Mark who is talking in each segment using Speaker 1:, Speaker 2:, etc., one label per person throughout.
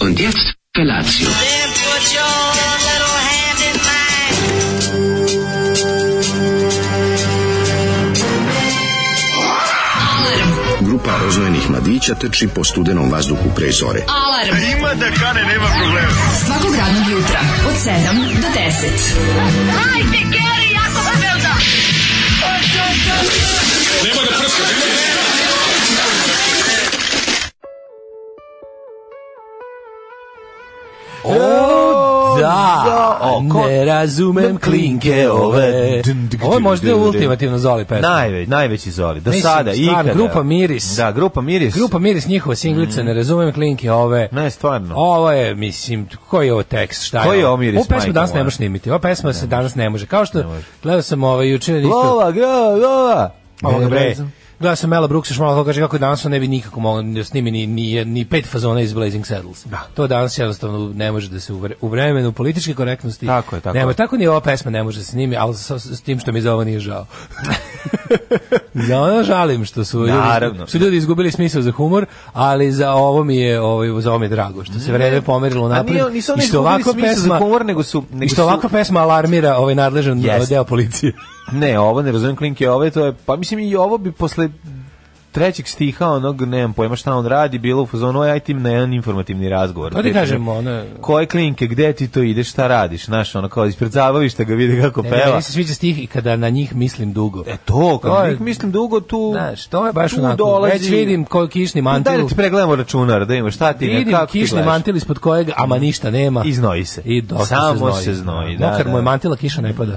Speaker 1: Und jetzt Felatio.
Speaker 2: Then put your little hand in mine.
Speaker 3: Grupa oznojenih mladića teči po studenom vazduhu pre zore.
Speaker 4: Alarm. Ima da kane, nema problema. Svakog radnog jutra, od 7 do 10.
Speaker 5: O,
Speaker 6: da,
Speaker 5: o, ko-
Speaker 6: ne razumem klinke ove.
Speaker 5: Ovo je možda ultimativno Zoli pesma.
Speaker 6: Najveć, najveći Zoli, do
Speaker 5: Mislim,
Speaker 6: sada,
Speaker 5: stvarno,
Speaker 6: ikada.
Speaker 5: grupa Miris.
Speaker 6: Da, grupa Miris.
Speaker 5: Grupa Miris njihova
Speaker 6: Mm.
Speaker 5: singlica, ne razumem klinke ove.
Speaker 6: Ne, stvarno.
Speaker 5: Ovo je, mislim, koji je ovo tekst, šta je?
Speaker 6: Koji je
Speaker 5: ovo?
Speaker 6: ovo miris,
Speaker 5: Ovu pesmu
Speaker 6: majko
Speaker 5: danas ne
Speaker 6: moja?
Speaker 5: možeš snimiti, ova pesma se danas ne može. Kao što
Speaker 6: može.
Speaker 5: gledao sam ovaj juče, isto,
Speaker 6: Lova, gro, lova.
Speaker 5: ovoga
Speaker 6: Ne
Speaker 5: bre,
Speaker 6: razum-
Speaker 5: gledao sam Mela Brooks, još malo kako kaže kako danas on ne bi nikako mogao da snimi ni, ni, ni pet fazona iz Blazing Saddles. To danas jednostavno ne može da se u, vre- u vremenu političke korektnosti
Speaker 6: Tako je, tako
Speaker 5: nema.
Speaker 6: je.
Speaker 5: Tako ni ova pesma ne može da se snimi, ali sa, s tim što mi za ovo nije žao. za ono žalim što su
Speaker 6: Naravno.
Speaker 5: ljudi, su ljudi izgubili smisao za humor, ali za ovo mi je, ovaj, za ovo mi je drago, što se vreme pomerilo
Speaker 6: A
Speaker 5: napred.
Speaker 6: Pa nije, nisu oni
Speaker 5: i što
Speaker 6: izgubili
Speaker 5: ovako
Speaker 6: smisla za
Speaker 5: pesma-
Speaker 6: humor, nego su... Nego
Speaker 5: I što
Speaker 6: su-
Speaker 5: ovakva pesma alarmira ovaj nadležan
Speaker 6: Jeste.
Speaker 5: deo policije.
Speaker 6: Ne, ovo ne razumem klinke, ove to je, pa mislim i ovo bi posle trećeg stiha onog, nemam pojma šta on radi, bilo u fazonu, aj tim na jedan informativni razgovor.
Speaker 5: Pa ti kažemo, ono...
Speaker 6: koje klinke, gde ti to ide, šta radiš, znaš, ono kao ispred zabavišta ga vidi kako
Speaker 5: Ne,
Speaker 6: peva.
Speaker 5: meni se sviđa stih i kada na njih mislim dugo.
Speaker 6: E to,
Speaker 5: To
Speaker 6: kao
Speaker 5: je-
Speaker 6: nik mislim dugo tu...
Speaker 5: Znaš, to je baš
Speaker 6: tu
Speaker 5: onako.
Speaker 6: dolazi- Pa
Speaker 5: Već vidim koji kišni
Speaker 6: Daj
Speaker 5: mantil.
Speaker 6: da ti pregledamo računar, da ima šta ti ne,
Speaker 5: Vidim
Speaker 6: kako ti
Speaker 5: kišni
Speaker 6: gledaš. Mm.
Speaker 5: mantil ispod kojeg, ama ništa nema.
Speaker 6: I znoji se.
Speaker 5: I dosta
Speaker 6: Samo
Speaker 5: se znoji.
Speaker 6: se znoji, da,
Speaker 5: Mokar
Speaker 6: da. Mm.
Speaker 5: mu je mantila, kiša ne pada.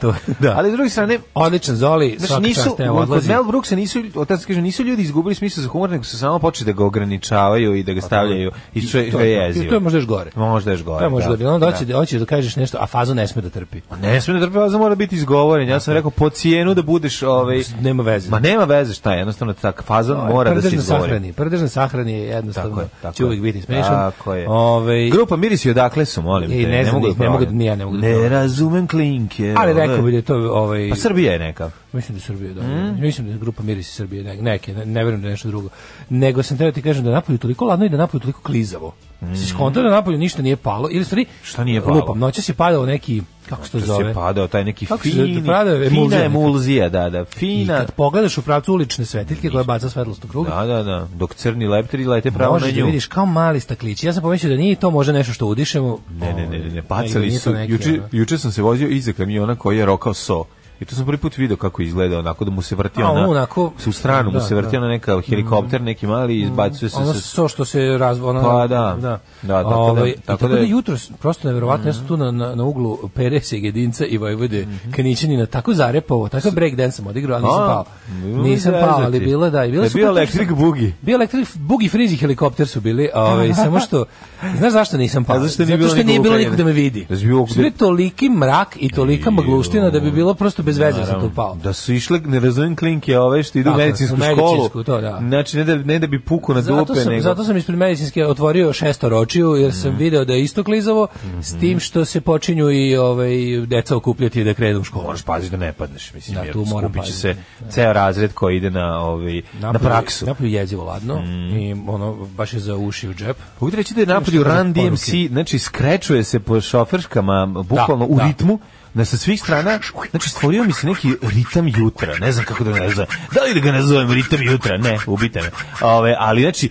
Speaker 5: To, da.
Speaker 6: Ali s druge strane,
Speaker 5: Odličan Zoli,
Speaker 6: Znaš,
Speaker 5: svaka
Speaker 6: nisu,
Speaker 5: čast, evo,
Speaker 6: kod
Speaker 5: odlazi.
Speaker 6: Mel Brooksa nisu, otac kaže, nisu ljudi izgubili smisla za humor, nego su samo počeli da ga ograničavaju i da ga stavljaju i što
Speaker 5: Pa To-
Speaker 6: je
Speaker 5: to-
Speaker 6: što je jezio.
Speaker 5: To je možda još gore.
Speaker 6: Možda još gore.
Speaker 5: To je možda
Speaker 6: Pa da.
Speaker 5: gore. Onda hoće da, hoće da kažeš nešto, a fazu ne sme da trpi.
Speaker 6: Da. Ne smije da trpe, vaza mora biti izgovoren.
Speaker 5: Dakle.
Speaker 6: Ja sam rekao, po cijenu da budeš... Ovaj,
Speaker 5: Nema veze.
Speaker 6: ma nema veze šta je, jednostavno tak faza mora da se
Speaker 5: Prdež na
Speaker 6: izgovori.
Speaker 5: sahrani, prdež na sahrani je jednostavno
Speaker 6: Tako je, tako
Speaker 5: će
Speaker 6: je.
Speaker 5: uvijek biti smešan.
Speaker 6: Tako je.
Speaker 5: Ovaj,
Speaker 6: Grupa Mirisi odakle su, molim te.
Speaker 5: I ne znam,
Speaker 6: mogu
Speaker 5: ne-
Speaker 6: da
Speaker 5: ne mogu da-
Speaker 6: pronađem.
Speaker 5: ni ja ne mogu da
Speaker 6: Ne
Speaker 5: pronađem.
Speaker 6: razumem klinke.
Speaker 5: ali
Speaker 6: ove.
Speaker 5: rekao bi da je to ovaj
Speaker 6: Pa Srbija je neka.
Speaker 5: mislim da je Srbija da.
Speaker 6: Mm.
Speaker 5: Mislim da je grupa Miris iz Srbije ne- neke, ne, ne verujem da je nešto drugo. Nego sam teo ti kažem da je napolju toliko ladno i da je napolju toliko klizavo. Mm. Si skontao da napolju ništa nije palo ili u stvari
Speaker 6: Šta nije palo?
Speaker 5: Lupam, noćas je padao neki kako se to
Speaker 6: To
Speaker 5: zove?
Speaker 6: se padao taj neki
Speaker 5: Kako se zove,
Speaker 6: fini,
Speaker 5: prave
Speaker 6: fina
Speaker 5: emulzija neka.
Speaker 6: emulzija, da, da,
Speaker 5: I
Speaker 6: fina.
Speaker 5: kad pogledaš u pravcu ulične svetiljke koja baca svetlost u krug,
Speaker 6: Da, da, da. Dok crni leptiri lete pravo
Speaker 5: Možeš
Speaker 6: na nju.
Speaker 5: da vidiš kao mali staklić. Ja sam pomislio da nije to možda nešto što udišemo.
Speaker 6: Ne, ne, ne, ne, ne,
Speaker 5: Nego
Speaker 6: bacali
Speaker 5: nije to
Speaker 6: su.
Speaker 5: neki,
Speaker 6: Juče,
Speaker 5: ono.
Speaker 6: juče sam se vozio iza kamiona koji je rokao so. I tu sam prvi put video kako izgleda, onako da mu se vrti
Speaker 5: A,
Speaker 6: ona,
Speaker 5: onako-
Speaker 6: u stranu mu
Speaker 5: da,
Speaker 6: se vrti
Speaker 5: da. Mhm.
Speaker 6: ona neka helikopter, neki mali i izbacuje se
Speaker 5: ono
Speaker 6: sa...
Speaker 5: so što se razvo ono
Speaker 6: Pa da.
Speaker 5: da,
Speaker 6: Da, tako da-
Speaker 5: Ovaj, i
Speaker 6: tako
Speaker 5: tako
Speaker 6: da
Speaker 5: da,
Speaker 6: je-
Speaker 5: jutro prosto neverovatno ja sam tu na, na, na uglu Perese i Gedinca i Vojvode
Speaker 6: Mhm.
Speaker 5: Kanićanina tako zarepovo takav breakdance sam odigrao ali nisam
Speaker 6: A,
Speaker 5: pao
Speaker 6: nemoj
Speaker 5: nisam pao ali
Speaker 6: zezati.
Speaker 5: bilo da i bilo
Speaker 6: Da je bio Electric Boogie.
Speaker 5: bio elektrik bugi frizi helikopter su bili ovaj samo što znaš zašto nisam pao
Speaker 6: A zašto nije bilo
Speaker 5: zato što nije
Speaker 6: nikog
Speaker 5: bilo
Speaker 6: u
Speaker 5: nikog da me
Speaker 6: Ukrajini?
Speaker 5: vidi
Speaker 6: Da si bio
Speaker 5: što je
Speaker 6: ovdje-
Speaker 5: toliki mrak i tolika magluština da bi bilo prosto bez veze da sam tu pao
Speaker 6: Da su išle, ne razumem klinke ove što idu u
Speaker 5: Tako je,
Speaker 6: medicinsku
Speaker 5: u medicinsku,
Speaker 6: školu.
Speaker 5: to da.
Speaker 6: Znači, ne da, ne da bi puku na
Speaker 5: Zato
Speaker 6: dupe,
Speaker 5: sam,
Speaker 6: nego...
Speaker 5: zato sam ispred medicinske otvorio šesto ročiju jer sam video da je isto klizavo s tim što se počinju i ovaj deca okupljati da krenu u školu.
Speaker 6: Moraš paziti da ne padneš, mislim,
Speaker 5: Da,
Speaker 6: jer
Speaker 5: tu moram
Speaker 6: skupit će se
Speaker 5: paziti,
Speaker 6: ceo razred koji ide na, ovaj, na praksu.
Speaker 5: Napolju jezivo ladno i ono baš je za uši u džep.
Speaker 6: Mogu ti reći da je napolju
Speaker 5: Što su
Speaker 6: Run
Speaker 5: poruke?
Speaker 6: DMC, znači skrećuje se po šoferškama, bukvalno u
Speaker 5: da.
Speaker 6: ritmu, da sa svih strana, znači stvorio mi se neki ritam jutra, ne znam kako da ga nazovem. Da li da ga nazovem ritam jutra? Ne, ubite me. Ove, ali znači...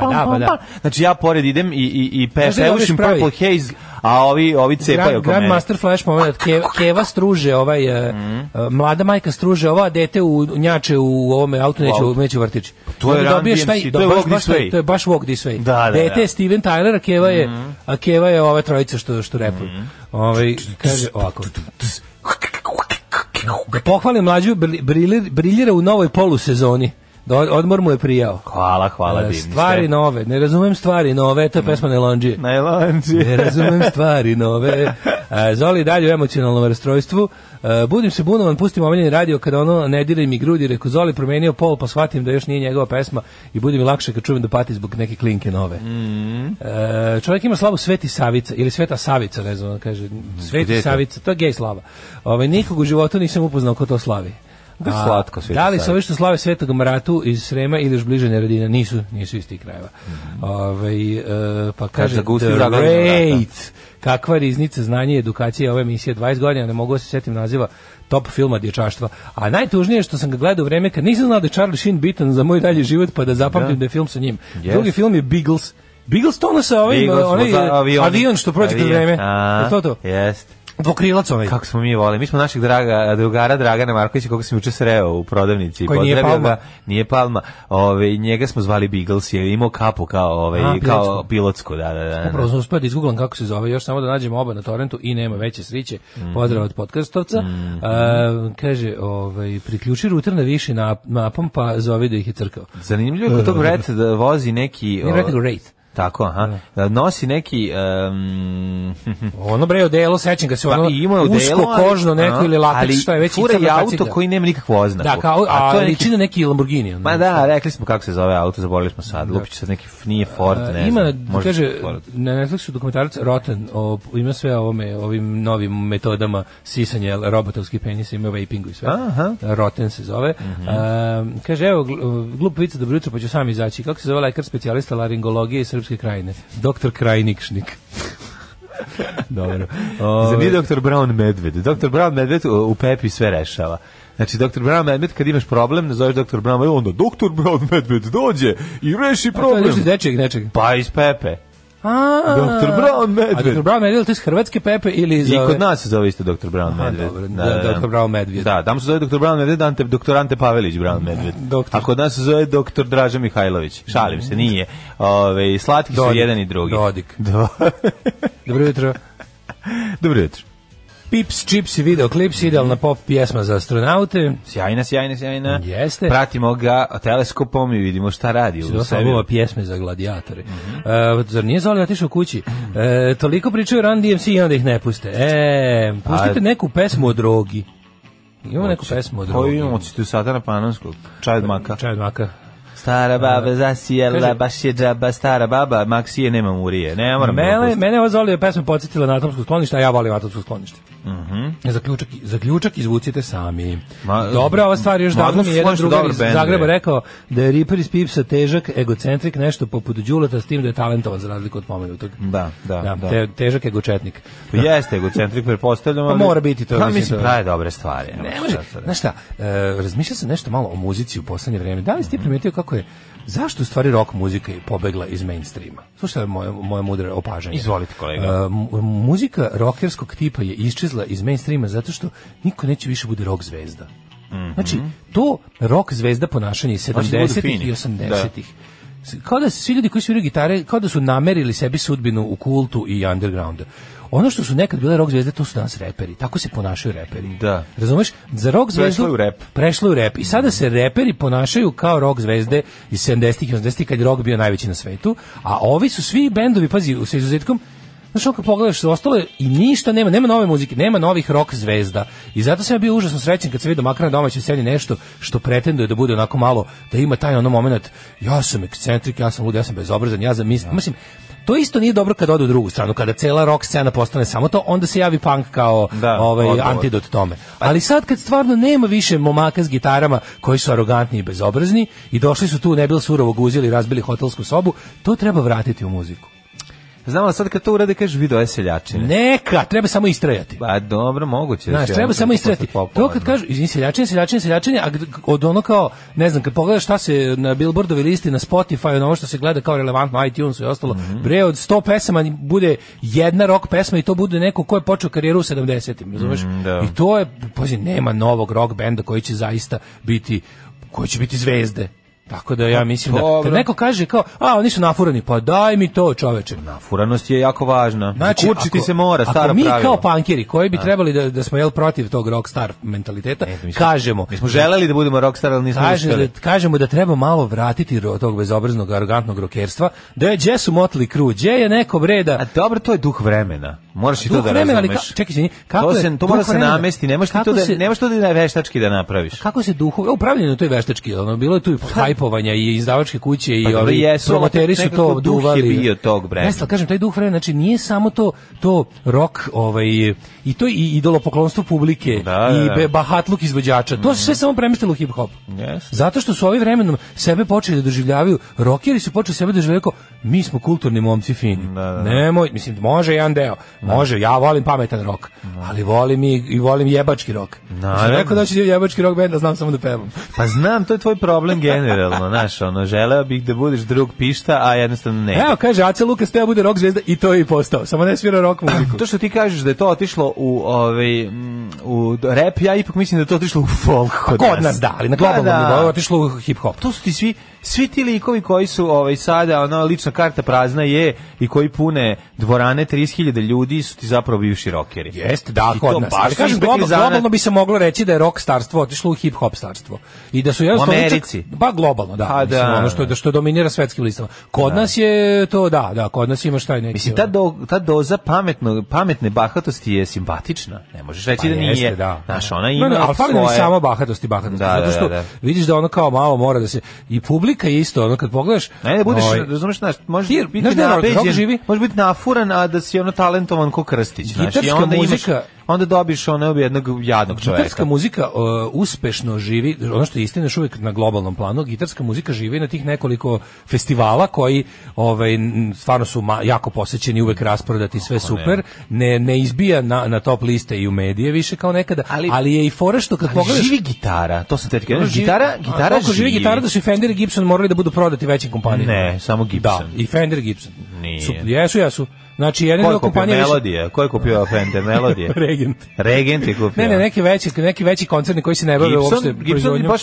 Speaker 5: Pa da, pa da.
Speaker 6: Znači ja pored idem i, i, i
Speaker 5: Znaš
Speaker 6: peš,
Speaker 5: da je
Speaker 6: pevušim
Speaker 5: pravi?
Speaker 6: Purple Haze, a ovi, ovi cepaju
Speaker 5: Grand,
Speaker 6: oko mene.
Speaker 5: Grandmaster Flash moment, Ke- Keva struže, ovaj, e, e, mlada majka struže, ova dete u, njače u ovome autu, neće,
Speaker 6: Wow.
Speaker 5: neće vrtići.
Speaker 6: to je Run DMC, to je Walk This Way.
Speaker 5: To je baš Walk This Way.
Speaker 6: Da, da,
Speaker 5: dete
Speaker 6: da.
Speaker 5: je Steven Tyler, a Keva je, a Keva je ova trojica što, što repuju. Ovaj, kaže ovako. Da pohvalim mlađu, bri- brilir- briljira u novoj polusezoni. Da od- odmor mu je prijao.
Speaker 6: Hvala, hvala,
Speaker 5: E,
Speaker 6: divni Mm. ste.
Speaker 5: stvari nove, ne razumem stvari nove, to je pesma Nelonđije.
Speaker 6: Na Elanđi.
Speaker 5: Ne razumem stvari nove. E, Zoli dalje u emocionalnom rastrojstvu. E, Budim se bunovan, pustim omiljeni radio kada ono ne dira mi grudi, reko Zoli promenio pol pa shvatim da još nije njegova pesma i bude mi lakše kad čujem da pati zbog neke klinke
Speaker 6: Mm.
Speaker 5: nove. E, čovjek ima slavu Sveti Savica ili Sveta Savica, ne znam, on kaže Sveti
Speaker 6: Gde je to?
Speaker 5: Savica, to je gej slava. Ovaj nikog u životu nisam upoznao ko to slavi.
Speaker 6: Da, slatko sve.
Speaker 5: Da li su ovi što slave Svetog Maratu iz Srema ili još bliže Neradina? Nisu, nisu iz tih krajeva. Ovaj, e, pa kaže,
Speaker 6: zagusti
Speaker 5: The
Speaker 6: zaglavljena vrata.
Speaker 5: Great. Kakva riznica znanja i edukacije ove emisije 20 godina, ne mogu da se setim naziva top filma dječaštva. A najtužnije je što sam ga gledao u vreme kad nisam znao da je Charlie Sheen bitan za moj dalji život, pa da zapamtim da, je film sa njim.
Speaker 6: Yes.
Speaker 5: Drugi film je Beagles. Beagles to ono sa ovim,
Speaker 6: Bigos,
Speaker 5: onaj,
Speaker 6: voza- avioni.
Speaker 5: avion što prođe kroz
Speaker 6: Avion.
Speaker 5: vreme.
Speaker 6: A,
Speaker 5: Je to to?
Speaker 6: Jest.
Speaker 5: Dvokrilac ovaj.
Speaker 6: Kako smo mi volili. Mi smo našeg draga, drugara Dragana Markovića, koga sam juče sreo u prodavnici. i
Speaker 5: Koji nije
Speaker 6: pozdravio
Speaker 5: Palma.
Speaker 6: Ga, nije Palma. Ove, njega smo zvali Beagles, jer je imao kapu kao, ove,
Speaker 5: A,
Speaker 6: kao pilotsku. Da, da, da.
Speaker 5: Upravo sam uspio da izgooglam kako se zove, još samo da nađemo oba na torrentu i nema veće sriće. Pozdrav od podcastovca.
Speaker 6: Mhm.
Speaker 5: E, kaže, ovaj, priključi ruter na viši nap, napom, pa zove da ih je crkao.
Speaker 6: Zanimljivo je kod tog Red da vozi neki...
Speaker 5: Ne
Speaker 6: o,
Speaker 5: vrati go rate.
Speaker 6: Tako, aha. Da nosi neki... Um,
Speaker 5: Ono bre, odelo, sećam ga se, ono
Speaker 6: pa, i ima odelo,
Speaker 5: usko
Speaker 6: ali-
Speaker 5: kožno neko
Speaker 6: a, ali
Speaker 5: ili lateks, šta je već. i
Speaker 6: fura
Speaker 5: crna
Speaker 6: je auto
Speaker 5: kacigla.
Speaker 6: koji nema nikakvu oznaku.
Speaker 5: Da, kao, a,
Speaker 6: to je neki
Speaker 5: liči na neki Lamborghini. ono.
Speaker 6: Ma da, rekli smo kako se zove auto, zaboravili smo sad. Lupić sad neki nije Ford,
Speaker 5: E,
Speaker 6: ne
Speaker 5: ima,
Speaker 6: znam. možda
Speaker 5: kaže,
Speaker 6: Ford.
Speaker 5: na Netflixu dokumentarac Rotten, o, ima sve o ovome, ovim novim metodama sisanja robotovskih penisa, ima vapingu i sve.
Speaker 6: Aha.
Speaker 5: Rotten se zove. E, kaže, evo, gl- glup vica, dobro jutro, pa ću sam izaći. Kako se zove lekar specijalista laringologije iz Srpske krajine? Doktor Krajnikšnik. Dobro. Ove,
Speaker 6: Za nije doktor Brown Medved. Doktor Brown Medved u, u Pepi sve rešava. Znači, doktor Brown Medved, kad imaš problem, nazoveš doktor Brown Medved, onda doktor Brown Medved dođe i reši
Speaker 5: A to je
Speaker 6: problem.
Speaker 5: nešto iz dečeg, nečeg.
Speaker 6: Pa iz Pepe.
Speaker 5: A,
Speaker 6: Dr. Brown Medved.
Speaker 5: Pa, A Dr. Brown Medved, to je iz Hrvatske Pepe ili iz...
Speaker 6: I
Speaker 5: ove-
Speaker 6: kod nas se zove isto doktor Brown
Speaker 5: Aha,
Speaker 6: Medved.
Speaker 5: dobro, da, Dr. Brown Medved.
Speaker 6: Da, tamo se zove doktor Brown Medved, Ante, doktor Ante Pavelić Brown Medved.
Speaker 5: Doktor. Mhm.
Speaker 6: A kod nas se zove doktor Draža Mihajlović. Šalim se, nije. Ove, slatki su
Speaker 5: Dodik.
Speaker 6: jedan i drugi.
Speaker 5: Dodik.
Speaker 6: Do-
Speaker 5: Dobro jutro.
Speaker 6: Dobro jutro.
Speaker 5: Pips, Chips i videoklips, idealna pop pjesma za astronaute.
Speaker 6: Sjajna, sjajna, sjajna.
Speaker 5: Jeste.
Speaker 6: Pratimo ga teleskopom i vidimo šta radi u
Speaker 5: Dosta
Speaker 6: sebi. Mhm.
Speaker 5: obova pjesme za gladijatore. E, zar nije Zoli otišao kući? E, toliko pričaju Run DMC i onda ih ne puste. E, pustite
Speaker 6: A-
Speaker 5: neku pesmu o drogi. Imamo neku pesmu o drogi.
Speaker 6: Koju imamo ćete u satana panonskog? Čaj od maka.
Speaker 5: Čaj od maka.
Speaker 6: Stara baba zasijela,
Speaker 5: Kaže-
Speaker 6: baš je džaba stara baba, maksije nema murije. Ne moram da
Speaker 5: Mele,
Speaker 6: opustim.
Speaker 5: mene ova Zoli pesma podsjetila na atomsko sklonište, a ja volim atomsko sklonište. Zaključak, zaključak izvucite sami.
Speaker 6: Mhm. Ma-
Speaker 5: Dobra, ova stvar još
Speaker 6: Ma,
Speaker 5: davno mi
Speaker 6: Atomsko
Speaker 5: je jedan
Speaker 6: sklonište
Speaker 5: drugar
Speaker 6: dobar
Speaker 5: iz
Speaker 6: bend,
Speaker 5: Zagreba
Speaker 6: bre.
Speaker 5: rekao da je Reaper iz Pipsa težak, egocentrik, nešto poput Đuleta, s tim da je talentovan za razliku od pomenutog.
Speaker 6: Da, da, da.
Speaker 5: te- težak egočetnik.
Speaker 6: Pa Jeste egocentrik, pretpostavljam.
Speaker 5: Pa
Speaker 6: ali-
Speaker 5: mora biti to,
Speaker 6: Pa
Speaker 5: mislim,
Speaker 6: mislim,
Speaker 5: to-
Speaker 6: pravi dobre stvari.
Speaker 5: Ne
Speaker 6: nema
Speaker 5: može.
Speaker 6: šta sad.
Speaker 5: Znaš šta, e, razmišlja se nešto malo o muzici u poslednje vreme. Da li
Speaker 6: Mhm.
Speaker 5: ste primetio kako je Zašto u stvari rock muzika je pobegla iz mainstreama? Slušaj moje, moje mudre opažanje.
Speaker 6: Izvolite, kolega.
Speaker 5: E, mu- muzika rockerskog tipa je isčezla iz mainstreama zato što niko neće više bude rock zvezda. Znači, to rock zvezda ponašanje iz
Speaker 6: Hoće Mhm. da budu
Speaker 5: 70-ih
Speaker 6: fini.
Speaker 5: i 80-ih. Kao da se svi ljudi koji sviraju gitare, kao da su namerili sebi sudbinu u kultu i undergroundu. Ono što su nekad bile rock zvezde, to su danas reperi. Tako se ponašaju reperi.
Speaker 6: Da.
Speaker 5: Razumeš? Za rock zvezdu...
Speaker 6: Prešlo je u rep.
Speaker 5: Prešlo je u rep. I sada se reperi ponašaju kao rock zvezde iz 70-ih i 80-ih kad je rock bio najveći na svetu, a ovi su svi bendovi, pazi, sa izuzetkom, Znaš, ono kad pogledaš, ostalo je i ništa nema, nema nove muzike, nema novih rock zvezda. I zato sam ja bio užasno srećen kad sam vidio makar na domaćoj sceni nešto što pretenduje da bude onako malo, da ima taj ono moment, ja sam ekscentrik, ja sam lud, ja sam bezobrazan, ja sam mislim, mislim, to isto nije dobro kad ode u drugu stranu, kada cela rock scena postane samo to, onda se javi punk kao
Speaker 6: Da,
Speaker 5: ovaj,
Speaker 6: odgovor.
Speaker 5: anti antidot tome. Ali sad kad stvarno nema više momaka s gitarama koji su arogantni i bezobrazni i došli su tu, ne bil surovo guzili i razbili hotelsku sobu, to treba vratiti u muziku.
Speaker 6: Znam, ali sad kad to urade, kažeš, video je seljačine.
Speaker 5: Neka, treba samo istrajati.
Speaker 6: Pa dobro, moguće. da
Speaker 5: Znaš,
Speaker 6: će
Speaker 5: treba
Speaker 6: ono
Speaker 5: samo
Speaker 6: postati
Speaker 5: istrati. To
Speaker 6: popularno.
Speaker 5: kad kažu, izvini, seljačenje, seljačenje, seljačenje, a gd- od ono kao, ne znam, kad pogledaš šta se na Billboardovi listi, na Spotify, na ovo što se gleda kao relevantno, iTunes i ostalo,
Speaker 6: Mhm.
Speaker 5: bre, od 100 pesama bude jedna rock pesma i to bude neko ko je počeo karijeru u 70-im, razumeš?
Speaker 6: Mhm, da.
Speaker 5: I to je, pazi, nema novog rock benda koji će zaista biti, koji će biti zvezde. Tako da ja mislim da, kad
Speaker 6: Pa dobro.
Speaker 5: neko kaže kao, a, oni su nafurani, pa daj mi to, čoveče.
Speaker 6: Furanost je jako važna. Znači, Kurčiti
Speaker 5: ako-
Speaker 6: se mora, stara
Speaker 5: ako mi
Speaker 6: pravila.
Speaker 5: kao pankeri koji bi trebali da, da smo jel protiv tog rockstar mentaliteta,
Speaker 6: mi smo-
Speaker 5: kažemo,
Speaker 6: Mi smo želeli da budemo rockstar, ali nismo
Speaker 5: kaže, da,
Speaker 6: uspeli.
Speaker 5: kažemo da treba malo vratiti ro, tog bezobraznog, arogantnog rokerstva, da je gdje su Motley Crue, gdje je neko breda,
Speaker 6: A dobro, to je duh vremena. Moraš i to
Speaker 5: Duh
Speaker 6: da
Speaker 5: vremena, ali
Speaker 6: razumeš.
Speaker 5: ka- čekaj, izvini, kako
Speaker 6: to
Speaker 5: je
Speaker 6: se, to
Speaker 5: duh
Speaker 6: mora se
Speaker 5: vremena?
Speaker 6: namesti, nemaš ti
Speaker 5: Kako
Speaker 6: to da,
Speaker 5: se-
Speaker 6: nemaš to da je veštački da napraviš.
Speaker 5: Kako se duhovi, upravljeno to je veštački, ono, bilo je tu i hajpovanja i izdavačke kuće i
Speaker 6: Pa dobro,
Speaker 5: ovi
Speaker 6: jesu, ali
Speaker 5: promoteri su
Speaker 6: nekako
Speaker 5: to
Speaker 6: duh je
Speaker 5: duvali.
Speaker 6: bio tog brenda.
Speaker 5: Jeste, ali kažem, taj duh vremena, znači nije samo to, to rock, ovaj, i to i idolopoklonstvo publike,
Speaker 6: Da,
Speaker 5: i
Speaker 6: da. Mm.
Speaker 5: be- bahatluk izvođača, to se sve samo premestilo u hip-hop.
Speaker 6: Jeste.
Speaker 5: Zato što su ovi vremenom sebe počeli da doživljavaju, rockeri su počeli sebe doživljavaju kao, mi smo kulturni momci fini.
Speaker 6: Da, da, da.
Speaker 5: Nemoj, mislim, može jedan deo, može, ja volim pametan rock, ali volim i, i volim jebački rock. Naravno.
Speaker 6: Naravno.
Speaker 5: Znači, rekao da će jebački rock benda, znam samo da pevam.
Speaker 6: Pa znam, to je tvoj problem generalno, znaš, ono, želeo bih da budeš drug pišta, a jednostavno ne.
Speaker 5: Evo, kaže, Aca Lukas teo bude rock zvezda i to je i postao. Samo ne svira rock muziku.
Speaker 6: To što ti kažeš da je to otišlo u ovaj mm, u rep, ja ipak mislim da je to otišlo u folk kod,
Speaker 5: Kod nas da, ali na globalnom
Speaker 6: Pa da.
Speaker 5: nivou je otišlo u hip-hop.
Speaker 6: To su ti svi svi ti likovi koji su ovaj sada ona lična karta prazna je i koji pune dvorane 30.000 ljudi su ti zapravo bivši rokeri.
Speaker 5: Jeste, da,
Speaker 6: I to
Speaker 5: kod nas.
Speaker 6: baš
Speaker 5: Ali
Speaker 6: su
Speaker 5: kažem,
Speaker 6: izbegli
Speaker 5: global,
Speaker 6: zanat.
Speaker 5: globalno bi se moglo reći da je rock starstvo otišlo u hip hop starstvo. I da su jednostavno... čak-
Speaker 6: Americi.
Speaker 5: Pa globalno, da.
Speaker 6: Pa
Speaker 5: mislim,
Speaker 6: da.
Speaker 5: Ono što, što dominira svetskim listama. Kod nas je to, da, da, kod nas imaš taj neki... ono-
Speaker 6: Mislim, ta, do, ta doza pametno, pametne bahatosti je simpatična. Ne možeš reći da nije.
Speaker 5: Pa Jeste, da.
Speaker 6: Znaš, ona ima
Speaker 5: ne, ali fali nam i
Speaker 6: svoje-
Speaker 5: samo bahatosti, bahatosti.
Speaker 6: Da, da,
Speaker 5: zato što
Speaker 6: da, da.
Speaker 5: vidiš da ono kao malo mora da se... I publika je isto, ono kad pogledaš...
Speaker 6: Ne, ne budeš,
Speaker 5: ovaj,
Speaker 6: razumeš, znaš, možeš
Speaker 5: Ti-
Speaker 6: biti
Speaker 5: znaš da je rock- rock
Speaker 6: nabeđen,
Speaker 5: živi?
Speaker 6: možeš biti nafuran, a da si ono talentovan ko Krstić, znaš, i
Speaker 5: Gitarska
Speaker 6: onda
Speaker 5: muzika-
Speaker 6: imaš, onda dobiš ono jednog jadnog čoveka.
Speaker 5: Gitarska muzika uh, uspešno živi, ono što je istina još uvijek na globalnom planu, gitarska muzika živi na tih nekoliko festivala koji ovaj, n- stvarno su ma- jako posećeni, uvek rasprodati, sve super, ne, ne izbija na, na top liste i u medije više kao nekada, ali,
Speaker 6: Ali-
Speaker 5: je i fora što kad
Speaker 6: Ali
Speaker 5: pogledaš...
Speaker 6: živi gitara, to sam te ti
Speaker 5: ono
Speaker 6: kažem, gitara,
Speaker 5: živi- a
Speaker 6: gitara
Speaker 5: toliko živi gitara da su i Fender i Gibson morali da budu prodati većim kompanijama.
Speaker 6: Ne, samo Gibson.
Speaker 5: Da, i Fender i Gibson.
Speaker 6: Nije.
Speaker 5: Su, jesu, jesu. Znači, jedan
Speaker 6: Ko
Speaker 5: deo
Speaker 6: je kupio
Speaker 5: kompanije... više-
Speaker 6: melodije? Ko je kupio Fender melodije?
Speaker 5: Regent.
Speaker 6: Regent je kupio.
Speaker 5: Ne, ne, neki veći, neki veći koncerni koji se ne bave uopšte
Speaker 6: Gibson, Gibson je
Speaker 5: proizvodnjom.
Speaker 6: baš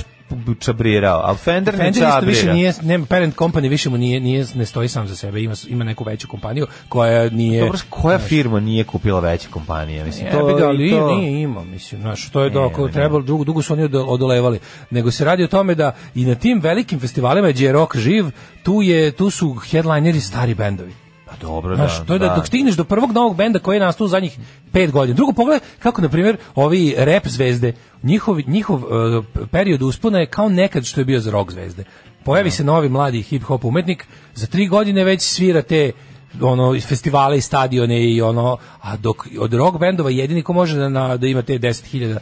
Speaker 6: čabrirao, a Fender, ne
Speaker 5: Fender isto
Speaker 6: čabrira.
Speaker 5: više nije, nema parent company više mu nije, nije ne stoji sam za sebe, ima, ima neku veću kompaniju koja nije...
Speaker 6: Dobro, koja firma nije kupila veće kompanije? Mislim, to,
Speaker 5: Jebi ga,
Speaker 6: i
Speaker 5: ali
Speaker 6: to... E,
Speaker 5: nije ima, mislim, znaš, to je doko, trebalo, dugo, dugo su oni odo- odolevali, nego se radi o tome da i na tim velikim festivalima gdje je rock živ, tu, je, tu su headlineri stari bendovi.
Speaker 6: Pa dobro, da.
Speaker 5: Znaš, to je da, dok stigneš do prvog novog benda koji je nastao u zadnjih pet godina. Drugo, pogledaj kako, na primjer, ovi rap zvezde, njihov, njihov e, period uspona je kao nekad što je bio za rock zvezde. Pojavi se novi mladi hip-hop umetnik, za tri godine već svira te ono iz festivale i stadione i ono a dok od rock bendova jedini ko može da, na, da ima te 10.000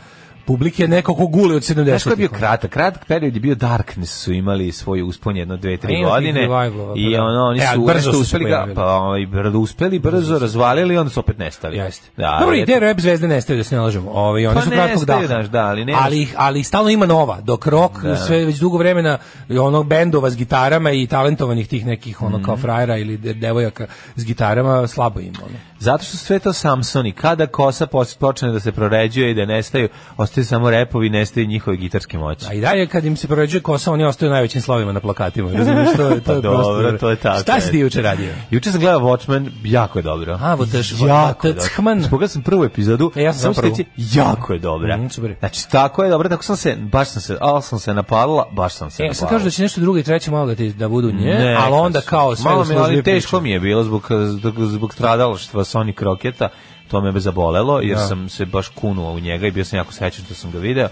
Speaker 5: publike je neko ko guli od 70
Speaker 6: Znaš ko je bio kratak? Kratak period je bio Darkness su imali svoj uspon jedno, dve, tri
Speaker 5: Ima tih
Speaker 6: godine.
Speaker 5: revivalova,
Speaker 6: I
Speaker 5: pa da.
Speaker 6: ono, oni
Speaker 5: E, ali
Speaker 6: su
Speaker 5: brzo
Speaker 6: nešto
Speaker 5: su se
Speaker 6: uspeli ga,
Speaker 5: pojavili.
Speaker 6: pa ovaj, brzo uspeli, brzo razvalili i onda su opet nestali.
Speaker 5: Jeste.
Speaker 6: Da,
Speaker 5: Dobro, i
Speaker 6: eto.
Speaker 5: te rap zvezde nestaju, da se ne lažemo. Ove, one
Speaker 6: Pa
Speaker 5: su kratkog daha.
Speaker 6: nestaju, znaš, da, ali nemaš-
Speaker 5: ali, ih- ali stalno ima nova, dok rock sve već dugo vremena ono bendova s gitarama i talentovanih tih nekih ono
Speaker 6: Mhm.
Speaker 5: kao frajera ili de- devojaka s gitarama slabo ima. Ono.
Speaker 6: Zato što su sve to Samsoni. Kada kosa pos- počne da se proređuje i da nestaju, ostaju samo repovi, nestaju njihove gitarske moći.
Speaker 5: A i dalje kad im se proređuje kosa, oni ostaju u najvećim slovima na plakatima. Razumiješ, to je, to je
Speaker 6: Pa
Speaker 5: prosto-
Speaker 6: dobro, to je tako,
Speaker 5: Šta si ti
Speaker 6: je.
Speaker 5: juče radio?
Speaker 6: Juče sam gledao Watchmen, jako je dobro.
Speaker 5: A, Votaš-
Speaker 6: jako je
Speaker 5: Votacman.
Speaker 6: dobro. Pogledao sam prvu epizodu,
Speaker 5: E, ja sam
Speaker 6: samo ću
Speaker 5: prvu.
Speaker 6: reći, jako je dobra.
Speaker 5: Mhm, super je.
Speaker 6: Znači, tako je dobro, tako sam se, baš sam se, ali sam se napalila, baš sam se
Speaker 5: E, sad
Speaker 6: napalila.
Speaker 5: kažu da će nešto drugo i treće malo da, ti, da budu nje,
Speaker 6: Ne,
Speaker 5: ali onda kao sve
Speaker 6: malo mi,
Speaker 5: u službi
Speaker 6: ali teško
Speaker 5: priče.
Speaker 6: mi je bilo zbog zbog, zbog stradalaštva Sonic Roketa, to me zabolelo jer sam se baš kunuo u njega i bio sam jako srećan što sam ga video.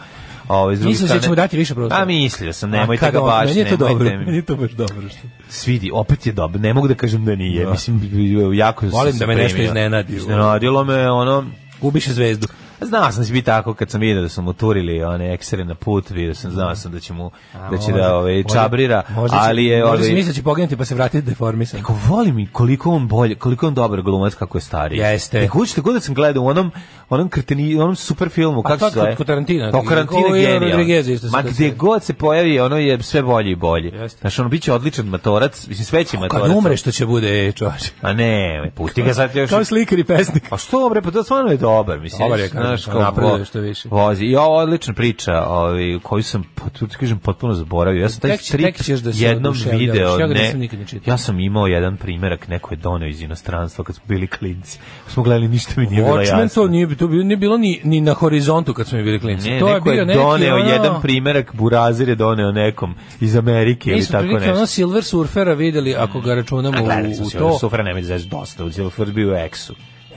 Speaker 6: A ovaj s druge
Speaker 5: Mislio sam da
Speaker 6: strane-
Speaker 5: ćemo dati više prostora.
Speaker 6: A mislio sam,
Speaker 5: A
Speaker 6: nemojte
Speaker 5: kad
Speaker 6: ga
Speaker 5: on-
Speaker 6: baš,
Speaker 5: meni je to dobro,
Speaker 6: nemojte
Speaker 5: meni
Speaker 6: mi.
Speaker 5: je to baš dobro. Što...
Speaker 6: Svidi, opet je dobro, ne mogu da kažem da nije. Mislim, jako sam
Speaker 5: Volim
Speaker 6: se
Speaker 5: da me nešto
Speaker 6: primio.
Speaker 5: iznenadi.
Speaker 6: Iznenadilo me, ono,
Speaker 5: Gubiše zvezdu.
Speaker 6: Znao sam da će biti tako kad sam vidio da su mu turili one eksere na put, vidio sam, znao sam da će mu, da će da ovaj, čabrira,
Speaker 5: možda će-
Speaker 6: ali je... E,
Speaker 5: Možda
Speaker 6: ovaj,
Speaker 5: se misli da će poginuti pa se vratiti deformisan.
Speaker 6: Neko volim i koliko on bolje, koliko on dobar glumac kako je stari.
Speaker 5: Jeste.
Speaker 6: Neko učite god da sam gledao u onom onom kreteni, onom super filmu,
Speaker 5: Pa
Speaker 6: kako
Speaker 5: to
Speaker 6: se zove?
Speaker 5: kod Tarantina.
Speaker 6: Kao Tarantina
Speaker 5: Ovo je
Speaker 6: genijalno.
Speaker 5: Rodriguez isto se
Speaker 6: Ma
Speaker 5: to
Speaker 6: gde
Speaker 5: sve.
Speaker 6: god se pojavi, ono je sve bolje i bolje.
Speaker 5: Jeste. Pa
Speaker 6: Znaš, ono biće odličan matorac, mislim sve će matorac.
Speaker 5: Kad umre što će bude, e, čovače.
Speaker 6: A ne, pusti ga sad još.
Speaker 5: Kao slikar i pesnik.
Speaker 6: Pa što bre, pa to stvarno je dobar, mislim.
Speaker 5: Dobar je, kažem,
Speaker 6: znaš, kao
Speaker 5: napreduje
Speaker 6: vo-
Speaker 5: što više.
Speaker 6: Vozi. I ovo je odlična priča, ovaj, koju sam, po- tu ti kažem, potpuno zaboravio. Ja sam taj
Speaker 5: Tek će-
Speaker 6: strip
Speaker 5: tek ćeš da se
Speaker 6: jednom
Speaker 5: oduševljavaš.
Speaker 6: video,
Speaker 5: Ja ga
Speaker 6: ne,
Speaker 5: nisam nikad ni čitao.
Speaker 6: ja sam imao jedan primjerak, neko je doneo iz inostranstva kad smo bili klinci. Smo gledali, ništa mi nije bilo
Speaker 5: Watchmen
Speaker 6: jasno.
Speaker 5: to nije, to bi- nije bilo ni, ni na horizontu kad smo mi bili klinici.
Speaker 6: Ne,
Speaker 5: to
Speaker 6: neko je,
Speaker 5: bio neki,
Speaker 6: doneo
Speaker 5: ono,
Speaker 6: jedan primjerak, Burazir je doneo nekom iz Amerike
Speaker 5: Mi
Speaker 6: ili
Speaker 5: smo
Speaker 6: tako
Speaker 5: prilike ono
Speaker 6: nešto.
Speaker 5: Silver Surfera videli, ako ga računamo
Speaker 6: A gledali
Speaker 5: u,
Speaker 6: smo
Speaker 5: u
Speaker 6: se,
Speaker 5: to.
Speaker 6: Sufra nemoj da znaš dosta, u Zilfer bio u Exu.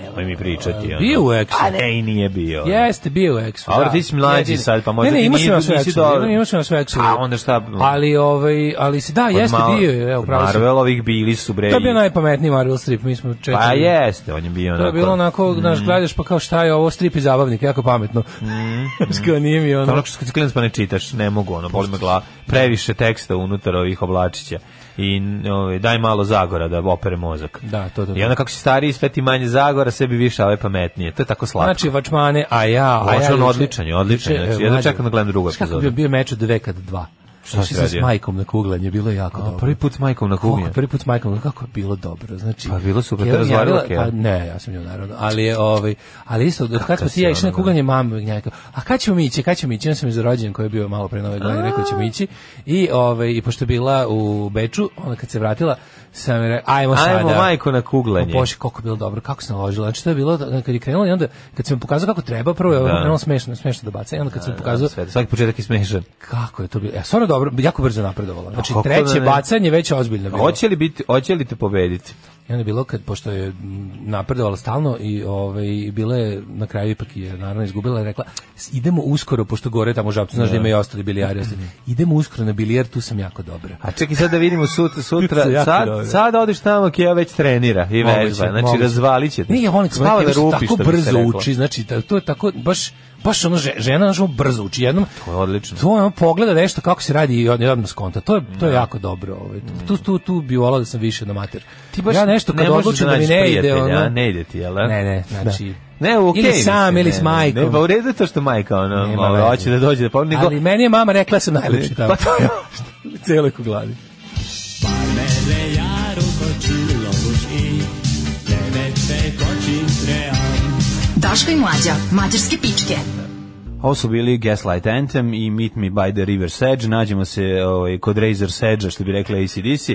Speaker 6: Nemoj mi pričati. ono.
Speaker 5: bio u Exu.
Speaker 6: A ne, i nije bio. ono.
Speaker 5: Jeste, bio u Exu.
Speaker 6: A dobro, ti si mlađi
Speaker 5: Jedini.
Speaker 6: sad, pa možda
Speaker 5: ne, ne,
Speaker 6: ti
Speaker 5: imao sam
Speaker 6: nije-
Speaker 5: ja sve
Speaker 6: nisi
Speaker 5: Exu,
Speaker 6: dobro.
Speaker 5: imao- imao sam ja sve Exu.
Speaker 6: A onda šta?
Speaker 5: Ali, ovaj, ali se da,
Speaker 6: Od
Speaker 5: jeste
Speaker 6: Mar-
Speaker 5: bio, je, evo,
Speaker 6: od
Speaker 5: pravo si.
Speaker 6: Marvelovih bili su bre.
Speaker 5: To je
Speaker 6: i-
Speaker 5: bio najpametniji Marvel strip, mi smo četiri.
Speaker 6: Pa jeste, on je Mm. bio
Speaker 5: To
Speaker 6: onako.
Speaker 5: je bilo onako, znaš, gledaš pa kao šta je ovo strip i zabavnik, jako pametno.
Speaker 6: Mm.
Speaker 5: Znaš, kao nije mi
Speaker 6: To je
Speaker 5: ono...
Speaker 6: Onako što kad si klinac pa ne čitaš, ne mogu, ono, boli me glava. Previše teksta unutar ovih oblačića. I ovaj, daj malo Zagora da opere mozak.
Speaker 5: Da, to, to, to.
Speaker 6: I onda kako si stariji, sve ti manje Zagora, sebi više, a ovaj pametnije. To je tako slatko.
Speaker 5: Znači, Vačmane, a ja... A
Speaker 6: Vačman
Speaker 5: ja juče-
Speaker 6: odličan je, odličan je.
Speaker 5: juče,
Speaker 6: Znači,
Speaker 5: e,
Speaker 6: jedva
Speaker 5: mlađe,
Speaker 6: čekam da gledam drugu
Speaker 5: znaš kako
Speaker 6: epizodu.
Speaker 5: Bio, bio meč od veka do dva. Šta
Speaker 6: si
Speaker 5: si radio?
Speaker 6: radio?
Speaker 5: s majkom na kuglanje, bilo je jako
Speaker 6: A,
Speaker 5: dobro.
Speaker 6: Pa prvi put s majkom na kuglanje.
Speaker 5: Kako, prvi put s majkom, kako je bilo dobro. Znači,
Speaker 6: Pa bilo super, te
Speaker 5: Keva mi
Speaker 6: razvalila
Speaker 5: javila-
Speaker 6: Keva?
Speaker 5: Pa ne, ja sam nju naravno, ali je ovaj, ali isto, od kad smo
Speaker 6: si
Speaker 5: ti i ja išli
Speaker 6: ona,
Speaker 5: na kuganje mame i gnjaka, a kad ćemo mi ići, kad ćemo ići, ja sam iz rođen koji je bio malo pre nove godine, rekao da ćemo ići, i, ovaj, i pošto je bila u Beču, onda kad se vratila, sam je rekao, ajmo sada. Pa
Speaker 6: Ajmo majko na kuglanje.
Speaker 5: Bože, koliko je bilo dobro, kako se naložila. Znači, to je bilo, da- kad je krenulo i onda, kad sam mu pokazao kako treba, prvo je ono
Speaker 6: Da.
Speaker 5: krenulo smešno, smešno da baca, i onda kad sam mu pokazao,
Speaker 6: Sve, svaki početak je smešan.
Speaker 5: kako je to bilo, ja, stvarno dobro, jako brzo napredovala. Znači,
Speaker 6: kako da ne?
Speaker 5: treće bacanje već je ozbiljno bilo.
Speaker 6: Hoće li, biti, hoće li te pobediti?
Speaker 5: I onda je bilo kad pošto je m, napredovala stalno i ovaj bila je na kraju ipak je naravno izgubila i rekla "S- idemo uskoro pošto gore tamo u žabcu znaš da ima i ostali bilijari ostali.
Speaker 6: Mhm.
Speaker 5: idemo uskoro na bilijar tu sam jako dobra.
Speaker 6: A čekaj sad da vidimo sutra,
Speaker 5: Su
Speaker 6: sutra
Speaker 5: jako
Speaker 6: sad,
Speaker 5: dobre.
Speaker 6: sad odiš tamo kje ja već trenira i
Speaker 5: Moguće,
Speaker 6: vežba, znači
Speaker 5: moguće.
Speaker 6: razvalit će te.
Speaker 5: Nije on
Speaker 6: Spava da rupi,
Speaker 5: tako
Speaker 6: što bi se
Speaker 5: brzo
Speaker 6: reklo.
Speaker 5: uči, znači ta- to je tako baš baš ono že- žena znači brzo uči jednom.
Speaker 6: To je odlično.
Speaker 5: To ono pogleda nešto kako se radi i od- i odmah skonta. To je to je jako dobro, ovaj. Tu tu tu bi volao da sam više na mater.
Speaker 6: Ti baš
Speaker 5: ja nešto
Speaker 6: ne
Speaker 5: kad
Speaker 6: možeš
Speaker 5: odlučim
Speaker 6: da
Speaker 5: da, mi
Speaker 6: nađeš
Speaker 5: ne ide
Speaker 6: prijatelja, a?
Speaker 5: ono.
Speaker 6: Ne ide ti, jel da?
Speaker 5: Ne, ne, znači
Speaker 6: Ne, okej.
Speaker 5: Ili
Speaker 6: mislim,
Speaker 5: sam, ili
Speaker 6: ne,
Speaker 5: s
Speaker 6: ne,
Speaker 5: majkom.
Speaker 6: Ne, pa u redu je to što majka, ono,
Speaker 5: Nema
Speaker 6: malo,
Speaker 5: veze.
Speaker 6: hoće da dođe da pa- pomeni.
Speaker 5: Ali meni je mama rekla da sam najlepši tamo.
Speaker 6: Pa to je
Speaker 5: Cijelo ko glavi.
Speaker 4: Daško i mlađa, mađarske pičke.
Speaker 6: Ovo su bili Gaslight Anthem i Meet Me by the River Sedge. Nađemo se ovaj, kod Razor Sedge, što bi rekla ACDC.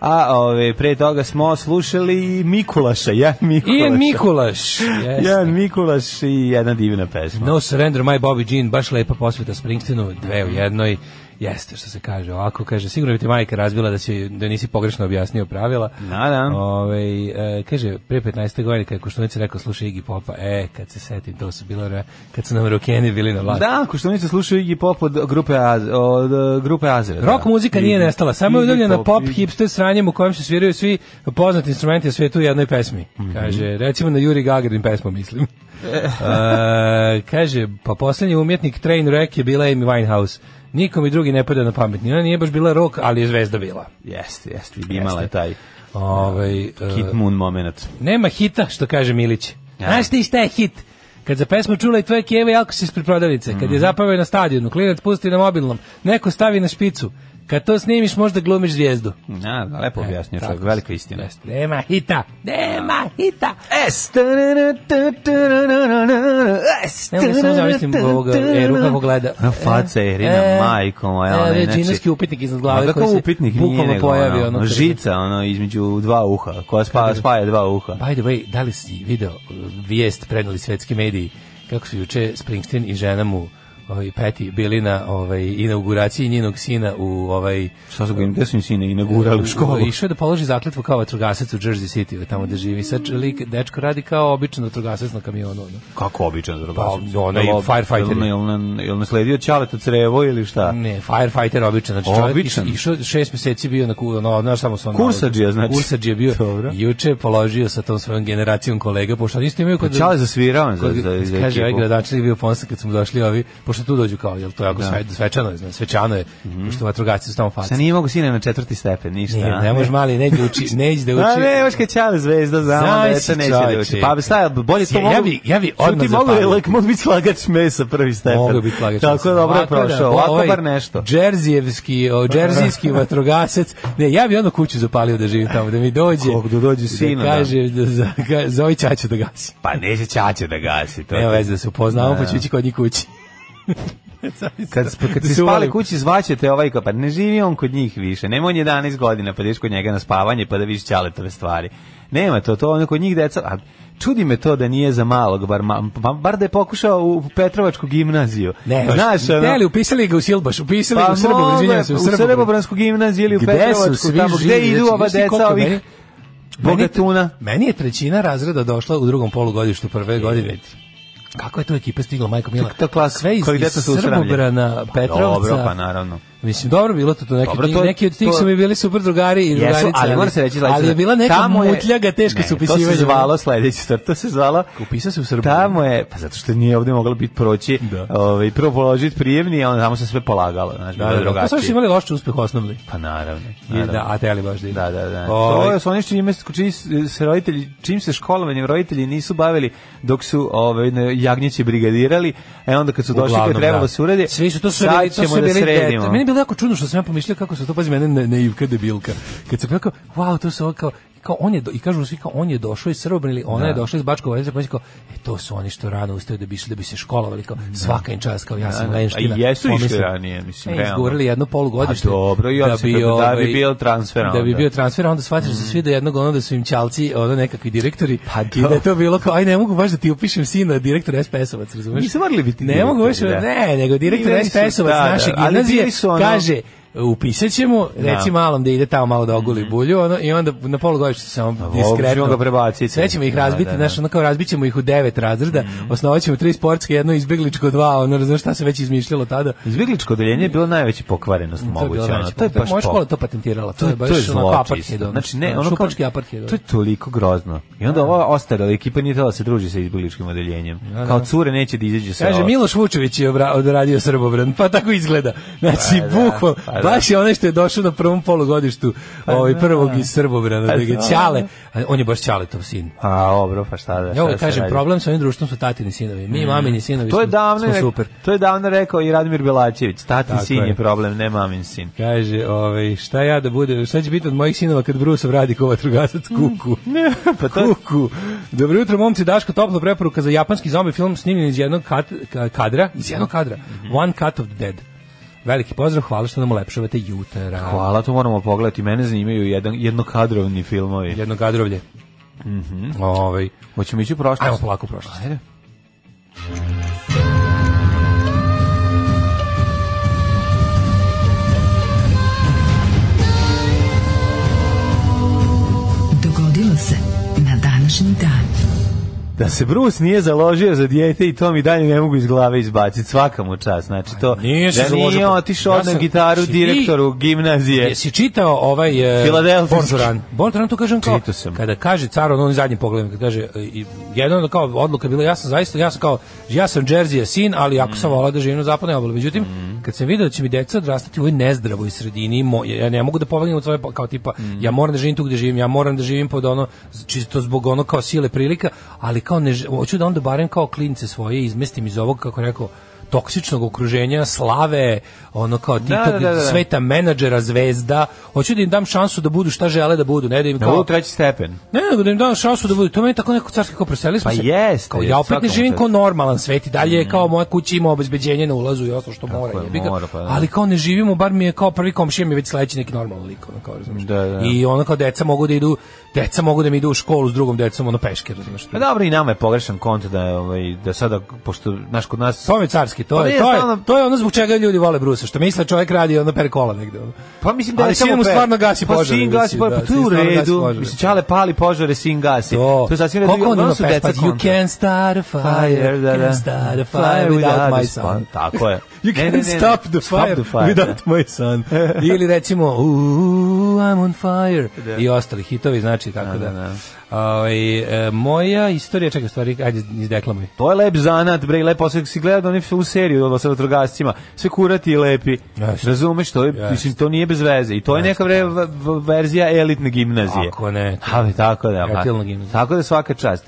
Speaker 6: A ovaj, pre toga smo slušali Mikulaša, Jan Mikulaša.
Speaker 5: Ian Mikulaš. Yes.
Speaker 6: Jan Mikulaš i jedna divna pesma.
Speaker 5: E, Znači, No Surrender, My Bobby Jean, baš lepa posveta Springsteenu, dve u jednoj. Jeste što se kaže, ovako kaže, sigurno bi ti majka razbila da, si, da nisi pogrešno objasnio pravila.
Speaker 6: Da, da.
Speaker 5: Ove, e, kaže, pre 15. godine kada je Koštunica rekao, slušaj Iggy Popa, e, kad se setim, to su bilo, re- kad su nam rokeni bili na vlasti.
Speaker 6: Da, ko što nisu slušaju Iggy Pop od grupe, Az, od e, grupe Azera.
Speaker 5: Rock
Speaker 6: da.
Speaker 5: muzika nije
Speaker 6: Iggy-
Speaker 5: nestala, samo je
Speaker 6: Iggy
Speaker 5: udavljena pop
Speaker 6: Iggy-
Speaker 5: hipster sranjem u kojem se sviraju svi poznati instrumenti na svetu u jednoj pesmi. Kaže, recimo na Juri Gagarin pesmu, mislim. E, kaže, pa poslednji umjetnik Trainwreck je bila Amy Winehouse. Nikom i drugi ne pada na pamet. Ni Ona nije baš bila rock, ali je zvezda bila.
Speaker 6: Jeste, jeste, imala je taj
Speaker 5: Ovaj, e,
Speaker 6: Kid Moon moment.
Speaker 5: nema hita, što kaže Milić.
Speaker 6: Ja.
Speaker 5: Znaš ti šta je hit? Kad za pesmu čula i tvoje kjeve i alkos ispred prodavnice, kad je zapavio na stadionu, klinac pusti na mobilnom, neko stavi na špicu. Kad to snimiš, možda glumiš zvijezdu.
Speaker 6: Na, da, lepo objasnio
Speaker 5: E, Tako
Speaker 6: čovjek,
Speaker 5: je.
Speaker 6: velika istina.
Speaker 5: Jeste. Nema hita, nema hita.
Speaker 6: S. S.
Speaker 5: Ne mogu samo zamislim ovoga Eru kako gleda.
Speaker 6: Ona faca Erina, majko moja, ona je,
Speaker 5: je
Speaker 6: znači-
Speaker 5: znači... e, upitnik iznad
Speaker 6: A
Speaker 5: glave
Speaker 6: kako
Speaker 5: koji se
Speaker 6: upitnik nije
Speaker 5: bukvalno
Speaker 6: nego
Speaker 5: pojavi.
Speaker 6: ono,
Speaker 5: kad-
Speaker 6: žica ono između dva uha, koja spa, spaja dva uha.
Speaker 5: By the way, da li si video uh, vijest preneli svetski mediji kako su juče Springsteen i žena mu ovaj Peti bili na ovaj inauguraciji njenog sina u ovaj
Speaker 6: Šta su ga im, gde su im sine inaugurali u školu?
Speaker 5: Išao je da položi zakletvu kao vatrogasac u Jersey City, ili tamo da živi. Sad lik, dečko radi kao običan vatrogasac na kamionu. ono.
Speaker 6: Kako običan drogasic?
Speaker 5: Pa, onaj firefighter.
Speaker 6: Jel, jel, jel nasledio Ćaleta crevo ili šta?
Speaker 5: Ne, firefighter običan, znači čovjek
Speaker 6: Običan?
Speaker 5: iš- išao šest mjeseci bio na kuda, no, znaš samo sam.
Speaker 6: Kursadžija, znači.
Speaker 5: Kursadžija bio.
Speaker 6: Dobro.
Speaker 5: Juče je položio sa tom svojom generacijom kolega, pošto oni isto imaju kod
Speaker 6: Ćale zasvirao je za,
Speaker 5: kod-
Speaker 6: za, za
Speaker 5: kaže, ovaj
Speaker 6: ekipu.
Speaker 5: gradonačelnik bio ponosan kad smo došli ovi, pošto tu dođu kao, jel to je jako sve, svečano je, znaš, svečano je,
Speaker 6: Mhm.
Speaker 5: pošto vatrogasci su tamo faci.
Speaker 6: Sad nije mogu sine na četvrti stepen, ništa.
Speaker 5: Ne,
Speaker 6: a?
Speaker 5: ne može mali, neđe uči, neđe da uči.
Speaker 6: A ne, baš kad Ćale zvezda za ono,
Speaker 5: Znaš
Speaker 6: deca
Speaker 5: si,
Speaker 6: neće da
Speaker 5: čoveče.
Speaker 6: uči. Pa staj, bolje to
Speaker 5: Ja
Speaker 6: mogu...
Speaker 5: bi- ja bi
Speaker 6: Što
Speaker 5: odmah
Speaker 6: ti mogu,
Speaker 5: zapalio.
Speaker 6: lak- mogu biti slagač mesa prvi stepen.
Speaker 5: Mogu biti lagač.
Speaker 6: Tako je dobro je prošao, ovaj ovako bar nešto.
Speaker 5: ovaj Džerzijevski, o, džerzijski vatrogasac. Ne, ja bi ono kuću zapalio da živim tamo, da mi dođe.
Speaker 6: Kog da dođe sina, da.
Speaker 5: Da kaže, da, za, ga, zove Čaču da gasi.
Speaker 6: Pa neće Ćaće da gasi to.
Speaker 5: Nema veze da se upoznamo, pa ću ići kod njih kući.
Speaker 6: Kad, kad
Speaker 5: Da
Speaker 6: se
Speaker 5: se
Speaker 6: spali
Speaker 5: uvalim.
Speaker 6: kući zvaćete ovaj kao, pa ne živi on kod njih više. Nema on 11 godina, pa da ideš kod njega na spavanje, pa da vidiš ćaletove stvari. Nema to, to ono kod njih deca... A, Čudi me to da nije za malog, bar, ma, ba- bar da je pokušao u Petrovačku gimnaziju.
Speaker 5: Ne,
Speaker 6: znaš, ono, Pa
Speaker 5: ne, ali upisali ga u Silbaš, upisali ga u Srbovu,
Speaker 6: mogu je,
Speaker 5: izvinjam se, u Srbovu.
Speaker 6: Srbobransku gimnaziju ili u
Speaker 5: Gde su
Speaker 6: Petrovačku,
Speaker 5: svi
Speaker 6: tamo gde
Speaker 5: živi,
Speaker 6: idu
Speaker 5: znači,
Speaker 6: ova
Speaker 5: znaš ti
Speaker 6: deca
Speaker 5: koliko
Speaker 6: ovih
Speaker 5: meni-
Speaker 6: Bogatuna.
Speaker 5: Meni je trećina razreda došla u drugom polugodištu prve godine. Kako je to ekipa stigla, Majko Mila?
Speaker 6: To je klas
Speaker 5: Sve iz, iz
Speaker 6: kvalitetno su usramljeni.
Speaker 5: Srbobrana,
Speaker 6: Pa
Speaker 5: Petrovca.
Speaker 6: Dobro, pa naravno.
Speaker 5: Mislim, dobro bilo to, to neki,
Speaker 6: Dobro, to-
Speaker 5: neki od tih
Speaker 6: to-
Speaker 5: su mi bili super drugari i drugarice.
Speaker 6: Jesu, ali mora se reći sledeće.
Speaker 5: ali je bila neka
Speaker 6: Tamo je-
Speaker 5: mutljaga, teška
Speaker 6: Ne,
Speaker 5: su upisivanja.
Speaker 6: To se zvalo sledeći stvar, to se zvalo
Speaker 5: Upisao se u Srbiju.
Speaker 6: Tamo je, pa zato što nije ovde moglo biti proći,
Speaker 5: Da.
Speaker 6: ovaj, prvo položiti prijemni, a onda tamo se sve polagalo, znaš,
Speaker 5: Da,
Speaker 6: bilo je
Speaker 5: da, da. Pa
Speaker 6: drugačije.
Speaker 5: sad su imali loš uspeh osnovni.
Speaker 6: Pa naravno.
Speaker 5: I
Speaker 6: naravno.
Speaker 5: Da, a teli baš da idu.
Speaker 6: Da, da, da.
Speaker 5: Ovaj,
Speaker 6: To je su oni čime čiji se roditelji, čim se školovanjem roditelji nisu bavili dok su ovaj na jagnjeće brigadirali, e onda kad su došli kad
Speaker 5: Uglavnom,
Speaker 6: trebalo
Speaker 5: da.
Speaker 6: da se urede,
Speaker 5: Svi su to su
Speaker 6: sad
Speaker 5: bili, to
Speaker 6: ćemo
Speaker 5: su
Speaker 6: da
Speaker 5: bili
Speaker 6: sredimo.
Speaker 5: deca. Meni je bilo jako čudno što sam ja pomišljao kako su to, pazi, mene ne, naivka debilka. Kad sam rekao, wow, to su ovo kao, kao on je, do, i kažu mu svi kao, on je došao iz Srbobrana ili ona je došla iz Bačkog Vojvodina, pa kao, e, to su oni što rano ustaju da bi išli, da bi se školovali, kao, svaka im čast, kao, ja sam
Speaker 6: da.
Speaker 5: lenština.
Speaker 6: A Pa i jesu išli
Speaker 5: Pomislim,
Speaker 6: ranije, mislim,
Speaker 5: e,
Speaker 6: realno.
Speaker 5: Izgurali jedno polugodište.
Speaker 6: A dobro, i onda se da- da bi
Speaker 5: ovaj,
Speaker 6: bio transfer,
Speaker 5: Da bi
Speaker 6: onda. Mm.
Speaker 5: bio transfer, a onda shvatili su svi do jednog ono da su im ćalci, ono nekakvi direktori,
Speaker 6: Pa
Speaker 5: i da
Speaker 6: da.
Speaker 5: je to bilo kao, aj ne mogu baš da ti upišem sina direktor SPS-ovac, razumeš?
Speaker 6: Nisu morali biti
Speaker 5: Ne
Speaker 6: direktori,
Speaker 5: mogu baš,
Speaker 6: da.
Speaker 5: ne, nego
Speaker 6: Bili
Speaker 5: direktor
Speaker 6: su,
Speaker 5: SPS-ovac
Speaker 6: da, da,
Speaker 5: naše
Speaker 6: ali
Speaker 5: gimnazije
Speaker 6: bili su ono-
Speaker 5: kaže upisat ćemo, reci malom da ide tamo malo da oguli bulju, ono, i onda na polu godišta samo
Speaker 6: ovo Mhm. Pa ćemo
Speaker 5: diskretno.
Speaker 6: ga prebaciti.
Speaker 5: Sve ćemo ih
Speaker 6: Da,
Speaker 5: razbiti,
Speaker 6: da, Mhm.
Speaker 5: znaš,
Speaker 6: da.
Speaker 5: ono kao razbit ćemo ih u devet razreda, osnovat ćemo tri sportske, jedno izbegličko, dva, ono, razumiješ šta se već izmišljalo tada.
Speaker 6: Izbjegličko odeljenje je bilo najveća pokvarenost
Speaker 5: To je
Speaker 6: moguća.
Speaker 5: bilo
Speaker 6: ono,
Speaker 5: najveće.
Speaker 6: To je baš
Speaker 5: Moja škola
Speaker 6: pokvareno.
Speaker 5: to patentirala, to, je baš onako apartheid, ono,
Speaker 6: Znači, ne, ono
Speaker 5: šupački apartheid. ono.
Speaker 6: To je toliko grozno. I onda ova ostala ekipa nije htjela da se druži sa izbjegličkim odeljenjem.
Speaker 5: da.
Speaker 6: Kao cure neće da izađe sa
Speaker 5: Kaže,
Speaker 6: ovo.
Speaker 5: Miloš Vučević je obra- odradio Srbobran, pa tako izgleda. Znači,
Speaker 6: Pa da,
Speaker 5: bukvalno,
Speaker 6: pa da. Pa
Speaker 5: baš je onaj što je došao na prvom polugodištu ovaj, prvog iz Srbobrana, da ga
Speaker 6: da.
Speaker 5: Ćale, a on je baš Ćaletov sin.
Speaker 6: A, dobro, pa šta da.
Speaker 5: Ja
Speaker 6: šta da
Speaker 5: uvijek
Speaker 6: se
Speaker 5: kažem,
Speaker 6: radi? Mm.
Speaker 5: problem sa ovim društvom su tatini sinovi. Mi, mamini sinovi,
Speaker 6: To je
Speaker 5: smo-
Speaker 6: davno,
Speaker 5: smo
Speaker 6: je-
Speaker 5: super.
Speaker 6: to je davno rekao i Radimir Belačević. Tatin
Speaker 5: Tako
Speaker 6: sin je.
Speaker 5: je.
Speaker 6: problem, ne mamin sin.
Speaker 5: Kaže, ovaj, šta ja da bude, šta će biti od mojih sinova kad Brusov radi ko vatrogasac kuku?
Speaker 6: pa to-
Speaker 5: kuku. Dobro jutro, momci, Daško, topla preporuka za japanski zombi film snimljen iz jednog kat, ka- kadra, iz jednog kadra, One Cut of the Dead. Veliki pozdrav, hvala što nam ulepšavate jutara.
Speaker 6: Hvala, to moramo pogledati. Mene zanimaju jedan, jednokadrovni filmovi.
Speaker 5: Jedno kadrovlje. Ovaj,
Speaker 6: Hoćemo ići u prošlost?
Speaker 5: Ajmo polako u prošlost.
Speaker 6: Ajde.
Speaker 4: Dogodilo se na današnji dan.
Speaker 6: Da se Bruce nije založio za dijete i to mi dalje ne mogu iz glave izbaciti svaka mu čast. Znači to,
Speaker 5: Nije se
Speaker 6: da nije
Speaker 5: založio, pa-
Speaker 6: otišao
Speaker 5: Ja
Speaker 6: odneo
Speaker 5: sam-
Speaker 6: gitaru
Speaker 5: si ti-
Speaker 6: direktoru gimnazije.
Speaker 5: Jesi čitao ovaj e,
Speaker 6: Filadelfijski.
Speaker 5: Born to Run? Born to Run to kažem kao
Speaker 6: Čitao sam.
Speaker 5: kada kaže car ono, on zadnji pogled kad kaže e, i jedan od kao odluka je bila ja sam zaista ja sam kao ja sam Jersey sin, ali ako sam volao da živim na zapadnoj obali. Međutim, kad sam video da će mi deca odrastati u ovoj nezdravoj sredini, mo, ja ne mogu da pobegnem od svoje pa- kao tipa ja moram da živim tu gde živim, ja moram da živim pod ono čisto zbog ono kao sile prilika, ali kao ne ž- hoću da onda barem kao klince svoje izmestim iz ovog kako je rekao toksičnog okruženja, slave, ono kao
Speaker 6: Da,
Speaker 5: titog
Speaker 6: da, da, da.
Speaker 5: sveta menadžera zvezda, hoću da im dam šansu da budu šta žele da budu, ne da im
Speaker 6: Na ovu
Speaker 5: kao
Speaker 6: treći stepen.
Speaker 5: Ne, nego da im dam šansu da budu. To meni je tako neko carski kao preselili smo
Speaker 6: Pa
Speaker 5: se.
Speaker 6: jeste,
Speaker 5: Kao, ja opet ne
Speaker 6: svakako
Speaker 5: živim
Speaker 6: to.
Speaker 5: kao normalan svet i dalje je kao moja kuća ima obezbeđenje na ulazu i ostalo što mora.
Speaker 6: je,
Speaker 5: jebi ga.
Speaker 6: mora, pa da.
Speaker 5: Ali kao ne živimo, bar mi je kao prvi komšija mi je već sledeći neki normalan lik. Ono, kao, razumeš.
Speaker 6: Da, da.
Speaker 5: I ono kao deca mogu da idu, deca mogu da mi idu u školu s drugom decom, ono peške, razumeš.
Speaker 6: Pa dobro, i nama je pogrešan kont da, je, ovaj, da sada, pošto, znaš, kod nas...
Speaker 5: To je carski, to,
Speaker 6: Pa
Speaker 5: je,
Speaker 6: nije,
Speaker 5: to, je,
Speaker 6: stalno-
Speaker 5: to je ono zbog čega ljudi vole Brusa, što misle čovjek radi ono per kola negde. Ono.
Speaker 6: Pa mislim da
Speaker 5: Ali
Speaker 6: je samo
Speaker 5: sin mu
Speaker 6: pe-
Speaker 5: stvarno gasi
Speaker 6: Pa
Speaker 5: požare,
Speaker 6: sin gasi
Speaker 5: mislim,
Speaker 6: požare, pa
Speaker 5: da,
Speaker 6: to je
Speaker 5: sin
Speaker 6: u
Speaker 5: stvarno gasi
Speaker 6: redu.
Speaker 5: požare.
Speaker 6: Mislim, čale pali požare, sin gasi.
Speaker 5: To,
Speaker 6: je sasvim u redu.
Speaker 5: Koliko on
Speaker 6: Uglavnom
Speaker 5: ima
Speaker 6: su
Speaker 5: pesma?
Speaker 6: deca
Speaker 5: You
Speaker 6: kontra.
Speaker 5: can't start a fire,
Speaker 6: da, da.
Speaker 5: can't start a fire without my son.
Speaker 6: Tako je.
Speaker 5: You
Speaker 6: Ne, ne,
Speaker 5: can't
Speaker 6: ne, ne.
Speaker 5: stop the fire, without my son. Ili recimo, ooh, I'm on fire. I ostali hitovi, znači, tako da.
Speaker 6: da, da.
Speaker 5: Ovaj, e, moja istorija, čekaj, u stvari, ajde, izdeklamuj.
Speaker 6: To je lep zanat, bre, i lepo se si gledao oni u seriju od sa vatrogascima. Sve kurati i lepi.
Speaker 5: Jeste.
Speaker 6: Razumeš, to je,
Speaker 5: Jeste.
Speaker 6: mislim, to nije bez veze. I to je neka bre v- v- verzija elitne gimnazije.
Speaker 5: Ako ne, to-
Speaker 6: Ali tako da, pa.
Speaker 5: Elitna gimnazija.
Speaker 6: Tako da svaka čast.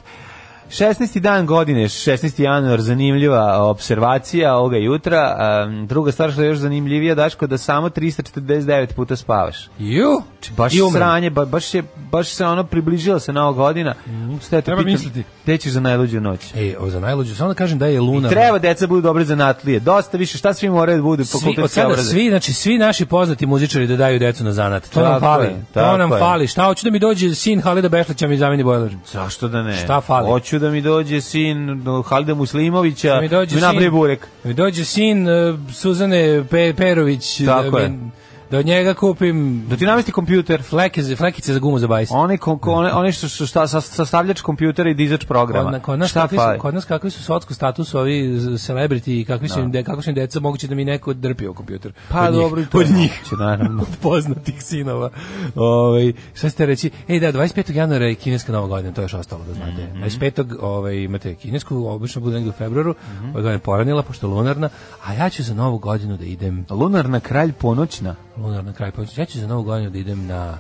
Speaker 6: 16. dan godine, 16. januar, zanimljiva observacija ovoga jutra. Em, druga stvar što je još zanimljivija, Daško, da samo 349 puta spavaš.
Speaker 5: Ju,
Speaker 6: Znači, baš
Speaker 5: I umrem.
Speaker 6: sranje, ba, baš, je, baš se ono približila se nova godina. Sve te
Speaker 5: Mm, Treba
Speaker 6: pitam,
Speaker 5: misliti.
Speaker 6: Gde ćeš za najluđu noć?
Speaker 5: E, ovo za najluđu, samo da kažem da je Luna...
Speaker 6: Treba deca budu dobre zanatlije. Dosta više, šta svi moraju da budu po
Speaker 5: Svi, od sada svi, znači svi naši poznati muzičari da daju decu na zanat. To nam
Speaker 6: Tako
Speaker 5: fali.
Speaker 6: je, tako
Speaker 5: to nam
Speaker 6: je.
Speaker 5: fali. Šta hoću da mi dođe sin Halida Bešlića mi zameni bojler?
Speaker 6: Zašto da ne?
Speaker 5: Šta fali?
Speaker 6: Hoću da mi dođe sin do Halida Muslimovića, da
Speaker 5: mi dođe
Speaker 6: napravi
Speaker 5: sin-
Speaker 6: burek.
Speaker 5: Mi dođe sin e, Suzane Pe Perović.
Speaker 6: Tako
Speaker 5: da
Speaker 6: je.
Speaker 5: mi- da od njega kupim
Speaker 6: Da ti namesti kompjuter.
Speaker 5: fleke, za- flekice za gumu za bajs.
Speaker 6: One, kom, ko- one, one što su šta, sa- sastavljač kompjutera i dizač programa.
Speaker 5: Kod, kod, nas
Speaker 6: šta
Speaker 5: kakvi
Speaker 6: fali?
Speaker 5: su, kod nas kakvi su socko status ovi z- celebrity i kakvi su im, de, kako su im deca, moguće da mi neko drpio kompjuter.
Speaker 6: Pa
Speaker 5: od
Speaker 6: dobro, i
Speaker 5: njih,
Speaker 6: to je
Speaker 5: od njih.
Speaker 6: moguće, naravno.
Speaker 5: od poznatih sinova. Ovaj šta ste reći? Ej da 25. januara je kineska Nova godina, to je još ostalo da znate. 25. ovaj imate kinesku, obično bude negde u februaru, mm -hmm. je poranila pošto je lunarna, a ja ću za Novu godinu da idem
Speaker 6: Lunarna kralj ponoćna.
Speaker 5: lunarna kraj pa ja ću za Novu godinu da idem na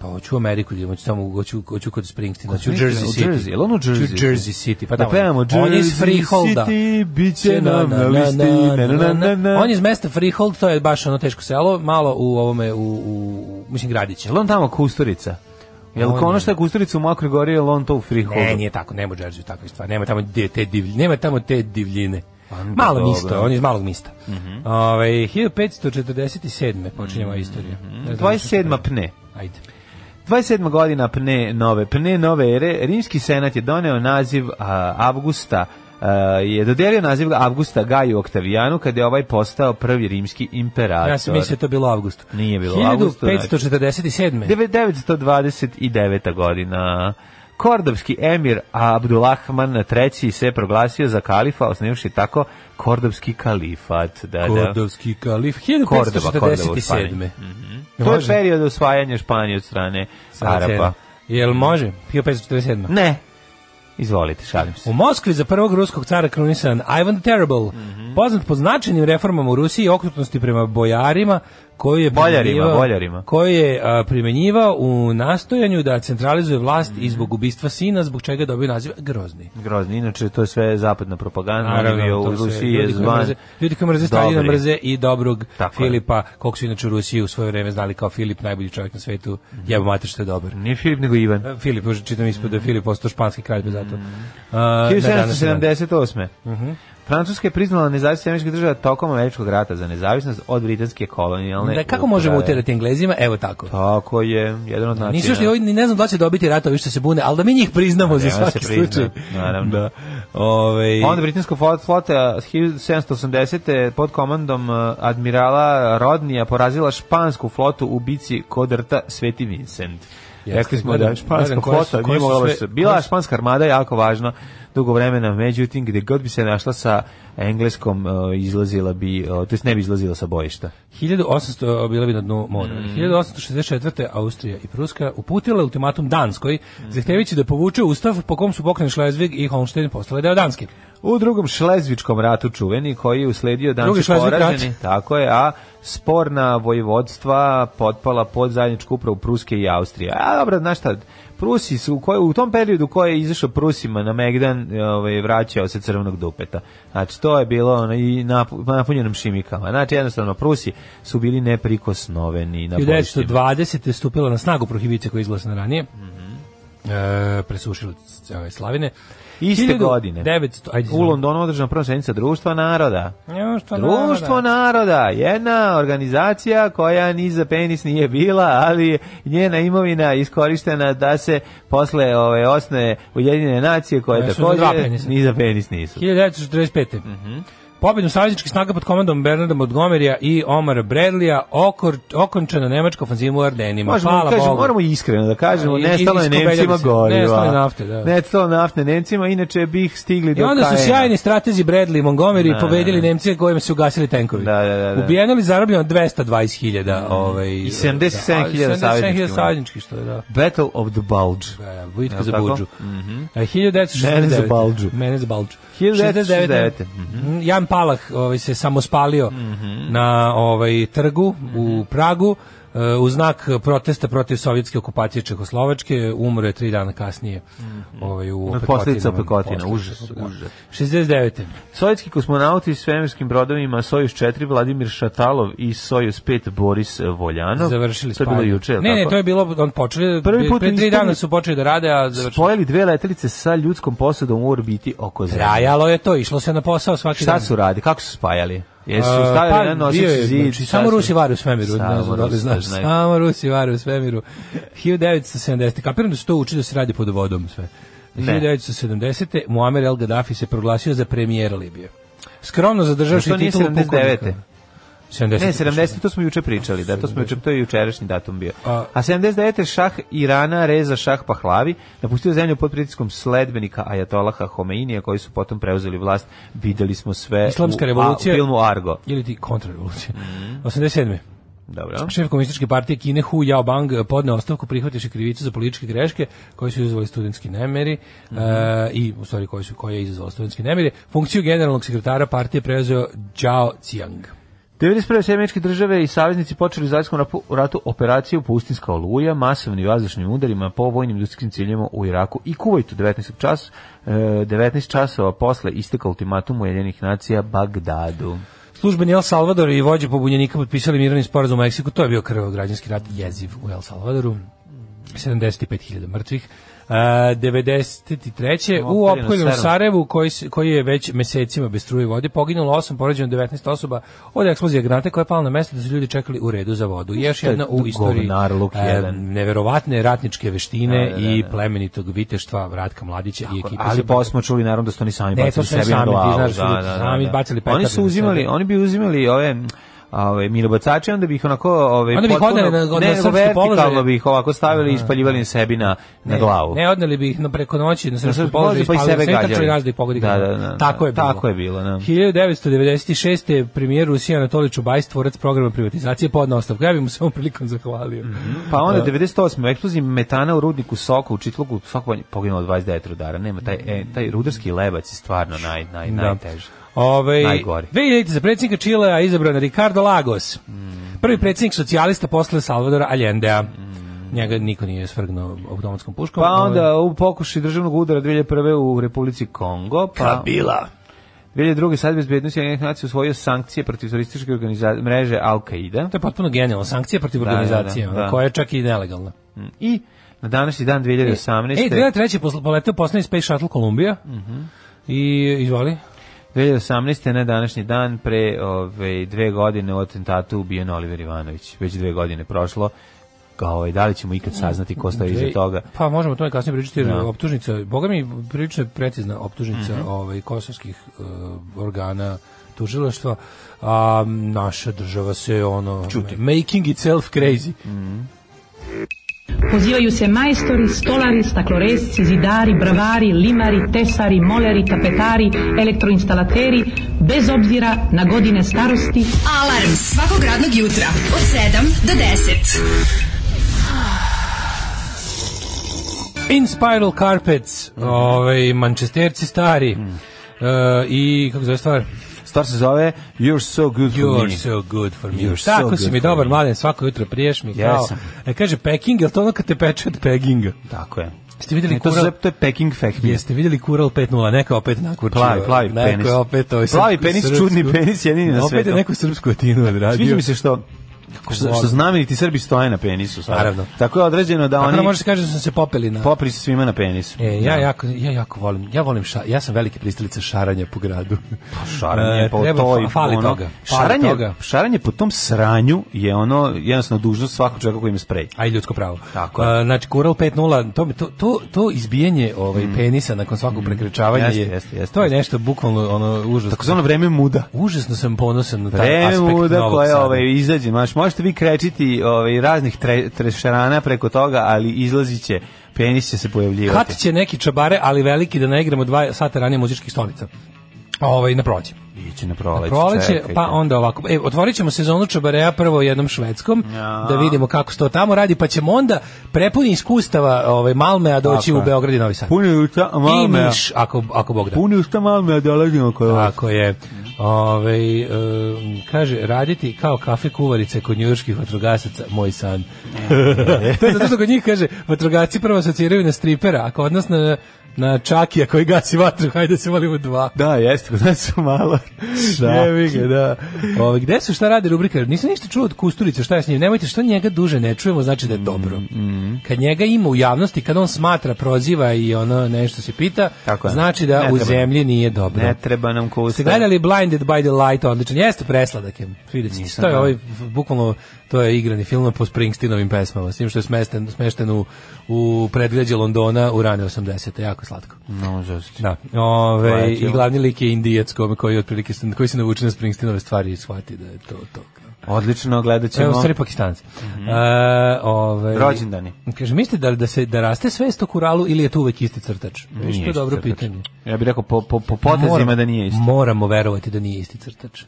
Speaker 5: pa hoću u Ameriku, da idem, hoću tamo, hoću, hoću kod Springsteena, hoću u Jersey
Speaker 6: Springsteena, u
Speaker 5: City.
Speaker 6: Jersey, jel on u Jersey?
Speaker 5: Hoću u Jersey City,
Speaker 6: Da
Speaker 5: pa da, on-
Speaker 6: pevamo
Speaker 5: on je
Speaker 6: Jersey
Speaker 5: iz Freeholda.
Speaker 6: City, bit će nam na listi, na, na, na, na.
Speaker 5: On je iz mesta Freehold, to je baš ono teško selo, malo u ovome, u, u mislim, gradiće. ono?
Speaker 6: Jel on tamo kusturica? Jel
Speaker 5: On
Speaker 6: ko ono
Speaker 5: je-
Speaker 6: što je kusturica u Makroj gori, jel on to u Freeholdu?
Speaker 5: Ne, nije tako, nema u Jersey takve stvari. Nema tamo de- te divljine, nema tamo te divljine.
Speaker 6: onda
Speaker 5: Malo
Speaker 6: dobro.
Speaker 5: misto, on je iz malog mista. Mm 1547. počinje moja istorija. Ne znam što se
Speaker 6: 27.
Speaker 5: pravi.
Speaker 6: pne.
Speaker 5: mhm. Ajde.
Speaker 6: 27. godina pne nove, pne nove ere, rimski senat je doneo naziv a, Avgusta, a, je dodelio naziv Avgusta Gaju Oktavijanu kada je ovaj postao prvi rimski imperator.
Speaker 5: Ja sam mislio da je to bilo u avgustu.
Speaker 6: Nije bilo u avgustu, znači.
Speaker 5: 1547.
Speaker 6: 929. godina. Kordobski emir Abdulrahman III se proglasio za kalifa, osnivši tako Kordobski kalifat. Da, da.
Speaker 5: Kordovski kalif.
Speaker 6: Kordova, Kordova u Španiji. Mhm.
Speaker 5: 1547.
Speaker 6: To je
Speaker 5: Može?
Speaker 6: period osvajanja Španije od strane Arapa.
Speaker 5: Jel može? 1547.
Speaker 6: Ne. Izvolite, šalim se.
Speaker 5: U Moskvi za prvog ruskog cara krunisan Ivan the Terrible,
Speaker 6: Mhm.
Speaker 5: poznat po značajnim reformama u Rusiji i okrutnosti prema bojarima, koju je
Speaker 6: Boljarima,
Speaker 5: primenjivao-
Speaker 6: boljarima.
Speaker 5: koju je a, primenjivao u nastojanju da centralizuje vlast i zbog ubistva sina, zbog čega je dobio naziv Grozni.
Speaker 6: Grozni, inače to je sve zapadna propaganda,
Speaker 5: Naravno,
Speaker 6: on je bio
Speaker 5: to
Speaker 6: u
Speaker 5: sve.
Speaker 6: Rusiji je
Speaker 5: Ljudi koji
Speaker 6: zvan.
Speaker 5: mrze- Ljudi koji mrze Staljina
Speaker 6: dobri.
Speaker 5: mrze i dobrog
Speaker 6: Tako je.
Speaker 5: Filipa, kog su inače u Rusiji u svoje vreme znali kao Filip, najbolji čovjek na svetu,
Speaker 6: Mhm.
Speaker 5: jebo mater što je dobar.
Speaker 6: Nije Filip, nego Ivan.
Speaker 5: E, Filip, už čitam ispod da je Filip postao španski kralj bez
Speaker 6: Mhm.
Speaker 5: zato. A, na današnji dan. Mhm.
Speaker 6: 1778. Francuska je priznala nezavisnost američkih država tokom američkog rata za nezavisnost od britanske kolonijalne
Speaker 5: Da, kako
Speaker 6: uprave.
Speaker 5: možemo uterati Englezima? Evo tako.
Speaker 6: Tako je, jedan od načina.
Speaker 5: Nisu što ni ne znam da li će dobiti ratovi što se bune, ali da mi njih priznamo za
Speaker 6: Pa, nema
Speaker 5: svaki
Speaker 6: se prizna,
Speaker 5: slučaj.
Speaker 6: naravno. Pa
Speaker 5: Da. Ovaj
Speaker 6: Onda britanska flot- flota 1780. pod komandom eh, admirala Rodnija porazila špansku flotu u bici kod rta Sveti Vincent.
Speaker 5: Jeste,
Speaker 6: Rekli smo
Speaker 5: gledam-
Speaker 6: da španska
Speaker 5: gledam koje su-
Speaker 6: flota
Speaker 5: koje
Speaker 6: nije
Speaker 5: su
Speaker 6: mogla baš-
Speaker 5: sve-
Speaker 6: Bila
Speaker 5: koje
Speaker 6: je
Speaker 5: su-
Speaker 6: španska armada jako važna dugo vremena, međutim, gde god bi se našla sa engleskom, eh, izlazila bi, eh, to jest ne bi izlazila sa bojišta.
Speaker 5: 1800 bila bi na dnu mora.
Speaker 6: Mm.
Speaker 5: 1864. Austrija i Pruska uputila ultimatum Danskoj,
Speaker 6: Mm.
Speaker 5: zahtevajući da povuče ustav po kom su pokrajine Schleswig i Holstein postale deo Danske.
Speaker 6: U drugom šlezvičkom ratu čuveni koji je usledio
Speaker 5: Drugi
Speaker 6: danci
Speaker 5: Šlezvički rat.
Speaker 6: poraženi, tako je, a sporna vojvodstva potpala pod zajedničku upravu Pruske i Austrije. A dobro, znaš šta, Prusi su u, kojoj- u tom periodu koji je izašao Prusima na Megdan, ovaj, vraćao se crvenog dupeta. Znači, to je bilo ono, i napu- napunjenom šimikama. Znači, jednostavno, Prusi su bili neprikosnoveni na bojištima.
Speaker 5: 1920. je stupila na snagu prohibicija koja je izglasana ranije.
Speaker 6: Mhm.
Speaker 5: E, presušila c- ove slavine.
Speaker 6: Iste godine.
Speaker 5: 900, ajde,
Speaker 6: U Londonu održana prva sednica Društva naroda.
Speaker 5: Društvo naroda.
Speaker 6: Društvo naroda, jedna organizacija koja ni za penis nije bila, ali je njena imovina iskorištena da se posle ove osne Ujedinjene nacije koje
Speaker 5: Koje su za dva
Speaker 6: takođe
Speaker 5: penisa.
Speaker 6: ni za penis nisu.
Speaker 5: 1945.
Speaker 6: Mhm.
Speaker 5: Pobjedom savezničkih snaga pod komandom Bernarda Montgomerya i Omara Bradleya okor, okončena nemačka ofenziva u Ardenima.
Speaker 6: Možemo,
Speaker 5: Hvala
Speaker 6: kažemo,
Speaker 5: Bogu.
Speaker 6: moramo iskreno da kažemo,
Speaker 5: I- i-
Speaker 6: nestalo je
Speaker 5: iskobeljali
Speaker 6: Nemcima
Speaker 5: se.
Speaker 6: goriva.
Speaker 5: Nestalo je nafte, da.
Speaker 6: Nestalo nafte Nemcima, inače bih stigli do
Speaker 5: I onda su
Speaker 6: Kajena.
Speaker 5: sjajni stratezi Bradley i Montgomery
Speaker 6: Da,
Speaker 5: pobedili
Speaker 6: da, da.
Speaker 5: Nemce kojima su ugasili tenkovi.
Speaker 6: Da, da, da, da.
Speaker 5: Ubijeno ili zarobljeno 220.000. Ovaj,
Speaker 6: I 77.000
Speaker 5: da,
Speaker 6: savezničkih.
Speaker 5: 77.000 savezničkih, što je, da.
Speaker 6: Battle of the Bulge.
Speaker 5: Da, da, bitka
Speaker 6: Jel
Speaker 5: za E,
Speaker 6: tako? Mhm.
Speaker 5: Budžu. A 1969.
Speaker 6: Mene za Balđu.
Speaker 5: Mene za Balđu.
Speaker 6: 1969.
Speaker 5: 69. Mhm. Jan Palah ovaj, se samospalio
Speaker 6: Mhm.
Speaker 5: na ovaj, trgu u Pragu eh, u znak protesta protiv sovjetske okupacije Čehoslovačke. Umro je tri dana kasnije. Ovaj, u
Speaker 6: Mhm. Od posledica
Speaker 5: opekotinama.
Speaker 6: opekotina,
Speaker 5: Posledica,
Speaker 6: užas,
Speaker 5: da.
Speaker 6: užas.
Speaker 5: 69.
Speaker 6: Sovjetski kosmonauti s svemirskim brodovima Sojuz 4 Vladimir Šatalov i Sojuz 5 Boris Voljanov.
Speaker 5: Završili
Speaker 6: To je bilo
Speaker 5: spajanje.
Speaker 6: juče, je li
Speaker 5: Ne, ne,
Speaker 6: tako?
Speaker 5: to je bilo, on počeli,
Speaker 6: Prvi
Speaker 5: Prvi
Speaker 6: put
Speaker 5: put pre tri
Speaker 6: ispali-
Speaker 5: dana su počeli da rade, a završili.
Speaker 6: Spojili dve letelice sa ljudskom posadom u orbiti oko Zemlje.
Speaker 5: Trajalo je to, išlo se na posao svaki
Speaker 6: Šta
Speaker 5: dan.
Speaker 6: su radi? Kako su spajali? Jesu
Speaker 5: A,
Speaker 6: stavili
Speaker 5: pa,
Speaker 6: na
Speaker 5: bio
Speaker 6: noseći
Speaker 5: je,
Speaker 6: zid?
Speaker 5: znači,
Speaker 6: šta
Speaker 5: samo
Speaker 6: su-
Speaker 5: Rusi vare u svemiru,
Speaker 6: Samo
Speaker 5: ne znam da li
Speaker 6: Rusi,
Speaker 5: znaš.
Speaker 6: znaju.
Speaker 5: Samo Rusi vare u svemiru. 1970. Kapiram da se to uči da se radi pod vodom sve.
Speaker 6: Ne.
Speaker 5: 1970. Muammar el Gaddafi se proglasio za premijera Libije. Skromno zadržavši
Speaker 6: Što nije
Speaker 5: titulu pukovnika.
Speaker 6: 79.
Speaker 5: 70.
Speaker 6: Ne, 70, to smo juče pričali, da, to smo juče, to je jučerašnji datum bio.
Speaker 5: A-
Speaker 6: A 79. šah Irana reza šah Pahlavi, napustio zemlju pod pritiskom sledbenika Ajatolaha Homeinija, koji su potom preuzeli vlast, videli smo sve u,
Speaker 5: Islamska
Speaker 6: a-
Speaker 5: revolucija.
Speaker 6: u filmu Argo.
Speaker 5: Ili ti kontrarevolucija.
Speaker 6: Mhm.
Speaker 5: 87.
Speaker 6: Dobro.
Speaker 5: Šef komunističke partije Kine Hu Yaobang podneo ostavku prihvativši krivicu za političke greške koje su izazvali studentski nemiri e, i u stvari koje su koje je izazvalo studentski nemiri. Funkciju generalnog sekretara partije preuzeo Zhao Qiang.
Speaker 6: 91. Sjemeničke države i saveznici počeli u Zajskom rapu- ratu operaciju Pustinska oluja, masovnim i vazdušnim udarima po vojnim industrijskim ciljima u Iraku i Kuvajtu 19 čas, e, 19 časova posle isteka ultimatum Ujedinjenih nacija Bagdadu.
Speaker 5: Službeni El Salvador i vođe pobunjenika potpisali mirovni sporazum u Meksiku. To je bio krvav građanski rat jeziv u El Salvadoru. 75.000 mrtvih. Uh, 93. u
Speaker 6: Opkoljeno
Speaker 5: opkoljenom
Speaker 6: Sarajevo.
Speaker 5: Sarajevu koji, se- koji je već mesecima bez struje i vode poginulo 8, porađeno 19 osoba od eksplozije granate koja je pala na mesto da su ljudi čekali u redu za vodu. I još
Speaker 6: Što je
Speaker 5: jedna u istoriji
Speaker 6: govnar luk
Speaker 5: e,
Speaker 6: jedan.
Speaker 5: neverovatne ratničke veštine
Speaker 6: Da, da, da,
Speaker 5: i
Speaker 6: da.
Speaker 5: plemenitog viteštva Vratka Mladića i ekipe.
Speaker 6: Ali
Speaker 5: Srbaka.
Speaker 6: posle smo čuli naravno da su oni sami
Speaker 5: pa- Ne, to
Speaker 6: bacili
Speaker 5: su oni
Speaker 6: sebi na
Speaker 5: sami, ti
Speaker 6: glavu.
Speaker 5: znaš, ljudi su sami bacili petarde
Speaker 6: Oni
Speaker 5: na
Speaker 6: su uzimali,
Speaker 5: sebe.
Speaker 6: oni bi uzimali ove ove minobacače onda bi ih onako ove
Speaker 5: Onda bi ih odneli na- na
Speaker 6: ne, nego
Speaker 5: srpske položaje.
Speaker 6: vertikalno bi ih ovako stavili i ispaljivali sebi na na glavu.
Speaker 5: Ne, odneli bi ih na preko noći na srpsku
Speaker 6: srpsku
Speaker 5: položaj,
Speaker 6: položaj, pa i sebe gađali.
Speaker 5: Nas da ih pogodi
Speaker 6: Da,
Speaker 5: granata.
Speaker 6: da, da,
Speaker 5: tako je bilo.
Speaker 6: tako je bilo, da.
Speaker 5: 1996. je premijer Rusija Anatolij Čubaj, stvorac programa privatizacije, podnao ostavku. Ja bih mu se ovom prilikom zahvalio.
Speaker 6: Pa onda 98. u eksploziji metana u rudniku Soko u Čitlugu Soko je poginulo 29 rudara. Nema taj e, taj rudarski lebac je stvarno naj naj
Speaker 5: Da.
Speaker 6: najteži.
Speaker 5: Ove,
Speaker 6: Najgori.
Speaker 5: 2000. Ovaj, za predsjednika Čilea izabran Ricardo Lagos.
Speaker 6: Mhm.
Speaker 5: Prvi predsjednik socijalista posle Salvadora Allendea. Njega niko nije svrgnuo automatskom puškom. ovaj,
Speaker 6: Pa onda u pokušaju državnog udara 2001. u Republici Kongo, pa
Speaker 5: Kabila.
Speaker 6: 2002. sad bezbednosti jednih nacija usvojio sankcije protiv terorističke organiza- mreže Al-Qaida
Speaker 5: To je potpuno genijalno. Sankcije protiv
Speaker 6: Da, da, da,
Speaker 5: organizacije, ona,
Speaker 6: da.
Speaker 5: koja je čak i nelegalna.
Speaker 6: Mm, i na današnji
Speaker 5: E,
Speaker 6: dan 2018.
Speaker 5: Ej, 2003. posle- poleteo poslednji Space Shuttle Columbia.
Speaker 6: Mhm.
Speaker 5: I, izvoli.
Speaker 6: 2018. na današnji dan pre ove, dve godine u atentatu ubijen Oliver Ivanović. Već dve godine prošlo. Kao, ovaj, da li ćemo ikad saznati ko stoji iza
Speaker 5: Dve-
Speaker 6: toga?
Speaker 5: Pa možemo o tome kasnije pričati, jer
Speaker 6: Da. Mhm.
Speaker 5: optužnica, boga mi prilično je precizna optužnica ovaj, kosovskih eh, organa tužilaštva, a naša država se ono... Making itself crazy.
Speaker 6: Mhm.
Speaker 1: Pozivaju se majstori, stolari, stakloresci, zidari, bravari, limari, tesari, moleri, tapetari, elektroinstalateri, bez obzira na godine starosti
Speaker 5: Mm,
Speaker 4: Alarm svakog radnog jutra od 7 do 10.
Speaker 5: In Spiral Carpets,
Speaker 6: Mhm.
Speaker 5: ovaj, mančesterci stari. Eh, I, kako se zove stvar?
Speaker 6: Stvar se zove You're so good for
Speaker 5: You're
Speaker 6: me.
Speaker 5: so good for me.
Speaker 6: You're so
Speaker 5: Tako
Speaker 6: good
Speaker 5: si mi
Speaker 6: for
Speaker 5: dobar,
Speaker 6: me.
Speaker 5: mladen, svako jutro priješ mi kao...
Speaker 6: Jesam.
Speaker 5: E, kaže, peking, je li to ono kad te peče od peginga?
Speaker 6: Tako je.
Speaker 5: Jeste vidjeli
Speaker 6: Ne, to, se
Speaker 5: kural-
Speaker 6: zove- to je Peking Fact.
Speaker 5: Jeste vidjeli Kural 5.0, neka opet nakurčio.
Speaker 6: Plavi- plavi
Speaker 5: neko je
Speaker 6: penis.
Speaker 5: opet ovaj
Speaker 6: Plavi
Speaker 5: srpsku-
Speaker 6: penis,
Speaker 5: srpsku-
Speaker 6: čudni penis, jedini na
Speaker 5: Opet je
Speaker 6: svetu.
Speaker 5: neku srpsku etinu odradio.
Speaker 6: Sviđa mi se što što,
Speaker 5: volim.
Speaker 6: što znameniti Srbi stoje na penisu. sada.
Speaker 5: Naravno.
Speaker 6: Tako je određeno da
Speaker 5: Tako da
Speaker 6: oni
Speaker 5: može se kaže da sam se popeli na...
Speaker 6: popri su svima na penisu.
Speaker 5: E, ja, jako, ja jako volim, ja volim ša, ja sam veliki pristalica šaranja po gradu.
Speaker 6: Pa šaranje
Speaker 5: E,
Speaker 6: po
Speaker 5: treba,
Speaker 6: toj
Speaker 5: fa- fali
Speaker 6: ono,
Speaker 5: toga, fali
Speaker 6: šaranje,
Speaker 5: toga.
Speaker 6: šaranje po tom sranju je ono jednostavno dužnost svakog čovjeka koji ima sprej.
Speaker 5: A i ljudsko pravo.
Speaker 6: Tako je.
Speaker 5: A, znači, Kural 5.0, to, mi- to, to, to izbijanje ovaj, penisa nakon svakog prekrečavanja
Speaker 6: Mm. Jeste,
Speaker 5: je,
Speaker 6: jeste, jeste,
Speaker 5: to je nešto bukvalno ono, užasno.
Speaker 6: Tako zvano vreme muda.
Speaker 5: Užasno sam ponosan na taj
Speaker 6: Vreme
Speaker 5: aspekt
Speaker 6: muda
Speaker 5: Novog
Speaker 6: koje
Speaker 5: Sada.
Speaker 6: ovaj, izađe. Maš, možete vi krečiti ovaj, raznih tre, trešarana preko toga, ali izlazit će, penis će se pojavljivati.
Speaker 5: Kad će neki čabare, ali veliki da ne igramo dva sata ranije muzičkih stolica. Ovaj, na proći.
Speaker 6: Ići na proleće.
Speaker 5: Proleće,
Speaker 6: čekajte.
Speaker 5: pa onda ovako. E, otvorit ćemo sezonu čabareja prvo jednom švedskom,
Speaker 6: Ja.
Speaker 5: da vidimo kako se to tamo radi, pa ćemo onda prepuni iskustava ovaj, Malme, a doći
Speaker 6: Tako
Speaker 5: u
Speaker 6: je.
Speaker 5: Beograd i Novi Sad.
Speaker 6: Puni usta
Speaker 5: I
Speaker 6: malmea.
Speaker 5: Niš, ako, ako Bog da.
Speaker 6: Puni usta malmea da ležimo kod vas.
Speaker 5: Tako je. Ovaj, em, kaže, raditi kao kafe kuvarice kod njujorških vatrogasaca, moj san.
Speaker 6: E.
Speaker 5: to je zato što kod njih, kaže, vatrogasci prvo asociraju na stripera, a kod nas na, na čakija koji gasi vatru, hajde se volimo dva.
Speaker 6: Da, jeste, kod nas su malo.
Speaker 5: Jevi ga, da. Ove, gde su šta radi rubrika? Nisam ništa čuo od Kusturice, šta je s njim? Nemojte, što njega duže ne čujemo, znači
Speaker 6: Mm,
Speaker 5: da je dobro. Kad njega ima u javnosti, kad on smatra, proziva i ono nešto se pita,
Speaker 6: Tako je.
Speaker 5: znači da
Speaker 6: Ne
Speaker 5: u
Speaker 6: treba.
Speaker 5: zemlji nije dobro.
Speaker 6: Ne treba nam ko
Speaker 5: Ste
Speaker 6: usta.
Speaker 5: gledali Blinded by the Light, odličan. Jeste presladak je. Vidite, to je ovaj bukvalno To je igrani film po Springsteenovim pesmama, s tim što je smešten, smešten u, u predgrađe Londona u rane 80. Jako slatko.
Speaker 6: No, žest.
Speaker 5: Da. Ove,
Speaker 6: Pojetljivo.
Speaker 5: I glavni lik je indijac kom- koji, je otprilike, koji se navuče na Springsteenove stvari i shvati da je to to.
Speaker 6: Odlično, gledat ćemo.
Speaker 5: Evo, stvari pakistanci. E, ovaj,
Speaker 6: Mhm. Rođendani.
Speaker 5: Kaže, mislite da, da, se, da raste svest o kuralu ili je to uvek isti crtač? Viš, to
Speaker 6: Nije
Speaker 5: je dobro
Speaker 6: isti crtač.
Speaker 5: pitanje.
Speaker 6: Ja bih rekao po, po, po potezima
Speaker 5: Moram-
Speaker 6: da nije isti.
Speaker 5: Moramo verovati da nije isti crtač.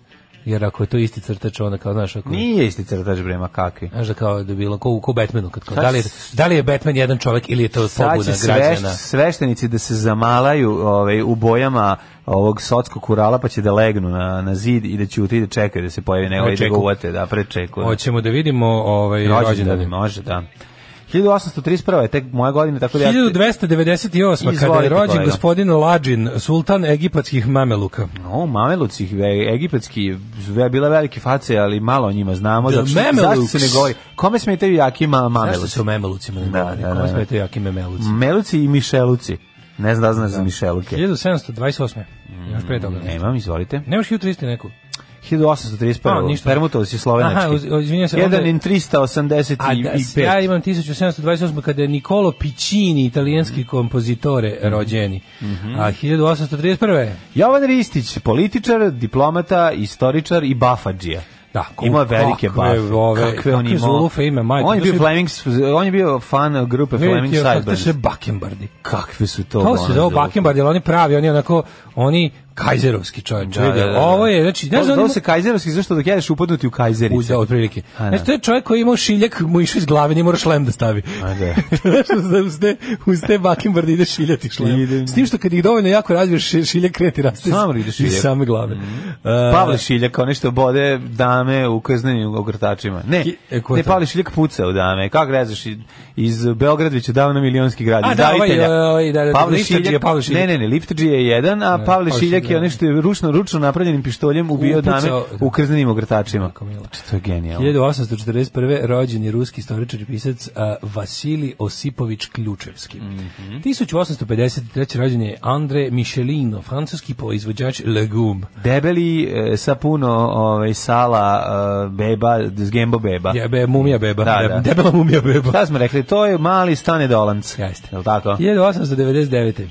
Speaker 5: Jer ako je to isti crtač, onda kao, znaš, ako...
Speaker 6: Nije isti crtač bre, ma kakvi.
Speaker 5: Znaš da kao da je bilo, ko, ko u Batmanu. Kad, kao,
Speaker 6: Sad
Speaker 5: da, li je,
Speaker 6: će-
Speaker 5: da li je Batman jedan čovjek ili je to
Speaker 6: Sad će
Speaker 5: pobuna
Speaker 6: sveš,
Speaker 5: građana?
Speaker 6: sveštenici da se zamalaju ovaj, u bojama ovog sotskog kurala, pa će da legnu na, na zid i da će i da čekaju da se pojavi neko i da ga
Speaker 5: Prečeku.
Speaker 6: uvate, da, prečeku.
Speaker 5: Hoćemo da vidimo ovaj,
Speaker 6: Rođendani,
Speaker 5: rođendane.
Speaker 6: može, da. 1831. je tek moja godina, tako da ja...
Speaker 5: 1298. kada
Speaker 6: Izvolite,
Speaker 5: je rođen
Speaker 6: kolega.
Speaker 5: gospodin Lađin, sultan egipatskih mameluka.
Speaker 6: O, mameluci, e, egipatski, ve- bila velike face, ali malo o njima znamo.
Speaker 5: The
Speaker 6: Zato što, zašto
Speaker 5: Mamelukes.
Speaker 6: se ne govori? Kome smetaju jaki ma,
Speaker 5: Zašto
Speaker 6: mameluci?
Speaker 5: se o memelucima ne
Speaker 6: Da,
Speaker 5: govori?
Speaker 6: da, da. Mm.
Speaker 5: Kome smete jaki memeluci?
Speaker 6: Meluci i mišeluci. Ne znam da li znaš za mišeluke.
Speaker 5: 1728. Još pre toga.
Speaker 6: Nemam, izvolite.
Speaker 5: Nemaš 1300 neku?
Speaker 6: 1831.
Speaker 5: A, ništa.
Speaker 6: Permutovci slovenački.
Speaker 5: Aha, uz- izvinjam se, onda-
Speaker 6: 1 in 385.
Speaker 5: A da, ja imam 1728. kada je Nicolo Piccini,
Speaker 6: Mhm.
Speaker 5: italijanski kompozitore, rođeni. A 1831.
Speaker 6: Jovan Ristić, političar, diplomata, istoričar i bafađija.
Speaker 5: Da, ko-
Speaker 6: Ima velike
Speaker 5: kakve
Speaker 6: bafe.
Speaker 5: ove-
Speaker 6: kakve on
Speaker 5: kakve
Speaker 6: ima.
Speaker 5: zulufe ima, majko.
Speaker 6: On je
Speaker 5: To
Speaker 6: bio
Speaker 5: su-
Speaker 6: Flemings, on je bio fan grupe Fleming
Speaker 5: Vidite, to
Speaker 6: Sideburns.
Speaker 5: su Bakembardi.
Speaker 6: Kakve su to?
Speaker 5: To
Speaker 6: ono
Speaker 5: se zove
Speaker 6: zulufe?
Speaker 5: Bakembard, jer oni pravi, oni onako, oni kajzerovski čovječ.
Speaker 6: Da, da, da, da.
Speaker 5: Ovo je, znači,
Speaker 6: To-
Speaker 5: znaš da
Speaker 6: to
Speaker 5: oni...
Speaker 6: se kajzerovski, zašto dok jedeš upadnuti u
Speaker 5: U,
Speaker 6: kajzerice?
Speaker 5: da, otprilike.
Speaker 6: A, da.
Speaker 5: Znači, to je čovjek koji je imao šiljak, mu je išao iz glave, nije mora šlem da stavi.
Speaker 6: A, da.
Speaker 5: Znaš, uz te, uz te bakimbarde ide šiljati šlem.
Speaker 6: Ide.
Speaker 5: S tim što kad ih dovoljno jako razviješ, ši- šiljak kreti raste iz-
Speaker 6: Samo ide šiljak.
Speaker 5: iz same glave. E,
Speaker 6: Pavle Šiljak, onaj što bode dame u kaznenim ogrtačima. Ne,
Speaker 5: Ki- e, ko je
Speaker 6: ne
Speaker 5: to?
Speaker 6: Pavle Šiljak puca u dame. Kako rezaš? i- Iz Beogradvića dao na milionski grad.
Speaker 5: A,
Speaker 6: iz
Speaker 5: da, ovaj,
Speaker 6: davitelja.
Speaker 5: ovaj, da, da, Lifterđija, Pavle Šiljak.
Speaker 6: Ne, ne, ne, Lifterđi je jedan, a Pavle
Speaker 5: Pavle
Speaker 6: Šiljak
Speaker 5: Šiljak,
Speaker 6: je onaj što je ručno, ručno napravljenim pištoljem ubio
Speaker 5: Upucao-
Speaker 6: dame u krznenim ogrtačima. Znači,
Speaker 5: Kako milo.
Speaker 6: To je genijalno.
Speaker 5: 1841. rođen je ruski istoričar i pisac a, Vasili Osipović Ključevski.
Speaker 6: Mhm.
Speaker 5: 1853. rođen je Andre Michelino, francuski proizvođač legum.
Speaker 6: Debeli e, sa puno ovaj, sala e, beba, s gembo beba.
Speaker 5: Jebe, mumija beba.
Speaker 6: Da,
Speaker 5: De-
Speaker 6: da.
Speaker 5: Debela mumija beba.
Speaker 6: Šta smo rekli? To je mali stane dolanc.
Speaker 5: Jeste.
Speaker 6: Je li tako? Mhm.
Speaker 5: 1899.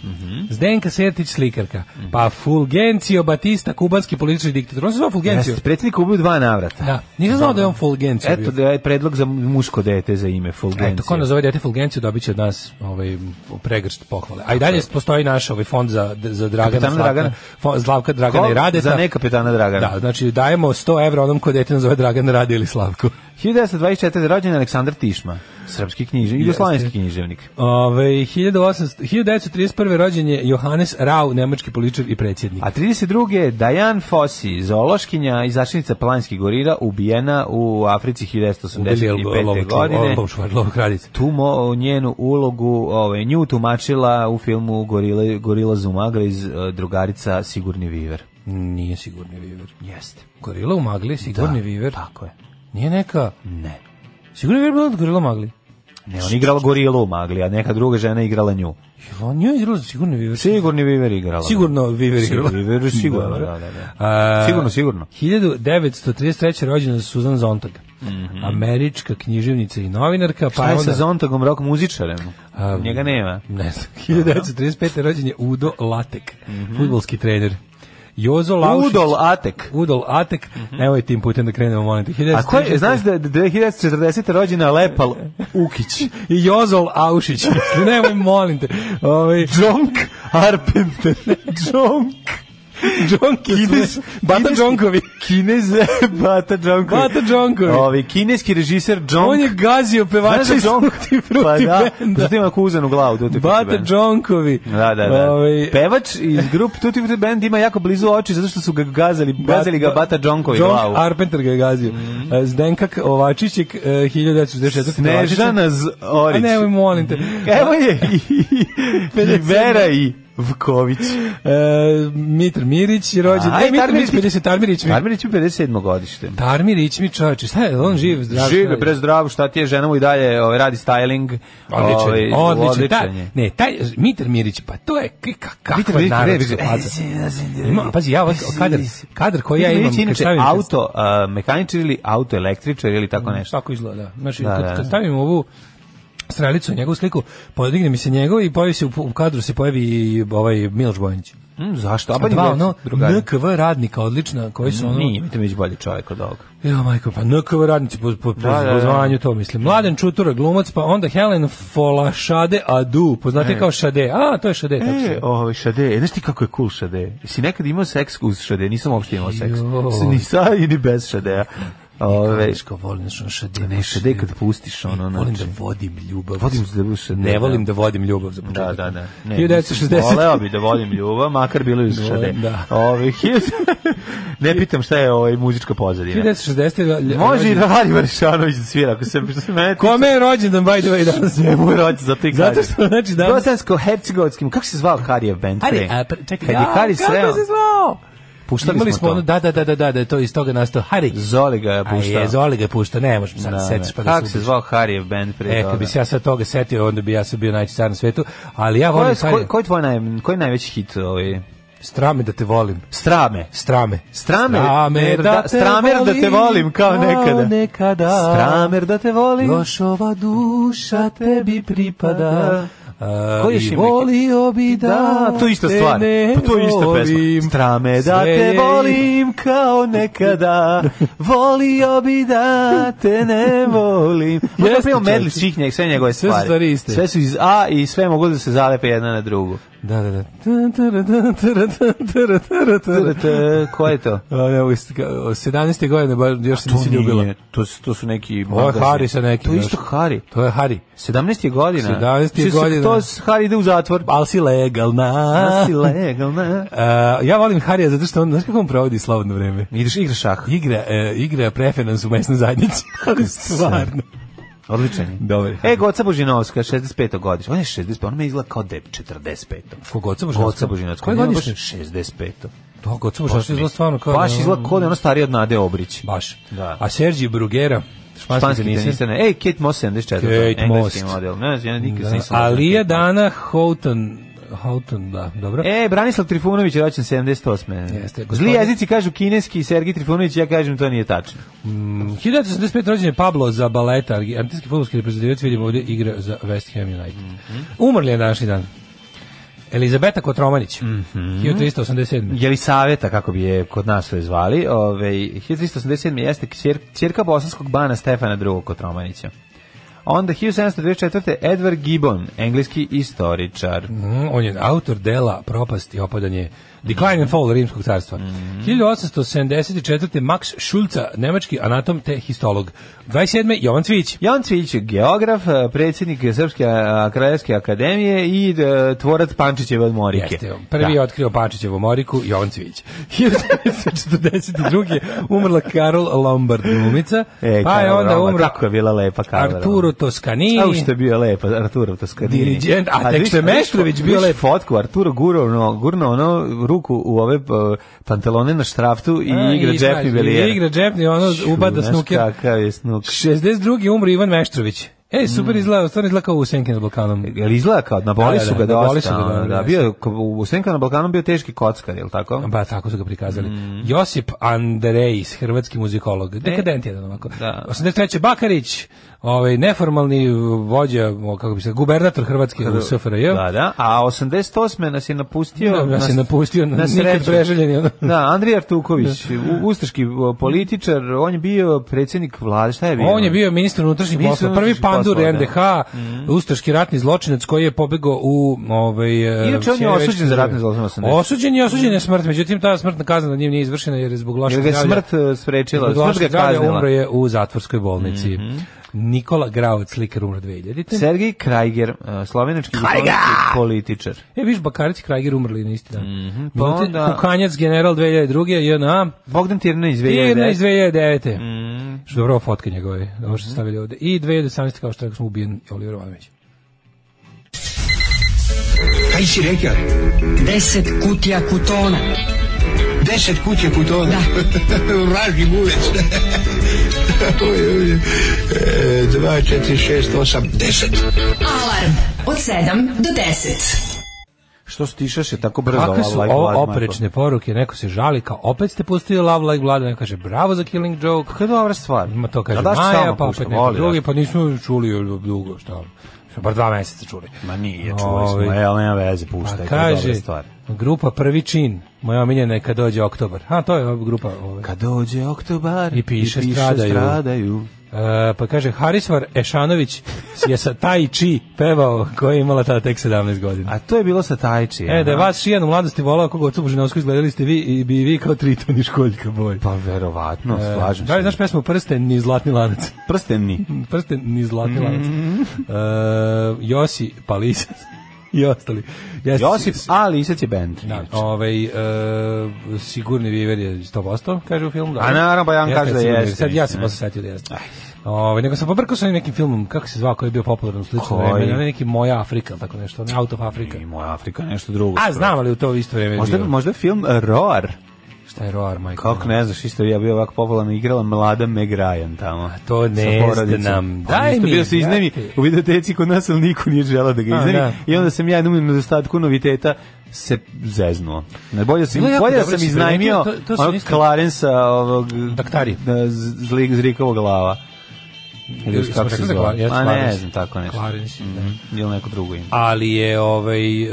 Speaker 5: Zdenka Sertić slikarka. Pa Fulgencio Batista, kubanski politički diktator. On se zove Fulgencio.
Speaker 6: Jeste, predsjednik ubio u dva navrata.
Speaker 5: Da. Nisam znao da je on Fulgencio
Speaker 6: Eto
Speaker 5: bio.
Speaker 6: da je ovaj predlog za muško dete za ime Fulgencio.
Speaker 5: Eto, ko nazove dete Fulgenciju dobit će od nas ovaj, pregršt pohvale. A i dalje postoji naš ovaj fond za, za Dragana,
Speaker 6: Kapitana
Speaker 5: Slavka,
Speaker 6: Dragana.
Speaker 5: fond, Slavka Dragana
Speaker 6: Ko?
Speaker 5: i Radeta.
Speaker 6: Za ne kapitana Dragana.
Speaker 5: Da, znači dajemo 100 evra onom ko dete nazove Dragan, Rade ili Slavko.
Speaker 6: 1924. rođen je Aleksandar Tišma, srpski književnik, jugoslovenski književnik.
Speaker 5: Ove, 1800, 1931. rođen je Johannes Rau, nemački političar i predsjednik.
Speaker 6: A 32. je Dajan Fossi, zoološkinja i zaštitnica planinskih gorila, ubijena u Africi
Speaker 5: Ubili je
Speaker 6: 1985.
Speaker 5: lovog-
Speaker 6: godine.
Speaker 5: lovog čuvar- lovog kraljice.
Speaker 6: Tu mo, njenu ulogu ovaj, nju tumačila u filmu Gorila, Gorila Zumagra iz eh, drugarica Sigurni Viver.
Speaker 5: Nije sigurni viver.
Speaker 6: Jeste.
Speaker 5: Gorila u magli, sigurni viver.
Speaker 6: Tako je.
Speaker 5: Nije neka...
Speaker 6: Ne.
Speaker 5: Sigurni viver bila od Gorila u magli.
Speaker 6: Ne, on igrala Gorilu u Magli, a neka druga žena igrala nju.
Speaker 5: Jel on nju igrala za sigurni viver?
Speaker 6: Sigurni Viver igrala.
Speaker 5: Sigurno Viver igrala.
Speaker 6: Sigurno Viver, sigurno,
Speaker 5: Dobro.
Speaker 6: da, pa da, da.
Speaker 5: A,
Speaker 6: Sigurno, sigurno.
Speaker 5: 1933. rođena Susan Zontag. Američka književnica i novinarka.
Speaker 6: Pa
Speaker 5: pa
Speaker 6: Mhm. je
Speaker 5: onda,
Speaker 6: sa Zontagom rock muzičarem?
Speaker 5: A,
Speaker 6: Njega nema.
Speaker 5: Ne znam. 1935. rođen je Udo Latek,
Speaker 6: Mhm.
Speaker 5: futbolski trener. Jozo Laušić.
Speaker 6: Udol Atek.
Speaker 5: Udol Atek. Evo je tim putem da krenemo, molim te.
Speaker 6: Mhm. A ko je,
Speaker 5: 1936.
Speaker 6: znaš da je 1940. rođena Lepal Ukić?
Speaker 5: I Jozol Aušić. Nemoj, molim te. Ovaj,
Speaker 6: Jonk Arpenter. Jonk.
Speaker 5: Džonki.
Speaker 6: Kines,
Speaker 5: Bata
Speaker 6: kineski-
Speaker 5: Džonkovi.
Speaker 6: Kinez, Bata Džonkovi.
Speaker 5: Bata Džonkovi.
Speaker 6: Ovi, kineski režiser Džonk.
Speaker 5: On je gazio
Speaker 6: Znaš
Speaker 5: pevača
Speaker 6: za
Speaker 5: iz
Speaker 6: Džonk? Pa
Speaker 5: Tutti Frutti
Speaker 6: da,
Speaker 5: benda.
Speaker 6: zato ima kuzan u glavu. Tutti Frutti
Speaker 5: Bata
Speaker 6: Band.
Speaker 5: Džonkovi.
Speaker 6: Da, da, da.
Speaker 5: Ovaj,
Speaker 6: Pevač iz grup Tutti Frutti Band ima jako blizu oči zato što su ga gazali, gazili ga Bata Džonkovi Mhm.
Speaker 5: John
Speaker 6: glavu.
Speaker 5: Carpenter ga je gazio. Eh, Zdenka K- Ovačićek, eh, 1964.
Speaker 6: Snežana Z- Orić. Mhm.
Speaker 5: A nemoj, molim te.
Speaker 6: Evo je i, i, i Vera i Vuković.
Speaker 5: E, Mitar Mirić je rođen.
Speaker 6: A,
Speaker 5: Ne,
Speaker 6: i
Speaker 5: Mitar Mirić,
Speaker 6: Tarmirić.
Speaker 5: 50, Tarmirić mi.
Speaker 6: Armirić je 57. godište.
Speaker 5: Tarmirić mi čovječe, šta je, on živ, zdrav.
Speaker 6: Žive,
Speaker 5: čovjek.
Speaker 6: pre zdrav, šta ti je, žena mu i dalje ovaj, radi styling.
Speaker 5: Odličan,
Speaker 6: ovaj,
Speaker 5: je, odličan. Ta,
Speaker 6: je.
Speaker 5: ne, taj Mitar Mirić, pa to je k- ka-
Speaker 6: Mitar
Speaker 5: kakva
Speaker 6: Mirić,
Speaker 5: narodska
Speaker 6: ne,
Speaker 5: faca. Ima, pazi, ja ovaj kadar, kadar koji ja
Speaker 6: Pa Mitar
Speaker 5: imam,
Speaker 6: Mirić je
Speaker 5: kad
Speaker 6: inače
Speaker 5: stavim... kad
Speaker 6: auto a, mehaničar ili auto električar ili tako Pa nešto.
Speaker 5: Tako izgleda. da. Znači,
Speaker 6: Da,
Speaker 5: kad,
Speaker 6: da, da.
Speaker 5: kad stavim ovu strelicu, njegovu sliku, podigne mi se njegov i pojavi se u, u kadru se pojavi i ovaj Miloš Bojanić.
Speaker 6: Mm, zašto?
Speaker 5: A
Speaker 6: A pa
Speaker 5: dva, ono,
Speaker 6: drugari.
Speaker 5: NKV radnika odlična, koji su ono...
Speaker 6: Nije, Mitar Mirić bolji čovjek od ovoga.
Speaker 5: Jo, majko, pa NKV radnici po, po, po,
Speaker 6: Da, da, da.
Speaker 5: po zvanju to, mislim. Mladen Čutura, glumac, pa onda Helen Folašade Adu, poznate kao Šade. A, to je Šade, tako
Speaker 6: E,
Speaker 5: se.
Speaker 6: ovaj Šade, znaš ti kako je cool Šade? Si nekad imao seks uz Šade? Nisam uopšte imao seks.
Speaker 5: Joj.
Speaker 6: Ni sa i ni bez Šadeja. Ove,
Speaker 5: Teško volim, znaš, ono Šade.
Speaker 6: ne, Šade kad pustiš ono,
Speaker 5: Volim
Speaker 6: znači.
Speaker 5: da vodim ljubav.
Speaker 6: Vodim da budem Šade.
Speaker 5: Ne volim da vodim ljubav za
Speaker 6: Da,
Speaker 5: početak.
Speaker 6: da, da. Ne,
Speaker 5: 1960.
Speaker 6: Voleo bi da volim ljubav, makar bilo i uz Šade.
Speaker 5: Volim, da.
Speaker 6: Ove, 1000 ne pitam šta je ovaj muzička pozadina.
Speaker 5: 1960.
Speaker 6: Može i Radi Varšanović da svira, ako se što se mene tiče.
Speaker 5: Kome je rođendan, by the way, danas?
Speaker 6: Njemu je rođen, zato i
Speaker 5: Zato
Speaker 6: kažem.
Speaker 5: što, znači, danas-
Speaker 6: Bosansko-hercegovatskim, kako se zvao Harijev band?
Speaker 5: Hari,
Speaker 6: pre?
Speaker 5: a, pre- čekaj,
Speaker 6: Kad je
Speaker 5: ja,
Speaker 6: Hari
Speaker 5: kako
Speaker 6: sreo,
Speaker 5: se zvao?
Speaker 6: puštali
Speaker 5: Imali smo
Speaker 6: smo
Speaker 5: ono,
Speaker 6: to.
Speaker 5: da, da, da, da, da, da, je to iz toga nastao Hari.
Speaker 6: Zoli ga je
Speaker 5: A je,
Speaker 6: puštao.
Speaker 5: Zoli ga je puštao, ne možeš mi sad da, setiš pa da
Speaker 6: Kako se
Speaker 5: ubiš.
Speaker 6: zvao Harijev band pre
Speaker 5: E,
Speaker 6: toga?
Speaker 5: kad bi se ja sad toga setio, onda bi ja sad bio najveći car na svetu, ali ja
Speaker 6: Ko
Speaker 5: volim
Speaker 6: je,
Speaker 5: Hari.
Speaker 6: ko, ko je tvoj naj, koji je najveći hit? Ovaj?
Speaker 5: Strame da te volim.
Speaker 6: Strame.
Speaker 5: Strame.
Speaker 6: Stramer, stramer, da, stramer da te volim kao nekada. Stramer da te volim.
Speaker 5: Još ova duša tebi pripada. A,
Speaker 6: Koji je
Speaker 5: i
Speaker 6: Šimek?
Speaker 5: volio bi da,
Speaker 6: Da, to je ista
Speaker 5: te
Speaker 6: stvar.
Speaker 5: ne
Speaker 6: Pa to je ista
Speaker 5: volim.
Speaker 6: pesma. Strame da
Speaker 5: Sve
Speaker 6: te
Speaker 5: je-
Speaker 6: volim kao nekada. Volio bi da te ne volim. Možda
Speaker 5: Jeste,
Speaker 6: prijemo medli
Speaker 5: čovječe.
Speaker 6: svih njeg, sve njegove
Speaker 5: Sve su
Speaker 6: stvari.
Speaker 5: stvari iste.
Speaker 6: Sve su iz A i sve mogu da se zalepe jedna na drugu.
Speaker 5: Da, da, da. Tun, tara, tun, tara, tun, tara, tara, tara.
Speaker 6: T- Ko je to?
Speaker 5: A, ne, u ist- ka- o 17. godine baš još se nisi ljubila.
Speaker 6: To, su- to su neki...
Speaker 5: Ovo je
Speaker 6: magazin.
Speaker 5: Hari sa nekim.
Speaker 6: To je
Speaker 5: znaš.
Speaker 6: isto Hari.
Speaker 5: To je Hari.
Speaker 6: 17. godina.
Speaker 5: 17.
Speaker 6: Što se-
Speaker 5: godina.
Speaker 6: To s- Hari ide u zatvor.
Speaker 5: Ali si legalna.
Speaker 6: A si legalna.
Speaker 5: E, ja volim Harija zato što on, znaš kako on provodi slobodno vreme?
Speaker 6: Ideš igra šah.
Speaker 5: Igra, e, igra preferans u mesnoj zajednici. Ali stvarno.
Speaker 6: Odličan je.
Speaker 5: Dobar je.
Speaker 6: E, Goca Božinovska, 65. godište. On je 65, on me izgleda kao deb 45.
Speaker 5: Ko Goca Božanovska?
Speaker 6: Goca Božinovska.
Speaker 5: Koje Pa
Speaker 6: on je
Speaker 5: godišnje?
Speaker 6: baš 65.
Speaker 5: To Goca Božanovska izgleda stvarno kao...
Speaker 6: Baš izgleda kao da je ono stariji od Nade Obrić.
Speaker 5: Baš.
Speaker 6: Da.
Speaker 5: A Sergi Brugera, španski
Speaker 6: Španski
Speaker 5: tenisa.
Speaker 6: tenista. ne. Ej, Kate Moss 74.
Speaker 5: Kate
Speaker 6: Engleski
Speaker 5: Moss.
Speaker 6: model. Ne znam, ja nikad
Speaker 5: Da.
Speaker 6: nisam.
Speaker 5: Alija Dana Houghton, Houghton, da, dobro.
Speaker 6: E, Branislav Trifunović je rođen 78. Zli
Speaker 5: Jeste, gospodin-
Speaker 6: jezici kažu kineski i Sergij Trifunović, ja kažem to nije tačno.
Speaker 5: 1985. rođen je Pablo Zabaleta, argentinski futbolski reprezentativac, vidimo ovdje igra za West Ham United.
Speaker 6: Mhm.
Speaker 5: Umrli je današnji dan. Elizabeta Kotromanić,
Speaker 6: Mhm.
Speaker 5: 1387.
Speaker 6: Jelisaveta, kako bi je kod nas to je zvali, ove, 1387. jeste kćer, čerka bosanskog bana Stefana II. Kotromanića. Onda 1724. Edward Gibbon, engleski istoričar.
Speaker 5: Mm, on je autor dela Propast i opadanje Decline and Fall Rimskog carstva.
Speaker 6: Mhm.
Speaker 5: 1874. Max Schulza, nemački anatom te histolog. 27. Jovan Cvić.
Speaker 6: Jovan Cvijić, je geograf, eh, predsjednik Srpske eh, krajevske akademije i eh, tvorac Pančićeve od Morike.
Speaker 5: Jeste, prvi je otkrio Pančićevu moriku Jovan Cvić. 1942. umrla Karol Lombard glumica,
Speaker 6: E,
Speaker 5: pa je
Speaker 6: Karla
Speaker 5: onda
Speaker 6: Roma,
Speaker 5: umro
Speaker 6: Kako je bila lepa Karla
Speaker 5: Arturo
Speaker 6: Roma.
Speaker 5: Toscanini.
Speaker 6: A što je bio lepa, Arturo Toskanini.
Speaker 5: Dirigent, a tek što je Meštrović bio lep.
Speaker 6: fotku, Arturo gurao ono, gurno ono ruku u ove uh, pantalone na štraftu i
Speaker 5: A,
Speaker 6: igra
Speaker 5: i
Speaker 6: Džepni
Speaker 5: znaš,
Speaker 6: Belijer.
Speaker 5: i Igra džepni, ono ubada snuker.
Speaker 6: Kakav je snuk.
Speaker 5: 62. umro Ivan Meštrović. E, super
Speaker 6: Mm.
Speaker 5: izgleda, stvarno izgleda kao u Senke nad Balkanom.
Speaker 6: Jel izgleda kao, naboli
Speaker 5: Da, da,
Speaker 6: su ga
Speaker 5: da, naboli
Speaker 6: dosta.
Speaker 5: su ga,
Speaker 6: ono,
Speaker 5: da,
Speaker 6: da,
Speaker 5: da,
Speaker 6: bio, je, ko- u Senka na Balkanu bio teški kockar, jel tako?
Speaker 5: Pa tako su ga prikazali.
Speaker 6: Mm.
Speaker 5: Josip Andrejs, hrvatski muzikolog. Dekadent jedan ovako.
Speaker 6: E, da.
Speaker 5: 83. Bakarić, ovaj neformalni vođa, o, kako bi se, gubernator Hrvatske u SFRJ.
Speaker 6: Da, da. A 88. nas je napustio.
Speaker 5: Da, nas je
Speaker 6: s-
Speaker 5: napustio, nikad
Speaker 6: sreću.
Speaker 5: preželjeni, ono.
Speaker 6: Da, Andrija Artuković, u- ustaški uh, političar, on je bio predsjednik vlade, šta je bio?
Speaker 5: On je bio ministar unutrašnjih
Speaker 6: Ministar
Speaker 5: poslova, prvi
Speaker 6: unutrašnjih
Speaker 5: pandur
Speaker 6: poslova, da. Mm.
Speaker 5: NDH, ustaški ratni zločinac koji je pobegao u ovaj e,
Speaker 6: Inače, on je
Speaker 5: Sjeverne
Speaker 6: osuđen za ratne
Speaker 5: države.
Speaker 6: zločine 80.
Speaker 5: Osuđen je, osuđen je smrt, međutim ta smrtna kazna nad njim nije izvršena jer je zbog lošeg
Speaker 6: Jer ga je
Speaker 5: zdravlja.
Speaker 6: smrt e, sprečila,
Speaker 5: Zbog
Speaker 6: smrt ga
Speaker 5: lošeg
Speaker 6: je
Speaker 5: zdravlja
Speaker 6: kaznila. Mhm.
Speaker 5: umro je u zatvorskoj bolnici. Nikola Grauc, slikar umro 2000.
Speaker 6: Sergij Krajger, e, slovenački jugoslovenski političar.
Speaker 5: E, viš, Bakarić i Krajger umrli na isti dan.
Speaker 6: pa
Speaker 5: Minute-
Speaker 6: onda-
Speaker 5: Kukanjac, general 2002. JNA.
Speaker 6: Bogdan Tirna iz
Speaker 5: Pirna
Speaker 6: 2009.
Speaker 5: iz 2009.
Speaker 6: Mhm.
Speaker 5: Što dobro, ovo fotke njegove, ovo što su stavili ovde. I 2018. kao što rekao smo ubijen Oliver Ivanović.
Speaker 7: Kaj si rekao?
Speaker 8: Deset kutija kutona.
Speaker 7: Deset kuće putona. Vraži gulec. Oj, oj, e, Dva, četiri, šest, osam, deset.
Speaker 4: Alarm od 7 do 10.
Speaker 6: Što stišaše tako brzo? ovaj,
Speaker 5: Kakve
Speaker 6: Love
Speaker 5: su
Speaker 6: Like Blood,
Speaker 5: ovo
Speaker 6: Marko?
Speaker 5: oprečne poruke? Neko se žali kao opet ste pustili Love Like Blood, neko kaže bravo za Killing Joke.
Speaker 6: Kako je dobra stvar.
Speaker 5: Ima to kaže
Speaker 6: Da daš
Speaker 5: Maja,
Speaker 6: samo
Speaker 5: pa
Speaker 6: pušta,
Speaker 5: opet neko
Speaker 6: voli
Speaker 5: drugi,
Speaker 6: Daško.
Speaker 5: pa nismo čuli dugo, šta? Smo bar dva meseca čuli.
Speaker 6: Ma nije, čuli smo,
Speaker 5: Ovaj,
Speaker 6: evo, nema veze, pušta,
Speaker 5: Pa
Speaker 6: je
Speaker 5: kaže,
Speaker 6: dobra stvar.
Speaker 5: grupa Prvi čin, moja omiljena je kad dođe oktobar. Ha, to je ova grupa. Ovaj.
Speaker 6: Kad dođe oktobar
Speaker 5: I piše stradaju.
Speaker 6: stradaju.
Speaker 5: E, pa kaže, Harisvar Ešanović je sa Tai Chi pevao, koja je imala tada tek 17 godina.
Speaker 6: A to je bilo sa Tajči.
Speaker 5: E, da je vas Šijan u mladosti volao kako Ocu Božinovsku izgledali ste vi i bi i vi kao tritoni školjka boj.
Speaker 6: Pa verovatno, slažem
Speaker 5: E, Da li
Speaker 6: se.
Speaker 5: znaš pesmu Prsten ni zlatni lanac?
Speaker 6: prsteni?
Speaker 5: Prsten ni zlatni lanac.
Speaker 6: Mhm.
Speaker 5: E, Josi Palisa i ostali. Jeste-
Speaker 6: Josip, ali Isac je band. Znači,
Speaker 5: Da, ovaj, e, sigurni viver je 100%, kaže u filmu. Da.
Speaker 6: A naravno, pa ja vam
Speaker 5: Jeste,
Speaker 6: kažem da
Speaker 5: sigurni
Speaker 6: jeste,
Speaker 5: Sad ja
Speaker 6: mislim,
Speaker 5: sam posle setio da jeste. Ovaj nego sam pobrkao sa onim nekim filmom, kako se zvao, koji je bio popularan u slično
Speaker 6: Koji?
Speaker 5: vreme, onaj neki Moja Afrika, ili tako nešto, ne, Out of Africa.
Speaker 6: I moja Afrika nešto drugo.
Speaker 5: A, znam, ali u to isto vreme je
Speaker 6: Možda,
Speaker 5: bio.
Speaker 6: možda film Roar.
Speaker 5: Šta je Roar, majko?
Speaker 6: Kako ne znaš, isto je bio ovako popularno igrala mlada Meg Ryan tamo. A
Speaker 5: to ne znam. Daj mi,
Speaker 6: Bio se iznemi
Speaker 5: brate.
Speaker 6: u videoteci kod nas, ali niko nije želao da ga
Speaker 5: A,
Speaker 6: iznemi.
Speaker 5: da.
Speaker 6: I onda sam ja jednom u nedostatku noviteta se zeznuo. Ne, bolje sam,
Speaker 5: Bilo je jako
Speaker 6: bolje da
Speaker 5: dobro
Speaker 6: sam
Speaker 5: si
Speaker 6: iznajmio
Speaker 5: primetio, to- to sam
Speaker 6: onog
Speaker 5: isto-
Speaker 6: Clarensa ovog...
Speaker 5: Daktari.
Speaker 6: Da, z- zlik, zrikovog glava. Ili
Speaker 5: Jesmo
Speaker 6: kako se
Speaker 5: rekli da Clar-
Speaker 6: zove.
Speaker 5: jeste
Speaker 6: A ne
Speaker 5: Clarence.
Speaker 6: znam, tako nešto.
Speaker 5: Clarence, da.
Speaker 6: Mhm, Ili neko drugo ime.
Speaker 5: ali je ovaj e,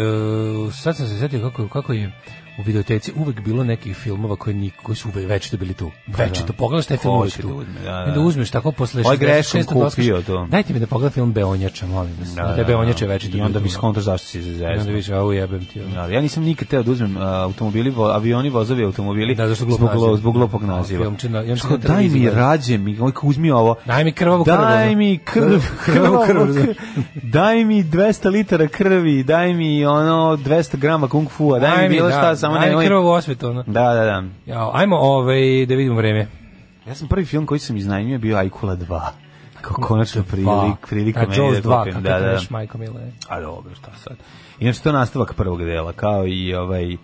Speaker 5: sad sam se setio kako kako je u videoteci uvek bilo nekih filmova koji niko koji su uvek večito bili tu. Večito pogledaš taj film
Speaker 6: Ko
Speaker 5: uvek
Speaker 6: će
Speaker 5: tu.
Speaker 6: da uzme, da,
Speaker 5: I
Speaker 6: da.
Speaker 5: uzmeš tako posle
Speaker 6: Ovaj greškom
Speaker 5: 66 doskaš,
Speaker 6: kupio to.
Speaker 5: Dajte mi da pogledam film Beonjača, molim vas. Da, da, Beonjače večito.
Speaker 6: I onda
Speaker 5: bili
Speaker 6: bi
Speaker 5: tu.
Speaker 6: skontaš zašto si se
Speaker 5: I onda
Speaker 6: zeznuo.
Speaker 5: vidiš, a ujebem ti. ono.
Speaker 6: Da, ja nisam nikad teo da uzmem a, automobili, vo, avioni, vozovi, automobili
Speaker 5: Da, zašto glup
Speaker 6: zbog,
Speaker 5: naziv.
Speaker 6: glo- zbog glupog
Speaker 5: Da,
Speaker 6: naziva.
Speaker 5: filmčina- ja mislim
Speaker 6: Što,
Speaker 5: da je
Speaker 6: daj mi
Speaker 5: televizija.
Speaker 6: rađe, mi, oj, uzmi ovo.
Speaker 5: Daj mi krvavu krv,
Speaker 6: Daj
Speaker 5: ono.
Speaker 6: mi krv, krv,
Speaker 5: Krvavu krv,
Speaker 6: krv, daj mi 200 litara krvi, daj mi ono 200 grama kung fua, daj, mi bilo šta, samo
Speaker 5: daj
Speaker 6: ne.
Speaker 5: mi
Speaker 6: oj-
Speaker 5: krvavu osvetu. ono.
Speaker 6: Da, da, da.
Speaker 5: Jao, ajmo ovaj da vidimo vreme.
Speaker 6: Ja sam prvi film koji sam iznajmio je bio Ajkula 2. Kao konačno prilik, prilika
Speaker 5: A
Speaker 6: meni
Speaker 5: Pa, Jaws
Speaker 6: da
Speaker 5: 2,
Speaker 6: kupim.
Speaker 5: kako
Speaker 6: Da, da.
Speaker 5: treš, majko mila. E, je.
Speaker 6: A dobro, šta sad. Inače, to je nastavak prvog dela, kao i ovaj...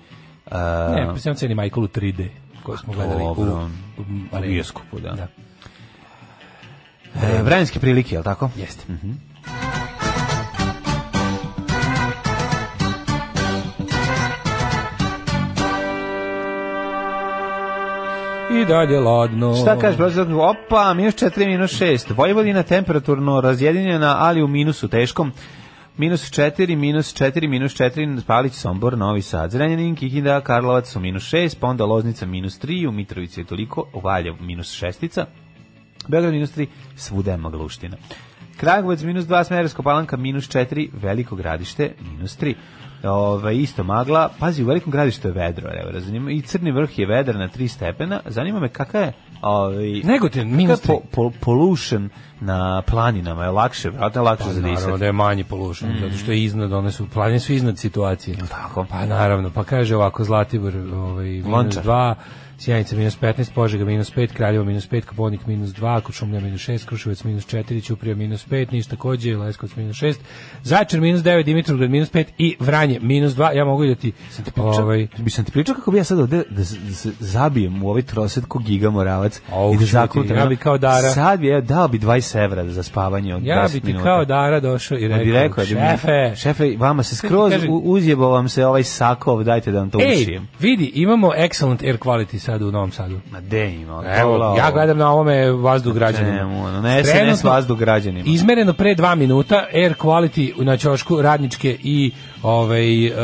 Speaker 6: a,
Speaker 5: Ne, pa sam ceni Michael u 3D koju smo gledali u,
Speaker 6: Dobro.
Speaker 5: u,
Speaker 6: U
Speaker 5: areni.
Speaker 6: bioskopu, da.
Speaker 5: da.
Speaker 6: E, vremenske prilike, je li tako?
Speaker 5: Jeste. I dalje ladno.
Speaker 6: Šta kažeš, broj Zlatko? Opa, minus 4, minus 6. Vojvodina temperaturno razjedinjena, ali u minusu teškom. Minus 4, minus 4, minus 4, Palić, Sombor, Novi Sad, Zrenjanin, Kikinda, Karlovac su minus 6, pa onda Loznica minus 3, u Mitrovici je toliko, u Valjev minus 6, Beograd minus 3, svuda je magluština. Kragovac minus 2, Smerovska palanka minus 4, Veliko gradište minus 3. Ove, isto magla, pazi, u velikom gradištu je vedro, evo, razumijemo, i crni vrh je vedar na 3 stepena, zanima me kakva je ovaj,
Speaker 5: Negotin, minus
Speaker 6: kakav je
Speaker 5: tri.
Speaker 6: po, po, pollution na planinama, je lakše, vratno je lakše
Speaker 5: Pa,
Speaker 6: za
Speaker 5: naravno
Speaker 6: disati.
Speaker 5: da je manji polušan, zato što je iznad, one su, planine su iznad situacije.
Speaker 6: Mm. tako?
Speaker 5: Pa naravno, pa kaže ovako, Zlatibor ovaj, minus
Speaker 6: Lončar.
Speaker 5: 2, Sjenica minus 15, Požega minus 5, Kraljevo minus 5, Koponik minus 2, Kočumlja minus 6, Kruševac minus 4, Ćuprija minus 5, Niš takođe, Leskovac minus 6, Zajčar minus 9, Dimitrovgrad minus 5 i Vranje minus 2. Ja mogu i da ti... Ovaj,
Speaker 6: Bi sam ti pričao kako bi ja sad ovde da, se- da se zabijem u ovaj troset ko giga moravac
Speaker 5: Au,
Speaker 6: i da
Speaker 5: čuti,
Speaker 6: zaklutam.
Speaker 5: ja bi kao Dara.
Speaker 6: Sad bi, ja dao bi 20 evra za spavanje od
Speaker 5: ja
Speaker 6: 10
Speaker 5: bi ti
Speaker 6: minuta.
Speaker 5: kao Dara došao i
Speaker 6: Ja
Speaker 5: rekao,
Speaker 6: bi rekao, ja bi-
Speaker 5: šefe,
Speaker 6: šefe, vama se skroz
Speaker 5: Kaže-
Speaker 6: u- uzjebao vam se ovaj sakov, dajte da vam to
Speaker 5: ej,
Speaker 6: ušijem.
Speaker 5: vidi, imamo excellent air quality sad u Novom Sadu.
Speaker 6: Ma de ima.
Speaker 5: Evo, ja gledam na ovome vazduh građanima.
Speaker 6: Čemu, ono, na SNS vazduh građanima.
Speaker 5: Izmereno pre dva minuta, air quality na ćošku radničke i ovaj, e,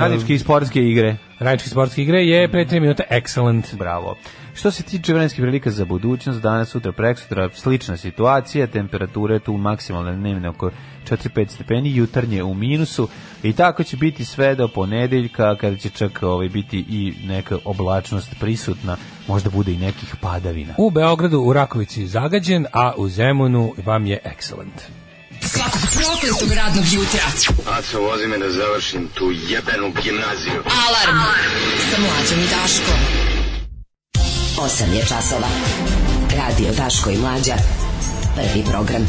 Speaker 6: Radničke i sportske igre.
Speaker 5: radničke sportske igre je pre tri minuta excellent.
Speaker 6: Bravo. Što se tiče vremenskih prilika za budućnost, danas, sutra, preksutra, slična situacija, temperature tu maksimalne dnevne oko 4-5 stepeni, jutarnje u minusu i tako će biti sve do ponedeljka kada će čak ovaj, biti i neka oblačnost prisutna, možda bude i nekih padavina.
Speaker 5: U Beogradu, u Rakovici zagađen, a u Zemunu vam je excellent.
Speaker 4: Svakog prokletog radnog jutra.
Speaker 3: Aco, vozi me da završim tu jebenu gimnaziju.
Speaker 4: Alarm, Alarm. sa mlađom i Daškom.
Speaker 9: 8 je časova. Radio Daško i Mlađa. Prvi program.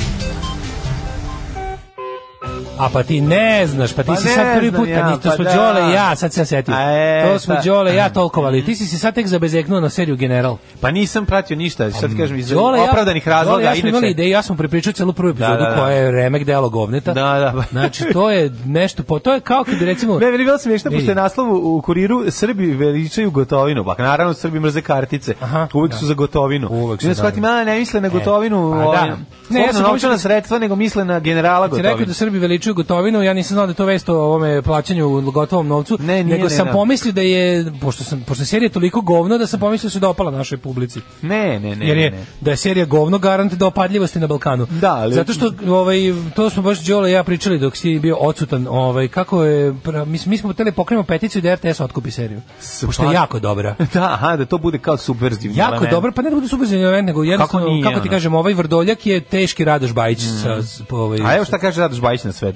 Speaker 5: A pa ti ne znaš, pa ti
Speaker 6: Pa
Speaker 5: si
Speaker 6: ne
Speaker 5: sad prvi
Speaker 6: znam
Speaker 5: put,
Speaker 6: ja,
Speaker 5: pa ni- to
Speaker 6: pa
Speaker 5: smo
Speaker 6: da.
Speaker 5: Đole i ja, sad se ja setio.
Speaker 6: A e,
Speaker 5: To smo
Speaker 6: da.
Speaker 5: Đole i ja tolkovali. Ti si se sad tek zabezeknuo na seriju General. Mm.
Speaker 6: Pa nisam pratio ništa, sad kažem, iz
Speaker 5: Pa, Đole i ja-
Speaker 6: opravdanih
Speaker 5: Đole i
Speaker 6: razloga,
Speaker 5: ja smo imali
Speaker 6: inače...
Speaker 5: ideju, ja sam prepričao celu prvu epizodu
Speaker 6: da, da.
Speaker 5: koja je remek delo govneta.
Speaker 6: Da, da.
Speaker 5: Znači, to je nešto, po, to je kao kad bi, recimo...
Speaker 6: Ne, meni je bilo smiješno,
Speaker 5: Vidi.
Speaker 6: pošto je naslov u kuriru Srbi veličaju gotovinu. Pa naravno, Srbi mrze kartice.
Speaker 5: Aha,
Speaker 6: Uvek
Speaker 5: da.
Speaker 6: su za gotovinu.
Speaker 5: Uvek su,
Speaker 6: I onda
Speaker 5: da,
Speaker 6: shvatim,
Speaker 5: da.
Speaker 6: a, ne misle na gotovinu,
Speaker 5: pa
Speaker 6: e,
Speaker 5: da.
Speaker 6: ovaj,
Speaker 5: Ne,
Speaker 6: ne,
Speaker 5: ja sam
Speaker 6: novčana
Speaker 5: pomislio-
Speaker 6: sredstva, nego misle na generala
Speaker 5: Ti rekao da
Speaker 6: gotovinu.
Speaker 5: Srbi veličaju gotovinu, ja nisam znao da je to vest o ovome plaćanju u gotovom novcu,
Speaker 6: Ne, nije,
Speaker 5: nego
Speaker 6: ne,
Speaker 5: sam
Speaker 6: da.
Speaker 5: pomislio da je, pošto, sam, pošto je serija toliko govno, da sam pomislio da se dopala našoj publici.
Speaker 6: Ne, ne, ne.
Speaker 5: jer je
Speaker 6: ne, ne.
Speaker 5: da je serija govno garant da opadljivosti na Balkanu.
Speaker 6: Da, ali-
Speaker 5: Zato što ovaj to smo baš Đole i ja pričali dok si bio odsutan, ovaj kako je pra- mi, mi smo hteli pokrenemo peticiju da RTS otkupi seriju. Pošto je jako dobra.
Speaker 6: Da, aha, da to bude kao subverzivni
Speaker 5: Jako
Speaker 6: element.
Speaker 5: dobro, pa ne da bude subverzivni element, nego jednostavno,
Speaker 6: nije,
Speaker 5: kako, ti
Speaker 6: ono?
Speaker 5: kažem, ovaj Vrdoljak je teški Radoš Bajić sa, s- po ovaj,
Speaker 6: A evo šta kaže Radoš Bajić na sve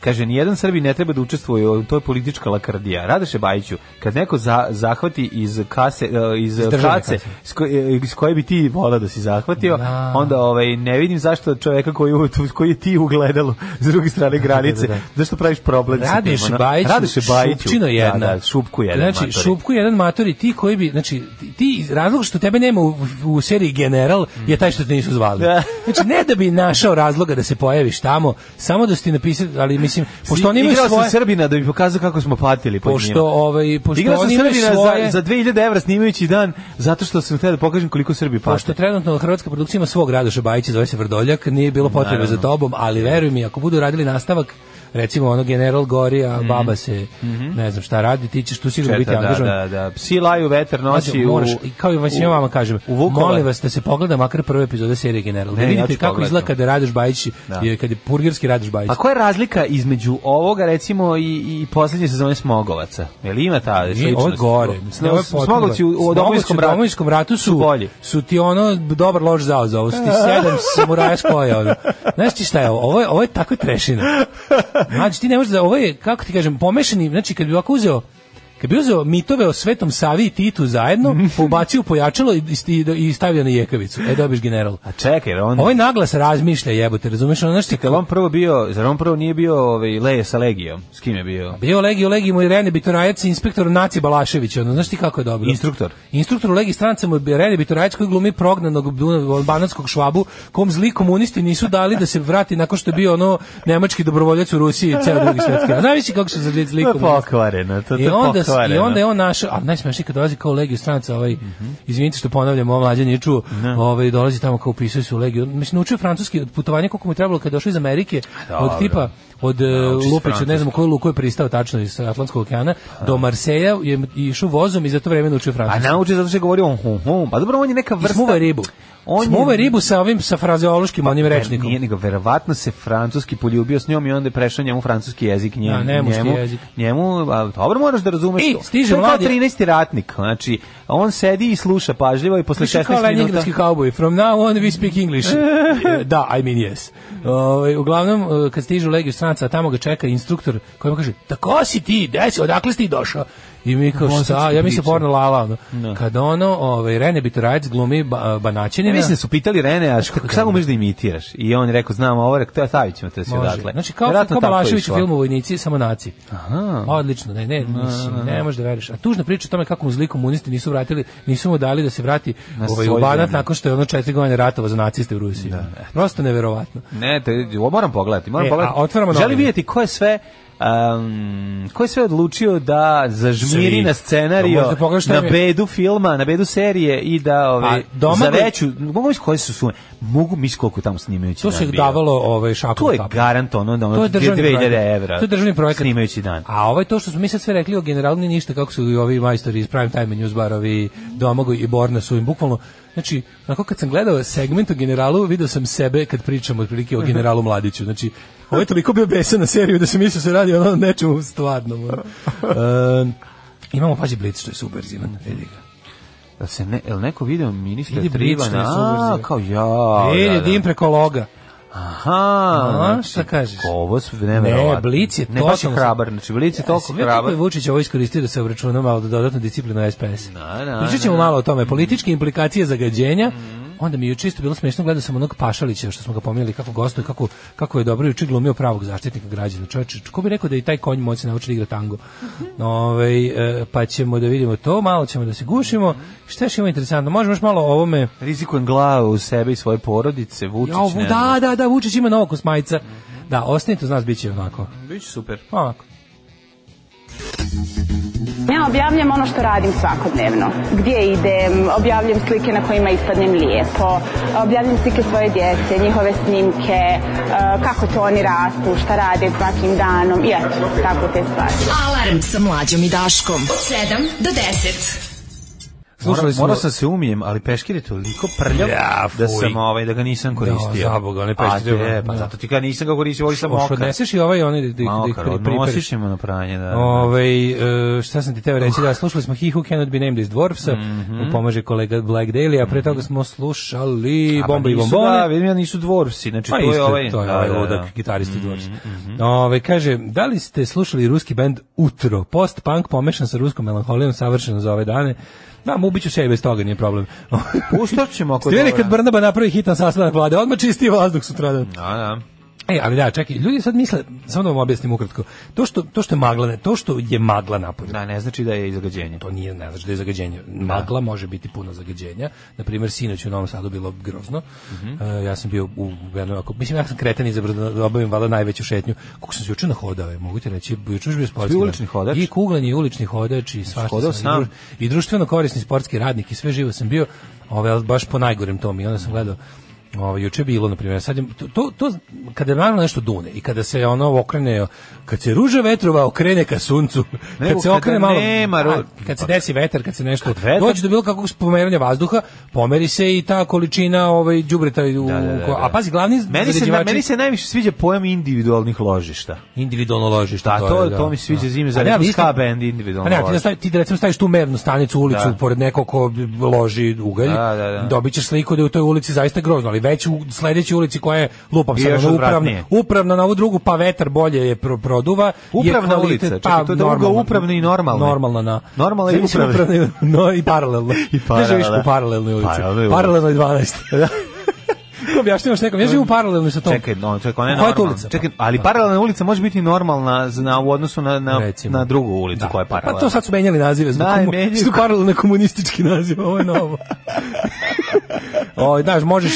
Speaker 6: Kaže, nijedan Srbin ne treba da učestvuje, u- to je politička lakardija. Radoše Bajiću, kad neko za, zahvati iz kase, e, iz,
Speaker 5: državne
Speaker 6: kace,
Speaker 5: kase.
Speaker 6: s koje, iz koje bi ti volao da si zahvatio,
Speaker 5: Da.
Speaker 6: onda ovaj, ne vidim zašto čoveka koji, u- tu- koji je ti ugledalo s druge strane granice,
Speaker 5: da, da.
Speaker 6: zašto praviš problem sa tim,
Speaker 5: Radoš
Speaker 6: ono?
Speaker 5: Bajić,
Speaker 6: Radoše Bajiću,
Speaker 5: šupčino jedna.
Speaker 6: Da, da, šupku jedan.
Speaker 5: Znači,
Speaker 6: matori.
Speaker 5: šupku jedan matori, ti koji bi, znači, ti- ti, razlog što tebe nema u, u seriji General je taj što te nisu zvali.
Speaker 6: Da.
Speaker 5: Znači, ne da bi našao razloga da se pojaviš tamo, samo da su ti napisali, ali mislim, pošto oni imaju
Speaker 6: Igrao
Speaker 5: svoje...
Speaker 6: sam Srbina da bi pokazao kako smo patili po njima.
Speaker 5: Pošto, ovaj, pošto
Speaker 6: Igrao sam
Speaker 5: oni imaju
Speaker 6: Srbina za,
Speaker 5: svoje...
Speaker 6: za 2000 evra snimajući dan zato što sam htio da pokažem koliko Srbi pate.
Speaker 5: Pošto trenutno hrvatska produkcija ima svog Radoša Bajića, zove se Vrdoljak, nije bilo potrebe za tobom, ali veruj mi, ako budu radili nastavak, recimo ono general gori, a baba se ne znam šta radi, ti ćeš tu sigurno biti
Speaker 6: Mhm. Četa, da,
Speaker 5: angažovan.
Speaker 6: da, da. Psi laju vetar noći
Speaker 5: Znači, moraš,
Speaker 6: u...
Speaker 5: i kao i vas ja vama kažem,
Speaker 6: u Vukovar.
Speaker 5: molim vas da se pogleda makar prve epizode serije General. Da
Speaker 6: Ne, ja
Speaker 5: vidite
Speaker 6: ću
Speaker 5: kako
Speaker 6: pogledati.
Speaker 5: izgleda kada Radoš Bajić,
Speaker 6: Da.
Speaker 5: je, kada je purgerski Radoš Bajić.
Speaker 6: A koja je razlika između ovoga, recimo, i, i posljednje sezone Smogovaca? Je li ima ta
Speaker 5: Nije,
Speaker 6: sličnost?
Speaker 5: ovo je gore. Ne, ovo je potpuno
Speaker 6: Smogovci
Speaker 5: gore.
Speaker 6: u, u domovinskom
Speaker 5: Smogovci
Speaker 6: ratu,
Speaker 5: u Domovinskom ratu su,
Speaker 6: bolji.
Speaker 5: su ti ono dobar loš zao za ovo. Su ti sedam samuraja skoja. Ono. Znaš ti šta je ovo? Ovo je, ovo je tako trešina. Znači ti ne možeš da, ovo je, kako ti kažem, pomešani, znači kad bi ovako uzeo Kad bi uzeo mitove o Svetom Savi i Titu zajedno, pobacio u pojačalo i, i, i stavio na jekavicu. E, dobiš general.
Speaker 6: A čekaj, jer on...
Speaker 5: Ovaj naglas razmišlja, jebote, razumeš? Ono, znaš ti,
Speaker 6: Jel on prvo bio, zar on prvo nije bio ovaj, Leje sa Legijom? S kim je bio?
Speaker 5: Bio Legi u Legi mu je Rene Bitorajac, inspektor Naci Balašević, ono, znaš ti kako je dobro?
Speaker 6: Instruktor.
Speaker 5: Instruktor u Legi stranca mu je Rene Bitorajac koji glumi prognanog Dunav- banatskog švabu, kom zli komunisti nisu dali da se vrati nakon što je bio ono nemački dobrovoljac u Rusiji i ceo drugi svetski. rat. Znaš ti kako su zli, zli
Speaker 6: To je
Speaker 5: komunisti?
Speaker 6: pokvareno, to, to
Speaker 5: I
Speaker 6: je
Speaker 5: onda, s-
Speaker 6: pokvareno.
Speaker 5: I onda je on našao, a najsmešnije kad dolazi kao u legiju stranaca, ovaj, izvinite što ponavljam, ovo mlađe nije čuo, ovaj, dolazi tamo kao upisuje se u legiju. Mislim, naučio je francuski od putovanja koliko mu je trebalo kad je došao iz Amerike, od tipa, od e,
Speaker 6: se
Speaker 5: Lupića, ne znam u koju luku je pristao tačno iz Atlantskog okeana, do Marseja je išao vozom i za to vreme naučio
Speaker 6: A
Speaker 5: francuski.
Speaker 6: nauči zato što je govorio on hum hum. Pa dobro, on je neka
Speaker 5: I
Speaker 6: vrsta...
Speaker 5: smuvao je ribu.
Speaker 6: On je-
Speaker 5: Smuvao je ribu sa ovim, sa frazeološkim onim
Speaker 6: Ver-
Speaker 5: rečnikom.
Speaker 6: Nije, nego verovatno se francuski poljubio s njom i onda je prešao njemu francuski jezik, njem,
Speaker 5: Da,
Speaker 6: njemu,
Speaker 5: nemuški jezik.
Speaker 6: njemu, a, dobro moraš da razumeš
Speaker 5: I,
Speaker 6: to.
Speaker 5: stiže
Speaker 6: to je kao
Speaker 5: mladi-
Speaker 6: 13. ratnik, znači, on sedi i sluša pažljivo i posle
Speaker 5: Više
Speaker 6: 16
Speaker 5: kao
Speaker 6: minuta...
Speaker 5: leningradski cowboy. From now on we speak English. da, I mean yes. Ovaj, uglavnom, e, kad stižu legiju stranca, a tamo ga čeka instruktor koji mu kaže, da ko si ti, gde si, odakle si ti došao? I mi kao,
Speaker 6: Bosanski
Speaker 5: šta, ja
Speaker 6: priča.
Speaker 5: mislim porno lala. Ono. Kad ono, ovaj, Rene Bitorajac glumi ba, eh,
Speaker 6: Ja
Speaker 5: banaćenina.
Speaker 6: mislim da su pitali Rene, a šta, šta
Speaker 5: dobro.
Speaker 6: umeš da imitiraš? I on je rekao, znam ovo, rekao, "Te, stavit ćemo te se
Speaker 5: Može.
Speaker 6: odatle.
Speaker 5: Znači kao,
Speaker 6: Verovatno
Speaker 5: kao
Speaker 6: tako je
Speaker 5: Balašević u
Speaker 6: išlo.
Speaker 5: filmu Vojnici, samo naci. Odlično, ne, ne, mislim, ne možeš da veriš. A tužna priča o tome kako mu zli komunisti nisu vratili, nisu mu dali da se vrati ovaj, u
Speaker 6: svoju
Speaker 5: Banat
Speaker 6: zemlju.
Speaker 5: nakon što je ono četiri godine ratova za naciste u Rusiji. Prosto neverovatno.
Speaker 6: Ne, te, ovo moram pogledati, moram
Speaker 5: E,
Speaker 6: pogledati.
Speaker 5: a otvaramo
Speaker 6: Želim
Speaker 5: novine.
Speaker 6: vidjeti ko je sve Um, ko je sve odlučio da zažmiri
Speaker 5: Svi.
Speaker 6: na
Speaker 5: Da,
Speaker 6: scenariju,
Speaker 5: možda pogledaš šta
Speaker 6: na
Speaker 5: im je-
Speaker 6: bedu filma, na bedu serije i da ove,
Speaker 5: A Domagoj-
Speaker 6: za veću, mogu misli koje su sume, mogu misli koliko je tamo snimajući
Speaker 5: To
Speaker 6: dan
Speaker 5: se
Speaker 6: bio.
Speaker 5: davalo ovaj šakom
Speaker 6: To je
Speaker 5: kapom.
Speaker 6: garant ono da ono
Speaker 5: To je državni
Speaker 6: 2000
Speaker 5: projekat.
Speaker 6: evra
Speaker 5: To je državni projekat.
Speaker 6: snimajući dan.
Speaker 5: A ovaj to što smo mi sad sve rekli o generalni ništa kako su i ovi majstori iz Prime Time i Newsbar, ovi Domagoj i Borna su im bukvalno Znači, onako kad sam gledao segment o generalu, video sam sebe kad pričam otprilike o generalu Mladiću. Znači, ovo je toliko bio besan na seriju da sam mislio se radi o ono nečemu stvarnom. ono. Ehm, imamo, pađi, Blitz što je subverzivan. Vidi ga.
Speaker 6: Jel se ne, jel neko video ministra
Speaker 5: Vidi Blitz što je
Speaker 6: Trivana? A,
Speaker 5: subverzivan.
Speaker 6: kao ja.
Speaker 5: Vidi,
Speaker 6: da, da.
Speaker 5: dim preko loga.
Speaker 6: Aha,
Speaker 5: A,
Speaker 6: znači,
Speaker 5: šta kažeš?
Speaker 6: Ovo su
Speaker 5: Ne,
Speaker 6: neverovatno.
Speaker 5: Blic je
Speaker 6: Ne, baš je
Speaker 5: totalno-
Speaker 6: hrabar, znači Blic je toliko
Speaker 5: Sve kako
Speaker 6: hrabar.
Speaker 5: je Vučić ovo iskoristio da se obračuna malo da dodatno disciplinu SPS.
Speaker 6: Da, da,
Speaker 5: Pričat ćemo
Speaker 6: da. Mm-hmm.
Speaker 5: malo o tome. Političke implikacije zagađenja, onda mi je čisto bilo smešno, gledao sam onog Pašalića što smo ga pominjali kako gostuje, kako kako je dobro juče glumio pravog zaštitnika građana. Čoveče, ko bi rekao da i taj konj moći nauči da igra tango.
Speaker 6: Mm-hmm.
Speaker 5: Ovaj, e, pa ćemo da vidimo to, malo ćemo da se gušimo.
Speaker 6: Mm-hmm.
Speaker 5: Šta još ima interesantno? Možemo još malo o ovome.
Speaker 6: Rizikujem glavu u sebe i svoje porodice, Vučić,
Speaker 5: Ja,
Speaker 6: ne Mm-hmm.
Speaker 5: ovu,
Speaker 6: znam.
Speaker 5: da, da, da, Vučić ima novog kosmajca. Da, ostanite uz nas, bit će onako.
Speaker 6: Biće super.
Speaker 5: Onako.
Speaker 10: Ja objavljam ono što radim svakodnevno. Gdje idem, objavljam slike na kojima ispadnem lijepo, objavljam slike svoje djece, njihove snimke, eh, kako to oni rastu, šta rade svakim danom i eto, tako te stvari.
Speaker 4: Alarm sa mlađom i Daškom. Od 7 do 10.
Speaker 5: Slušali smo...
Speaker 6: Morao sam se umijem, ali peškir je toliko prljav
Speaker 5: Ja,
Speaker 6: da
Speaker 5: fuj.
Speaker 6: sam ovaj da ga nisam koristio.
Speaker 5: Da, zaboga, onaj peškir je-
Speaker 6: A te, pa
Speaker 5: da.
Speaker 6: zato ti ga nisam ga koristio, ovdje sam
Speaker 5: Oš,
Speaker 6: mokar.
Speaker 5: odneseš i ovaj i oni da, da, ih- da ih
Speaker 6: Mokar,
Speaker 5: pri- priperiš.
Speaker 6: odnosiš ima na pranje, da.
Speaker 5: Ove, Ovaj, e, šta sam ti teo reći, da, slušali smo He Who Cannot Be Named is Dwarfsa,
Speaker 6: Mhm.
Speaker 5: pomaže kolega Black Daily, a pre toga smo slušali
Speaker 6: A, pa
Speaker 5: Bombe i
Speaker 6: nisu,
Speaker 5: bombone.
Speaker 6: Da, vidim ja nisu dvorvsi, znači
Speaker 5: Pa
Speaker 6: to je
Speaker 5: isto,
Speaker 6: ovaj.
Speaker 5: to je
Speaker 6: da,
Speaker 5: ovaj
Speaker 6: da, Mhm, da.
Speaker 5: ludak, gitaristi Dwarfs. Ove, kaže, da li ste slušali ruski band Utro? Post-punk pomešan sa ruskom melanholijom, savršeno za ove dane. Da, mu ubiću še i bez toga, nije problem.
Speaker 6: Pustat ćemo ako
Speaker 5: Ste vidjeli
Speaker 6: dobro.
Speaker 5: kad Brnaba napravi hitan sastanak vlade, odmah čisti vazduh sutradan.
Speaker 6: Da, da.
Speaker 5: E, ali da, čekaj, ljudi sad misle, samo da vam objasnim ukratko, to što, to što je magla, ne, to što je magla napolju,
Speaker 6: Da, ne znači da je izagađenje.
Speaker 5: to nije, ne znači da je zagađenje. Magla može biti puno zagađenja. Na primjer, sinoć u Novom Sadu bilo grozno.
Speaker 6: Mhm.
Speaker 5: E, ja sam bio u- u jednoj, ako, mislim, ja sam kreten i zabrano da obavim valjda najveću šetnju. Kako sam se juče nahodao, je, mogu ti reći, juče je bio sportski.
Speaker 6: bio
Speaker 5: dan.
Speaker 6: ulični hodač? Znači,
Speaker 5: I kuglan i ulični hodač i svašta
Speaker 6: hodao
Speaker 5: sam. I,
Speaker 6: sam?
Speaker 5: druž- I društveno korisni sportski radnik i sve živo sam bio, ovaj, ali baš po najgorem tom. I onda sam gledao Ovaj juče je bilo na primjer sad je, to, to, to kada naravno nešto dune i kada se ono okrene kad se ruža vetrova okrene ka suncu
Speaker 6: Nego
Speaker 5: kad se
Speaker 6: kada
Speaker 5: okrene malo
Speaker 6: nema ru-
Speaker 5: A, kad se desi vetar, kad se nešto
Speaker 6: vetar-
Speaker 5: dođe do bilo kakvog pomeranja vazduha, pomeri se i ta količina ovaj đubreta u
Speaker 6: Da, da, da, da.
Speaker 5: a pazi glavni
Speaker 6: Meni se, na-
Speaker 5: zagađivači-
Speaker 6: meni se najviše sviđa pojam individualnih ložišta.
Speaker 5: individualno ložište.
Speaker 6: Da, Pa to-
Speaker 5: je, da.
Speaker 6: to mi se sviđa zime za
Speaker 5: A ne, ali
Speaker 6: recimo
Speaker 5: isto-
Speaker 6: ska band individualno
Speaker 5: A ne, ti, da
Speaker 6: ložište.
Speaker 5: stavi, ti da recimo staviš tu mernu stanicu u ulicu
Speaker 6: Da.
Speaker 5: pored nekog ko loži ugalj,
Speaker 6: Da, da, da.
Speaker 5: dobit ćeš sliku da je u toj ulici zaista grozno, ali već u sledećoj ulici koja je, lupam
Speaker 6: I
Speaker 5: sad,
Speaker 6: još
Speaker 5: ono, upravna,
Speaker 6: odvratnije.
Speaker 5: upravna na ovu drugu, pa vetar bolje je pro, produva.
Speaker 6: Upravna
Speaker 5: je kvalitet- pa
Speaker 6: ulica, čekaj, to je druga
Speaker 5: normalna.
Speaker 6: upravna i normalna.
Speaker 5: Normalna, na.
Speaker 6: Normalna i
Speaker 5: Sad mislim
Speaker 6: upravna.
Speaker 5: upravna i- no, i paralelna.
Speaker 6: I paralelna.
Speaker 5: Ne živiš u paralelnoj ulici.
Speaker 6: Paralelnoj ulici.
Speaker 5: Paralelnoj 12. Ko objašnjavaš nekom? Ja živim u paralelnoj sa tom.
Speaker 6: Čekaj, no, čekaj, ona je
Speaker 5: Koja je to
Speaker 6: normalna.
Speaker 5: ulica?
Speaker 6: Čekaj, ali paralelna ulica može biti normalna za- na, u odnosu na, na,
Speaker 5: Recimo.
Speaker 6: na drugu ulicu koja je paralelna. pa.
Speaker 5: Pa to sad su menjali nazive. Zbog
Speaker 6: Da,
Speaker 5: komu,
Speaker 6: menjaju.
Speaker 5: Su paralelno komunistički naziv, ovo je novo. o, znaš, možeš,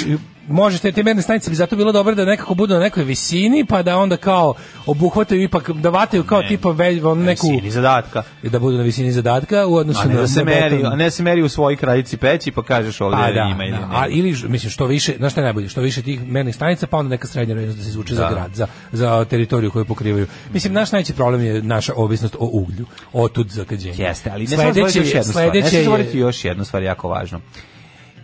Speaker 5: možeš te, te merne stanice bi zato bilo dobro da nekako budu na nekoj visini, pa da onda kao obuhvataju ipak, da vataju kao tipa ve, on neku,
Speaker 6: Visini zadatka.
Speaker 5: da budu na visini zadatka u odnosu
Speaker 6: A ne
Speaker 5: na,
Speaker 6: da se
Speaker 5: na
Speaker 6: meri,
Speaker 5: beton.
Speaker 6: a ne se meri u svojoj kraljici peći pa kažeš ovdje
Speaker 5: Pa da,
Speaker 6: ima ili
Speaker 5: da.
Speaker 6: nema.
Speaker 5: A, ili ž- mislim što više, znaš šta je najbolje, što više tih mernih stanica, pa onda neka srednja vrednost da se izvuče za grad, za, za teritoriju koju pokrivaju. Mislim, naš najveći problem je naša ovisnost o uglju, otud zagađenje.
Speaker 6: Jeste, ali ne smemo zaboraviti još jednu stvar. Ne
Speaker 5: sledeće
Speaker 6: smemo
Speaker 5: je-
Speaker 6: zaboraviti još jednu stvar jako važno.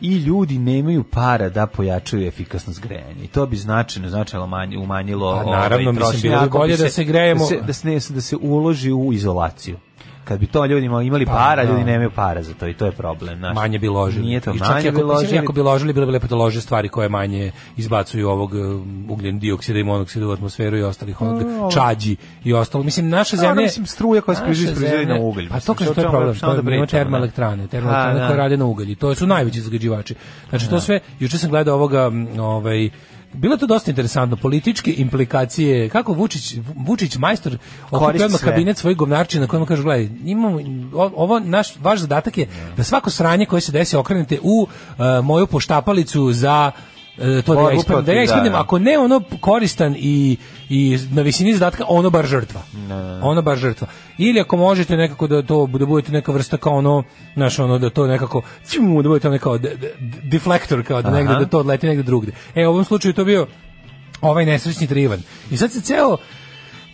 Speaker 6: I ljudi nemaju para da pojačaju efikasnost grejanja. I to bi značajno značajno manje, umanjilo ovaj,
Speaker 5: Pa naravno, mislim,
Speaker 6: trošenje.
Speaker 5: bilo bi
Speaker 6: Ako
Speaker 5: bolje da se grejemo-
Speaker 6: Da se, da, se, ne- da se uloži u izolaciju. Kad bi to ljudi imali- imali para,
Speaker 5: Pa, da.
Speaker 6: ljudi nemaju para za to i to je problem. znaš.
Speaker 5: manje bi ložili.
Speaker 6: Nije to
Speaker 5: I čak i
Speaker 6: manje
Speaker 5: ako,
Speaker 6: bi
Speaker 5: mislim,
Speaker 6: ložili.
Speaker 5: Ako bi ložili, bilo bi lepo da lože stvari koje manje izbacuju ovog um, ugljen dioksida i monoksida u atmosferu i ostalih onog čađi i ostalo. Mislim, naša
Speaker 6: Dobro,
Speaker 5: zemlja...
Speaker 6: mislim, struja koja se
Speaker 5: Naša
Speaker 6: proizvodi, proizvodi
Speaker 5: zemlja-
Speaker 6: na ugalj.
Speaker 5: Pa to
Speaker 6: Mislim, ono
Speaker 5: kažem,
Speaker 6: što
Speaker 5: to je
Speaker 6: ćemo-
Speaker 5: problem.
Speaker 6: šta onda
Speaker 5: To je- imamo
Speaker 6: pričamo, ne?
Speaker 5: termoelektrane, termoelektrane
Speaker 6: A, da.
Speaker 5: koje rade na ugalj i to su najveći zagađivači. Znači, to sve, juče sam gledao ovoga, m, ovaj, Bilo je to dosta interesantno, političke implikacije, kako Vučić, Vučić majstor okupio
Speaker 6: Koristi
Speaker 5: odmah
Speaker 6: sve.
Speaker 5: kabinet svojih govnarčina na kojima kažu, gledaj, imamo, o- ovo, naš, vaš zadatak je da svako sranje koje se desi okrenete u e, moju poštapalicu za e, to da ja
Speaker 6: Borbu
Speaker 5: ispadnem, da
Speaker 6: protiv,
Speaker 5: ja
Speaker 6: da,
Speaker 5: ispadnem,
Speaker 6: da.
Speaker 5: ako ne ono koristan i, i na visini zadatka, ono bar žrtva. Ono bar žrtva. Ili ako možete nekako da to da budete neka vrsta kao ono, znaš, ono da to nekako ćum, da budete ono kao de- de- deflektor kao da negde
Speaker 6: Aha.
Speaker 5: da to odleti negde drugde. E, u ovom slučaju je to bio ovaj nesrećni Trivan. I sad se ceo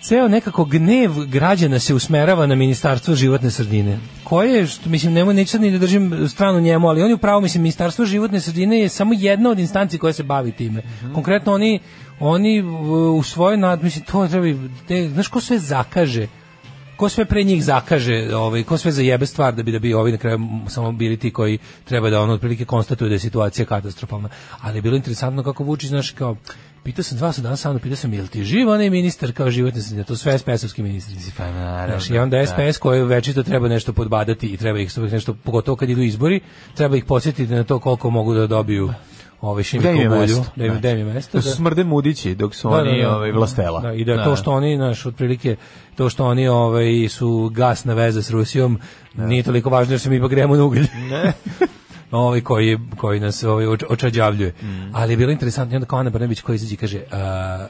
Speaker 5: ceo nekako gnev građana se usmerava na ministarstvo životne sredine. Koje, je, što, mislim, nemo, neću sad ni da držim stranu njemu, ali on je upravo, mislim, ministarstvo životne sredine je samo jedna od instanci koja se bavi time. Konkretno oni, oni uh, u svojoj nad, mislim, to treba, i- te, znaš ko sve zakaže ko sve pre njih zakaže, ovaj, ko sve zajebe stvar da bi da bi ovi na kraju m- samo bili ti koji treba da ono otprilike konstatuju da je situacija katastrofalna. Ali je bilo interesantno kako Vučić, znaš, kao, pitao sam dva sam danas samo, pitao sam, jel ti živ onaj ministar kao životne sredine, to su sve SPS-ovski ministri.
Speaker 6: Pa naravno,
Speaker 5: Znaš, I onda SPS koji večito treba nešto podbadati i treba ih sve nešto, pogotovo kad idu izbori, treba ih podsjetiti na to koliko mogu da dobiju ovaj
Speaker 6: Gde im je
Speaker 5: šimiku bulju,
Speaker 6: mesto?
Speaker 5: da im da im je mesto.
Speaker 6: Da su smrde mudići dok su oni ovaj, vlastela.
Speaker 5: Da, I da, to što oni, znaš, otprilike, to što oni ovaj, su gasna veza s Rusijom, nije toliko važno jer se mi ipak gremo na ugalj. Ne. ovaj koji koji nas ovaj oč- očađavljuje.
Speaker 6: Mm.
Speaker 5: Ali je bilo interesantno i onda kao Ana Brnabić koja izađe i kaže a,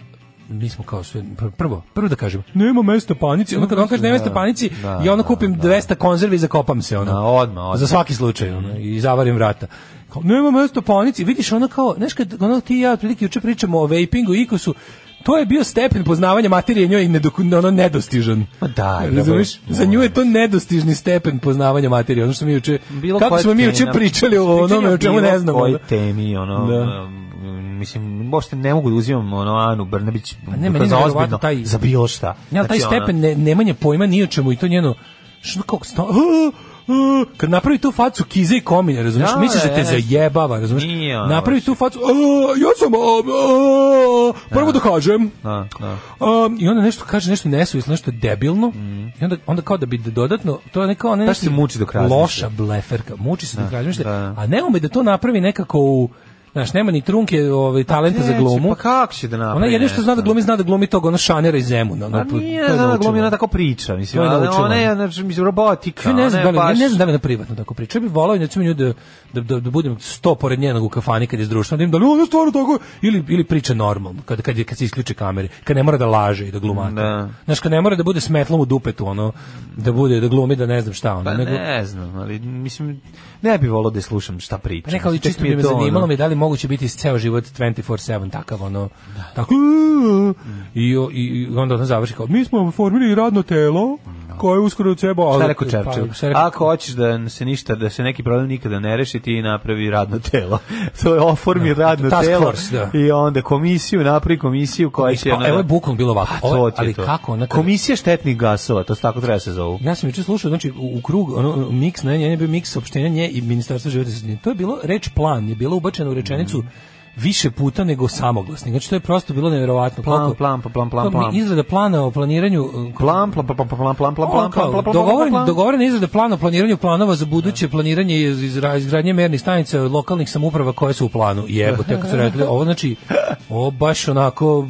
Speaker 5: mi smo kao sve, pr- prvo, prvo da kažem, nema mesta panici, onda kad on kaže nema mesta panici,
Speaker 6: Da,
Speaker 5: ja onda
Speaker 6: da,
Speaker 5: kupim 200 konzervi i zakopam se, ono.
Speaker 6: Da, odmah, Mhm. odmah.
Speaker 5: Za svaki slučaj, ono, i zavarim vrata. Kao, nema mesta panici, vidiš ono kao, znaš kad ono ti i ja otprilike juče pričamo o vapingu i ikosu, to je bio stepen poznavanja materije njoj nedoku- ono nedostižan.
Speaker 6: Ma daj, da,
Speaker 5: Razumeš? Za nju je to nedostižni stepen poznavanja materije, ono što mi juče,
Speaker 6: bilo
Speaker 5: kako
Speaker 6: koja
Speaker 5: smo mi juče
Speaker 6: tema,
Speaker 5: pričali o
Speaker 6: pričanje
Speaker 5: onome o čemu
Speaker 6: bilo
Speaker 5: ne znamo.
Speaker 6: kojoj
Speaker 5: da.
Speaker 6: temi, ono,
Speaker 5: Da.
Speaker 6: um, mislim, možete ne mogu da uzimam ono, Anu Brnebić
Speaker 5: Pa ne, meni je
Speaker 6: za ozbiljno,
Speaker 5: nevjerovatno taj-
Speaker 6: za bilo šta.
Speaker 5: Ja, taj
Speaker 6: Znači,
Speaker 5: stepen
Speaker 6: ono,
Speaker 5: ne, nemanja pojma ni o čemu i to njeno što kako sto, "Ah, kad napravi tu facu kize i komine, razumiješ,
Speaker 6: Da,
Speaker 5: misliš da te
Speaker 6: jest.
Speaker 5: zajebava, razumiješ,
Speaker 6: Nije ono ona
Speaker 5: napravi
Speaker 6: baš.
Speaker 5: tu facu, "A, ja sam, a, a, prvo da kažem,
Speaker 6: Da, da.
Speaker 5: A, i onda nešto kaže, nešto nesuvisno, nešto debilno, i onda, onda kao da bi dodatno, to je neka ona
Speaker 6: Mhm. Baš se muči dok razmišlja.
Speaker 5: loša bleferka, muči se dok razmišlja,
Speaker 6: da.
Speaker 5: a ne ume da to napravi nekako u, znaš, nema ni trunke ovaj, talenta za
Speaker 6: neće,
Speaker 5: glumu,
Speaker 6: Pa kako će da napravi?
Speaker 5: ona jedino što zna da
Speaker 6: nešto?
Speaker 5: glumi, zna da glumi tog ono šanera iz Zemuna. Ono,
Speaker 6: A
Speaker 5: po-
Speaker 6: nije
Speaker 5: to je
Speaker 6: da ona
Speaker 5: naučila.
Speaker 6: glumi, ona tako priča, mislim,
Speaker 5: To je
Speaker 6: ona,
Speaker 5: naučila.
Speaker 6: ona je, znači, mislim, robotika.
Speaker 5: Ja ne znam da
Speaker 6: ona
Speaker 5: li,
Speaker 6: je
Speaker 5: ja
Speaker 6: baš-
Speaker 5: ne znam da li na privatno tako priča. Ja bih volao da nju da, da, da, da budem sto pored njenog u kafani kad je s društvom, da im da li ono stvarno tako ili ili priča normalno kad kad je- kad se isključe kamere, kad ne mora da laže i da glumata.
Speaker 6: Da.
Speaker 5: Znaš, kad ne mora da bude smetlom u dupetu ono da bude da glumi da ne znam šta ono.
Speaker 6: Pa
Speaker 5: nego,
Speaker 6: ne znam, ali mislim, ne bi volao da je slušam šta priča.
Speaker 5: Pa neka ali
Speaker 6: Mislim,
Speaker 5: čisto
Speaker 6: tek je
Speaker 5: bi me
Speaker 6: to,
Speaker 5: zanimalo
Speaker 6: ono-
Speaker 5: mi da li moguće biti ceo život 24/7 takav ono tako i, o- i i onda on završi kao mi smo formirali radno telo koje uskoro treba
Speaker 6: Šta je rekao
Speaker 5: Čevčev?
Speaker 6: Čevčev?
Speaker 5: Pa,
Speaker 6: Ako hoćeš da se ništa, da se neki problem nikada ne reši, ti napravi radno telo. to je oformi radno
Speaker 5: task
Speaker 6: telo
Speaker 5: force, da.
Speaker 6: i onda komisiju, napravi komisiju koja će... ono-
Speaker 5: evo je bukvalno bilo ovako.
Speaker 6: A, to
Speaker 5: Ovo,
Speaker 6: ti je
Speaker 5: ali
Speaker 6: to.
Speaker 5: kako ona
Speaker 6: Komisija štetnih gasova, to se tako treba se zovu.
Speaker 5: Ja sam juče slušao, znači u, u krug, ono miks, ne, ne, ne bio miks opštenja nje i Ministarstva života i sredine. To je bilo reč plan, je bilo ubačeno u rečenicu
Speaker 6: Mhm.
Speaker 5: više puta nego samoglasnik. Znači to je prosto bilo neverovatno.
Speaker 6: Plan,
Speaker 5: koliko-
Speaker 6: plan, pa plan, plan,
Speaker 5: To mi
Speaker 6: plan.
Speaker 5: Izrada plana o planiranju uh,
Speaker 6: Plan, plan, plan, plan, plan, plan, plan, plan, plan, plan, plan,
Speaker 5: dogovoren,
Speaker 6: plan.
Speaker 5: dogovorena izrada plana o planiranju planova za buduće planiranje i iz- izra- izgradnje mernih stanica lokalnih samouprava koje su u planu. Jebote, kad su rekli, ovo znači, ovo baš onako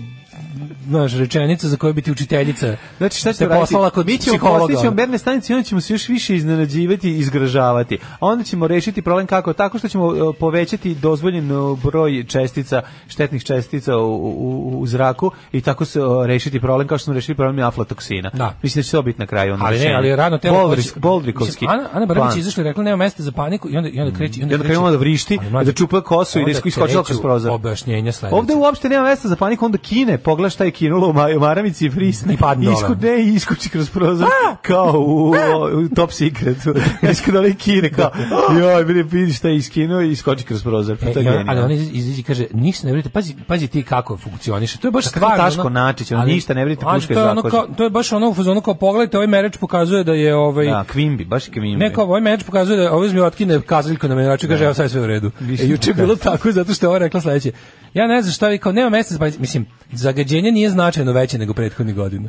Speaker 5: znaš, rečenica za koju bi ti učiteljica
Speaker 6: Znači šta
Speaker 5: te
Speaker 6: ćemo raditi?
Speaker 5: poslala kod
Speaker 6: Mi ćemo
Speaker 5: psihologa.
Speaker 6: postići merne stanice i onda ćemo se još više iznenađivati i izgražavati. A onda ćemo rešiti problem kako? Tako što ćemo e, povećati dozvoljen e, broj čestica, štetnih čestica u, u, u zraku i tako se e, rešiti problem kao što smo rešili problem aflatoksina.
Speaker 5: Da.
Speaker 6: Mislim da će to biti na kraju. ono
Speaker 5: ali ne,
Speaker 6: rešenje.
Speaker 5: ali je radno telo koje
Speaker 6: Boldrik-
Speaker 5: će-
Speaker 6: Boldrikovski.
Speaker 5: Mislim, Ana, Ana Brnabić
Speaker 6: plan. Mm.
Speaker 5: je izašla i rekla nema mesta za paniku i onda i onda kreće
Speaker 6: I onda
Speaker 5: kreće-
Speaker 6: krenula da vrišti,
Speaker 5: Ali, mlađe,
Speaker 6: da čupa kosu i da
Speaker 5: onda
Speaker 6: isk- iskočila
Speaker 5: kreću
Speaker 6: kroz prozor.
Speaker 5: Objašnjenja sledeće.
Speaker 6: Ovde uopšte nema mesta za paniku, onda kine, pogleda šta je kinulo u maj- u maramici i frisne.
Speaker 5: I padne dole.
Speaker 6: Isku, ne, i iskuči kroz prozor, kao u, u Top Secretu. Znači kada ovaj kine, kao, joj, bre, vidi šta je iskinuo i iskoči kroz prozor. Pa
Speaker 5: E,
Speaker 6: to je
Speaker 5: i on- ali
Speaker 6: genijalno.
Speaker 5: oni izađi i kaže ništa ne vjerujte, pazi, pazi ti kako funkcioniše. To je baš
Speaker 6: Kako
Speaker 5: stvarno.
Speaker 6: Taško
Speaker 5: ono-
Speaker 6: Načić, ono,
Speaker 5: ali-
Speaker 6: ništa ne vjerujte,
Speaker 5: ali
Speaker 6: puška
Speaker 5: to
Speaker 6: je
Speaker 5: je ono
Speaker 6: zakožena.
Speaker 5: kao- To je baš ono u fazonu kao pogledajte, ovaj mereč pokazuje da je ovaj
Speaker 6: Da, Kvimbi, baš Kvimbi.
Speaker 5: Neko ovaj meč pokazuje da ovo mi otkine kazaljku na menjaču i kaže evo sad je sve u redu. E, juče je bilo tako zato što je ova rekla sledeće. Ja ne znam šta vi kao nema mesta, pa mislim zagađenje nije značajno veće nego prethodnih godina.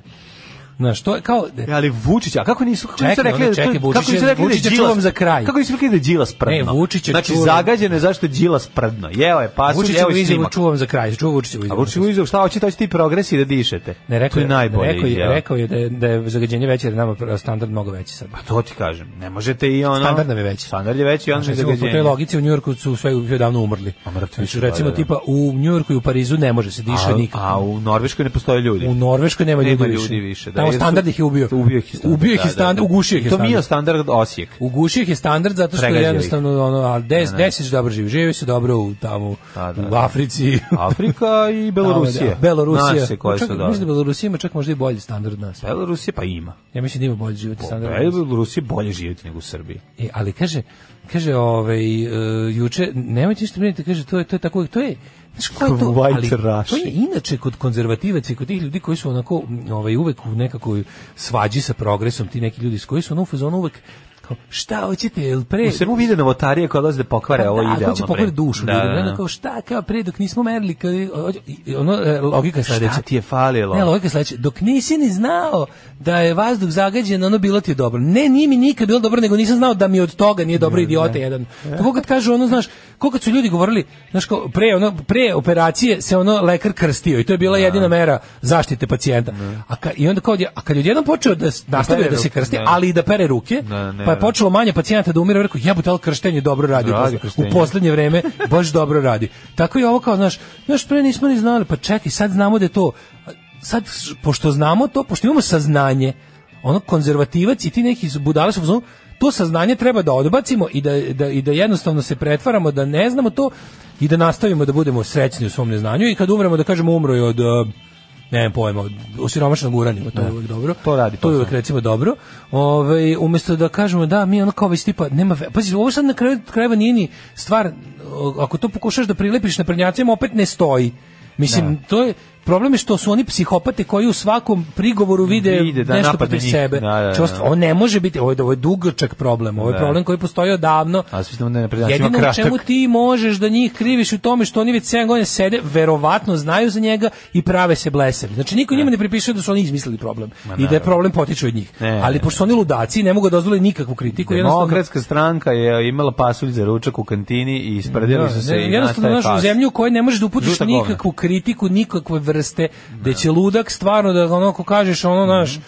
Speaker 5: Znaš, to je kao
Speaker 6: E, Ali Vučić, a kako nisu kako nisu
Speaker 5: Čekaj,
Speaker 6: rekli
Speaker 5: ono,
Speaker 6: da-
Speaker 5: čekaj, Vučić
Speaker 6: kako nisu
Speaker 5: je-
Speaker 6: rekli da je
Speaker 5: Vučića
Speaker 6: Đilas-
Speaker 5: čuvam za kraj.
Speaker 6: Kako nisu rekli da je Đilas prdno?
Speaker 5: Ne, Vučića
Speaker 6: znači
Speaker 5: čuvam.
Speaker 6: zagađeno je zašto je Đilas prdno. Jeo je pasulj,
Speaker 5: Vučićevu
Speaker 6: jeo je
Speaker 5: izjavu
Speaker 6: snimak.
Speaker 5: čuvam za kraj, čuvam Vučićevu
Speaker 6: A
Speaker 5: izjavu.
Speaker 6: Vučić izjavu šta hoćete, hoćete i progresi da dišete.
Speaker 5: Ne
Speaker 6: to
Speaker 5: rekao
Speaker 6: je
Speaker 5: je,
Speaker 6: najbolje.
Speaker 5: rekao je,
Speaker 6: izjava.
Speaker 5: rekao je da je, da je zagađenje veće, jer je nama standard mnogo veći sad.
Speaker 6: Pa to ti kažem, ne možete i ono...
Speaker 5: Standard nam je veći.
Speaker 6: Standard je veći i onda je
Speaker 5: Znači, recimo, po toj
Speaker 6: zagađenje.
Speaker 5: logici u Njujorku su sve uvijek davno umrli.
Speaker 6: A mrtvi su,
Speaker 5: Znači,
Speaker 6: pa
Speaker 5: recimo,
Speaker 6: da.
Speaker 5: tipa, u Njujorku i u Parizu ne može se diše
Speaker 6: A,
Speaker 5: nikako.
Speaker 6: a u Norveškoj ne postoje ljudi.
Speaker 5: U Norveškoj nema,
Speaker 6: Nema
Speaker 5: ljudi više.
Speaker 6: ljudi više, da,
Speaker 5: Tamo
Speaker 6: jer su-
Speaker 5: standard ih je ubio.
Speaker 6: Ubio ih je standard.
Speaker 5: Ubio ih
Speaker 6: da,
Speaker 5: je
Speaker 6: da,
Speaker 5: standard,
Speaker 6: da.
Speaker 5: ugušio ih je
Speaker 6: I to
Speaker 5: standard.
Speaker 6: mi je standard Osijek.
Speaker 5: Ugušio ih je standard zato što je
Speaker 6: Pregazio ih.
Speaker 5: jednostavno ono, a des, desić dobro živi, živi se dobro u, tamo,
Speaker 6: Da, Pa da,
Speaker 5: u
Speaker 6: da.
Speaker 5: Africi,
Speaker 6: Afrika i Belorusija.
Speaker 5: Da, Belorusija. Pa
Speaker 6: Naše koje
Speaker 5: čak,
Speaker 6: su dobro.
Speaker 5: mislim da Belorusija ima čak možda i bolji standard od nas.
Speaker 6: Belorusija pa ima.
Speaker 5: Ja mislim da ima bolji
Speaker 6: Pa
Speaker 5: životni standard. od nas.
Speaker 6: Belorusija bolje živjeti nego u Srbiji.
Speaker 5: E, ali kaže, kaže ovaj e, juče nemojte ništa brinuti, kaže to je to je tako, to je znaš ko je to,
Speaker 6: White
Speaker 5: ali to je
Speaker 6: Russian.
Speaker 5: inače kod konzervativaca i kod tih ljudi koji su onako m, ovaj uvek u nekakvoj svađi sa progresom, ti neki ljudi s koji su ono u fazonu uvek kao, šta hoćete, jel pre...
Speaker 6: U svemu vide novotarije koja dolazi da pokvare ovo
Speaker 5: E, Pa da,
Speaker 6: idealno.
Speaker 5: hoće pokvari
Speaker 6: bre.
Speaker 5: dušu
Speaker 6: Da,
Speaker 5: ljudima.
Speaker 6: da,
Speaker 5: I onda
Speaker 6: da.
Speaker 5: kao šta, kao pre dok nismo merili, kao, hoće- i ono, e, logika je sledeća.
Speaker 6: Šta ti je falilo?
Speaker 5: Ne, logika je sledeća. Dok nisi ni znao da je vazduh zagađen, ono bilo ti je dobro. Ne, nije mi nikad bilo dobro, nego nisam znao da mi od toga nije dobro idiote jedan. Tako kad kažu, ono, znaš, kako kad su ljudi govorili, znaš, kao, pre, ono, pre operacije se ono lekar krstio i to je bila jedina mera zaštite pacijenta. A ka, I onda kao, odje- a kad je odjednom počeo da s- nastavio da se
Speaker 6: ruke,
Speaker 5: krsti,
Speaker 6: da.
Speaker 5: ali i da pere ruke,
Speaker 6: Da, ne,
Speaker 5: pa je
Speaker 6: da.
Speaker 5: počelo manje pacijenata da umire, rekao, jebote, ali krštenje dobro radi.
Speaker 6: Radi
Speaker 5: u posle-
Speaker 6: krštenje.
Speaker 5: u poslednje vreme baš dobro radi. Tako i ovo kao, znaš, znaš, pre nismo ni znali, pa čekaj, sad znamo da je to, sad, š- pošto znamo to, pošto imamo saznanje, ono, konzervativac i ti neki su- budale su, u fazonu, to saznanje treba da odbacimo i da, da, i da jednostavno se pretvaramo da ne znamo to i da nastavimo da budemo srećni u svom neznanju i kad umremo da kažemo umro je od uh, ne znam pojma, od osiromašenog uranijuma, to je uvek dobro.
Speaker 6: To radi
Speaker 5: To je
Speaker 6: posao.
Speaker 5: uvek recimo dobro. Ovaj umesto da kažemo da mi ono kao već tipa nema ve- pazi ovo sad na kraju krajeva nije ni stvar o, ako to pokušaš da prilepiš na prnjacima opet ne stoji. Mislim to je problem je što su oni psihopate koji u svakom prigovoru vide,
Speaker 6: Vide, da,
Speaker 5: nešto
Speaker 6: napadne
Speaker 5: protiv
Speaker 6: njih.
Speaker 5: sebe.
Speaker 6: Da, da, da.
Speaker 5: Čost- ovo ne može biti, ovo je, ovo je dugačak problem, ovo je
Speaker 6: Da.
Speaker 5: problem koji postoji odavno.
Speaker 6: A svi znamo da je na prnjacima
Speaker 5: Jedino u
Speaker 6: kraštak.
Speaker 5: čemu ti možeš da njih kriviš u tome što oni već 7 godina sede, verovatno znaju za njega i prave se blesevi. Znači niko njima ne pripisuje da su oni izmislili problem i da je
Speaker 6: naravno.
Speaker 5: problem potiče od njih.
Speaker 6: Ne,
Speaker 5: Ali
Speaker 6: ne.
Speaker 5: pošto su oni ludaci ne mogu da dozvole nikakvu kritiku, jednostavno
Speaker 6: Demokratska stranka je imala pasulj za ručak u kantini i ispredili su se
Speaker 5: ne,
Speaker 6: i
Speaker 5: jednostavno
Speaker 6: nastaje
Speaker 5: našu
Speaker 6: pas.
Speaker 5: zemlju u kojoj ne možeš da uputiš
Speaker 6: Žuta govna.
Speaker 5: nikakvu kritiku nikakve vrste, da će ludak stvarno da ono ko kažeš
Speaker 6: Mhm.
Speaker 5: ono naš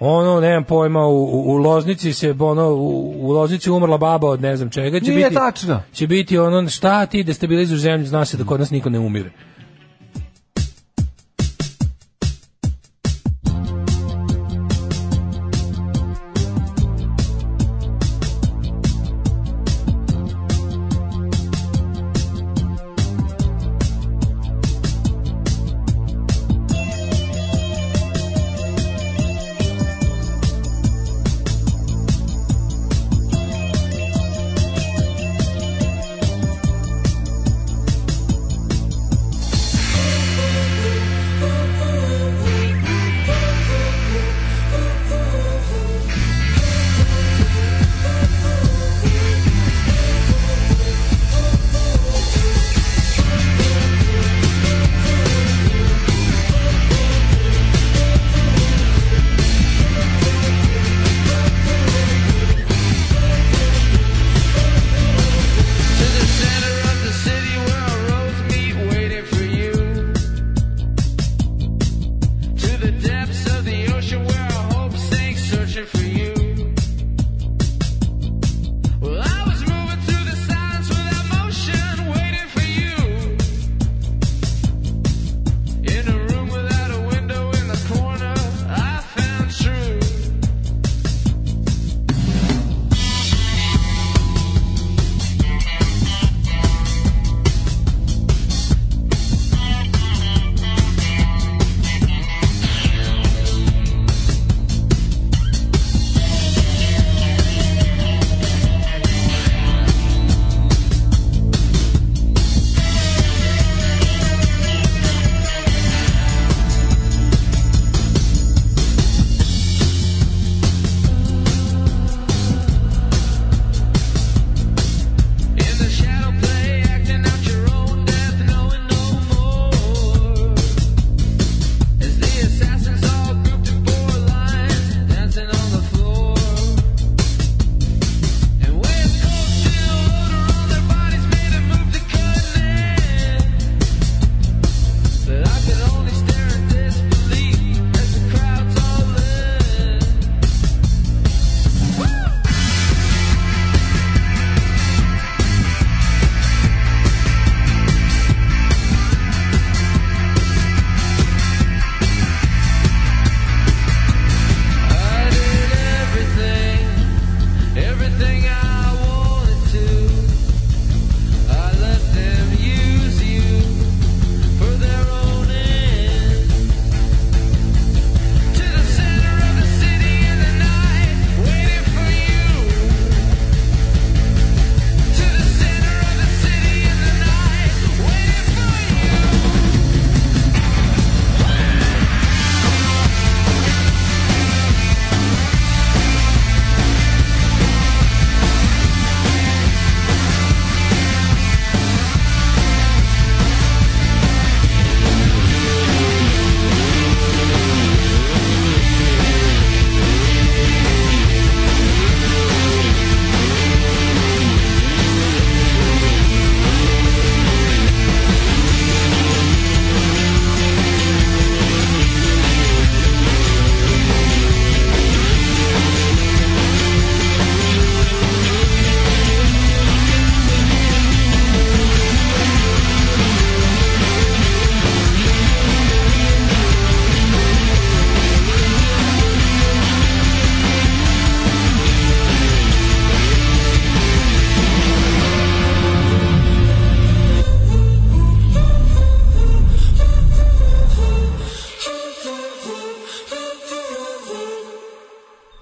Speaker 5: ono nemam pojma u, u, u Loznici se ono u, u Loznici umrla baba od ne znam čega će
Speaker 6: Nije
Speaker 5: biti
Speaker 6: tačno.
Speaker 5: će biti ono šta ti destabilizuješ zemlju zna se da kod nas niko ne umire
Speaker 11: To the center of the city where our roads meet, waiting for you. To the depths of the ocean where our hopes sink, searching for you. Well, I was moving through the silence without motion, waiting for you. In a room without a window in the corner, I found truth.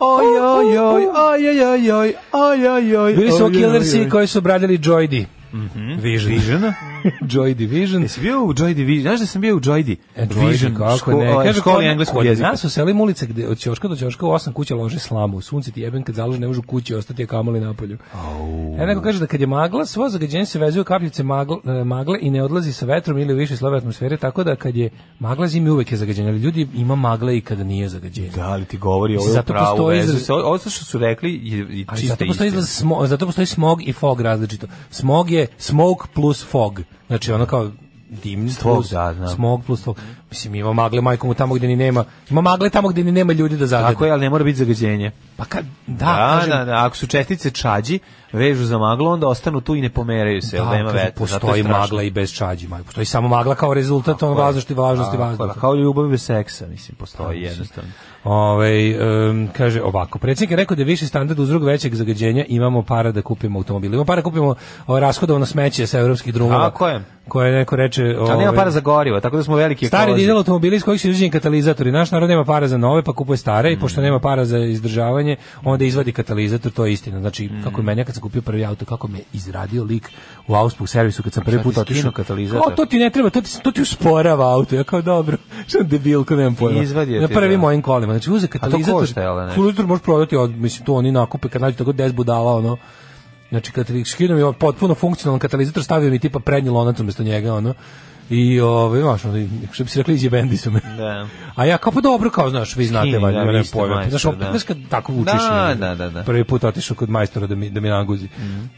Speaker 6: Oj, oj, oj, oj, oj, oj, oj, oj, oj, oj.
Speaker 5: Bili su
Speaker 6: oj, oj,
Speaker 5: killersi
Speaker 6: oj.
Speaker 5: koji su obradili Joydi. Vision.
Speaker 6: Vision?
Speaker 5: Joy Division.
Speaker 6: Jesi bio u Joy Division? Znaš da sam bio u Joy Di?
Speaker 5: E, Joy Division, kako
Speaker 6: ško-
Speaker 5: ne.
Speaker 6: ovaj,
Speaker 5: Kaže,
Speaker 6: školi
Speaker 5: kod-
Speaker 6: engleskog
Speaker 5: kod
Speaker 6: jezika.
Speaker 5: Nas u selim ulice gde od ćoška do ćoška u osam kuća lože slamu. Sunce ti jebem kad založe ne može u kući ostati, a kamoli napolju. E, neko kaže da kad je magla, svo zagađenje se vezuje u kapljice magl, e, magle i ne odlazi sa vetrom ili u više slove atmosfere, tako da kad je magla zimi uvek je zagađenje, ali ljudi ima magle i kada nije zagađenje.
Speaker 6: Da, ali ti govori ovo je
Speaker 5: Zato
Speaker 6: pravo
Speaker 5: postoji
Speaker 6: vezu.
Speaker 5: izraz-
Speaker 6: Se- Ovo što su rekli je, je
Speaker 5: Ali
Speaker 6: čista
Speaker 5: zato postoji,
Speaker 6: istina.
Speaker 5: izlaz smo, zato postoji smog i fog različito. Smog je smoke plus fog. Znači ono kao dim
Speaker 6: Smog,
Speaker 5: plus
Speaker 6: da, znam.
Speaker 5: smog plus fog. Mislim ima magle majkom u tamo gdje ni nema. Ima magle tamo gdje ni nema ljudi da zagade.
Speaker 6: Tako je, ali ne mora biti zagađenje.
Speaker 5: Pa kad da,
Speaker 6: Da,
Speaker 5: kažem,
Speaker 6: da, da, ako su čestice čađi, vežu za maglu, onda ostanu tu i ne pomeraju se,
Speaker 5: da,
Speaker 6: da, nema
Speaker 5: pa kažem,
Speaker 6: vetra. zato je
Speaker 5: postoji
Speaker 6: strašno.
Speaker 5: magla i bez čađi. majko. Postoji samo magla kao rezultat ono važnosti, važnosti,
Speaker 6: Tako je,
Speaker 5: važnosti.
Speaker 6: Pa Kao ljubav bez seksa, mislim, postoji jednostavno.
Speaker 5: Ove, Ovaj, kaže ovako, predsjednik je rekao da je viši standard uzrok većeg zagađenja, imamo para da kupimo automobil. Imamo para da kupimo ovaj, rashodovno smeće sa evropskih drumova.
Speaker 6: Tako je.
Speaker 5: Koje neko reče...
Speaker 6: Ali nema
Speaker 5: ovaj,
Speaker 6: para za gorivo, tako da smo veliki
Speaker 5: Stari
Speaker 6: ekolozi.
Speaker 5: dizel automobili iz kojih su izvađeni katalizatori. Naš narod nema para za nove, pa kupuje stare i
Speaker 6: Mm.
Speaker 5: pošto nema para za izdržavanje, onda izvadi katalizator, to je istina. Znači,
Speaker 6: Mm.
Speaker 5: kako je meni ja kad sam kupio prvi auto, kako me izradio lik u Augsburg servisu kad sam prvi
Speaker 6: Šta ti
Speaker 5: put otišao
Speaker 6: skinuo katalizator?
Speaker 5: Kao, to ti ne treba, to ti, to ti usporava auto. Ja kao dobro, što sam debil, kao nemam pojma.
Speaker 6: Izvadio
Speaker 5: Na
Speaker 6: ti,
Speaker 5: prvim
Speaker 6: da.
Speaker 5: mojim kolima. Znači, uze katalizator.
Speaker 6: košta, jel da, nešto?
Speaker 5: Katalizator možeš prodati, od, mislim, to oni nakupe kad nađu tako 10 budala, ono. Znači, kad skinu mi potpuno funkcionalan katalizator, stavio mi tipa prednji lonac umjesto njega, ono. I, ovaj, znaš, ono, što bi se rekli, izjebendi su me.
Speaker 6: Da.
Speaker 5: A ja kao, pa dobro, kao, znaš, vi znate,
Speaker 6: Skini,
Speaker 5: valjda,
Speaker 6: da,
Speaker 5: ja
Speaker 6: vi
Speaker 5: nemam
Speaker 6: ste
Speaker 5: pojma.
Speaker 6: majstor,
Speaker 5: Znaš, opet,
Speaker 6: da.
Speaker 5: znaš, kad tako učiš.
Speaker 6: Da,
Speaker 5: ono,
Speaker 6: da, da, da.
Speaker 5: Prvi put otišao kod majstora da mi, da mi naguzi.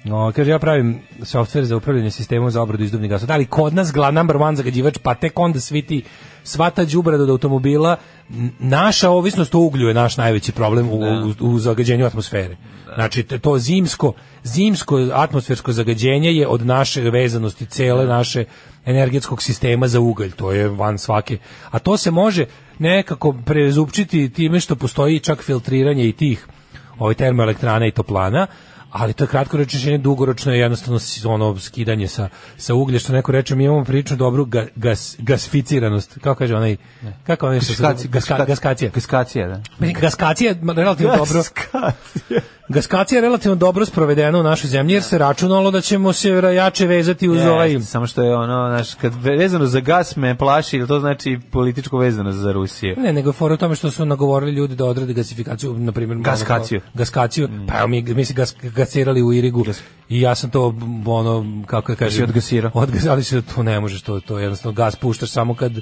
Speaker 5: No, kaže, ja pravim softver za upravljanje sistemom za obradu izduvnih gasova. Da, ali kod nas glavna number one zagađivač, pa tek onda svi ti sva ta đubrad od automobila, n- naša ovisnost o uglju je naš najveći problem u, u, u zagađenju atmosfere. Znači, te- to zimsko, zimsko atmosfersko zagađenje je od naše vezanosti cele naše energetskog sistema za ugalj, to je van svake. A to se može nekako prezupčiti time što postoji čak filtriranje i tih ovaj termoelektrana i toplana, ali to je kratko rečenje, dugoročno je jednostavno s- ono skidanje sa, sa uglja, što neko reče, mi imamo prilično dobru ga- gas, gasficiranost, kako kaže onaj, kako onaj, što se-
Speaker 6: Gaskaci-
Speaker 5: gaska,
Speaker 6: gaska-
Speaker 5: gaskacija.
Speaker 6: Gaskacija, da.
Speaker 5: Mislim, Gaskacija je relativno dobro.
Speaker 6: Gaskacija.
Speaker 5: Gaskacija je relativno dobro sprovedena u našoj zemlji jer se računalo da ćemo se jače vezati uz ovaj
Speaker 6: Jeste, samo što je ono, znaš, kad vezano za gas me plaši, ili to znači političko vezano za Rusiju.
Speaker 5: Pa Ne, nego je fora u tome što su nagovorili ljudi da odrade gasifikaciju, na primjer... ono,
Speaker 6: Gaskaciju. Mm.
Speaker 5: kao- Gaskaciju, pa evo mi, mi se gas, gasirali u Irigu i ja sam to, m, ono, kako da kažem...
Speaker 6: Pa si odgasirao?
Speaker 5: Odgas, ali se to ne možeš, to, to je jednostavno gas puštaš samo kad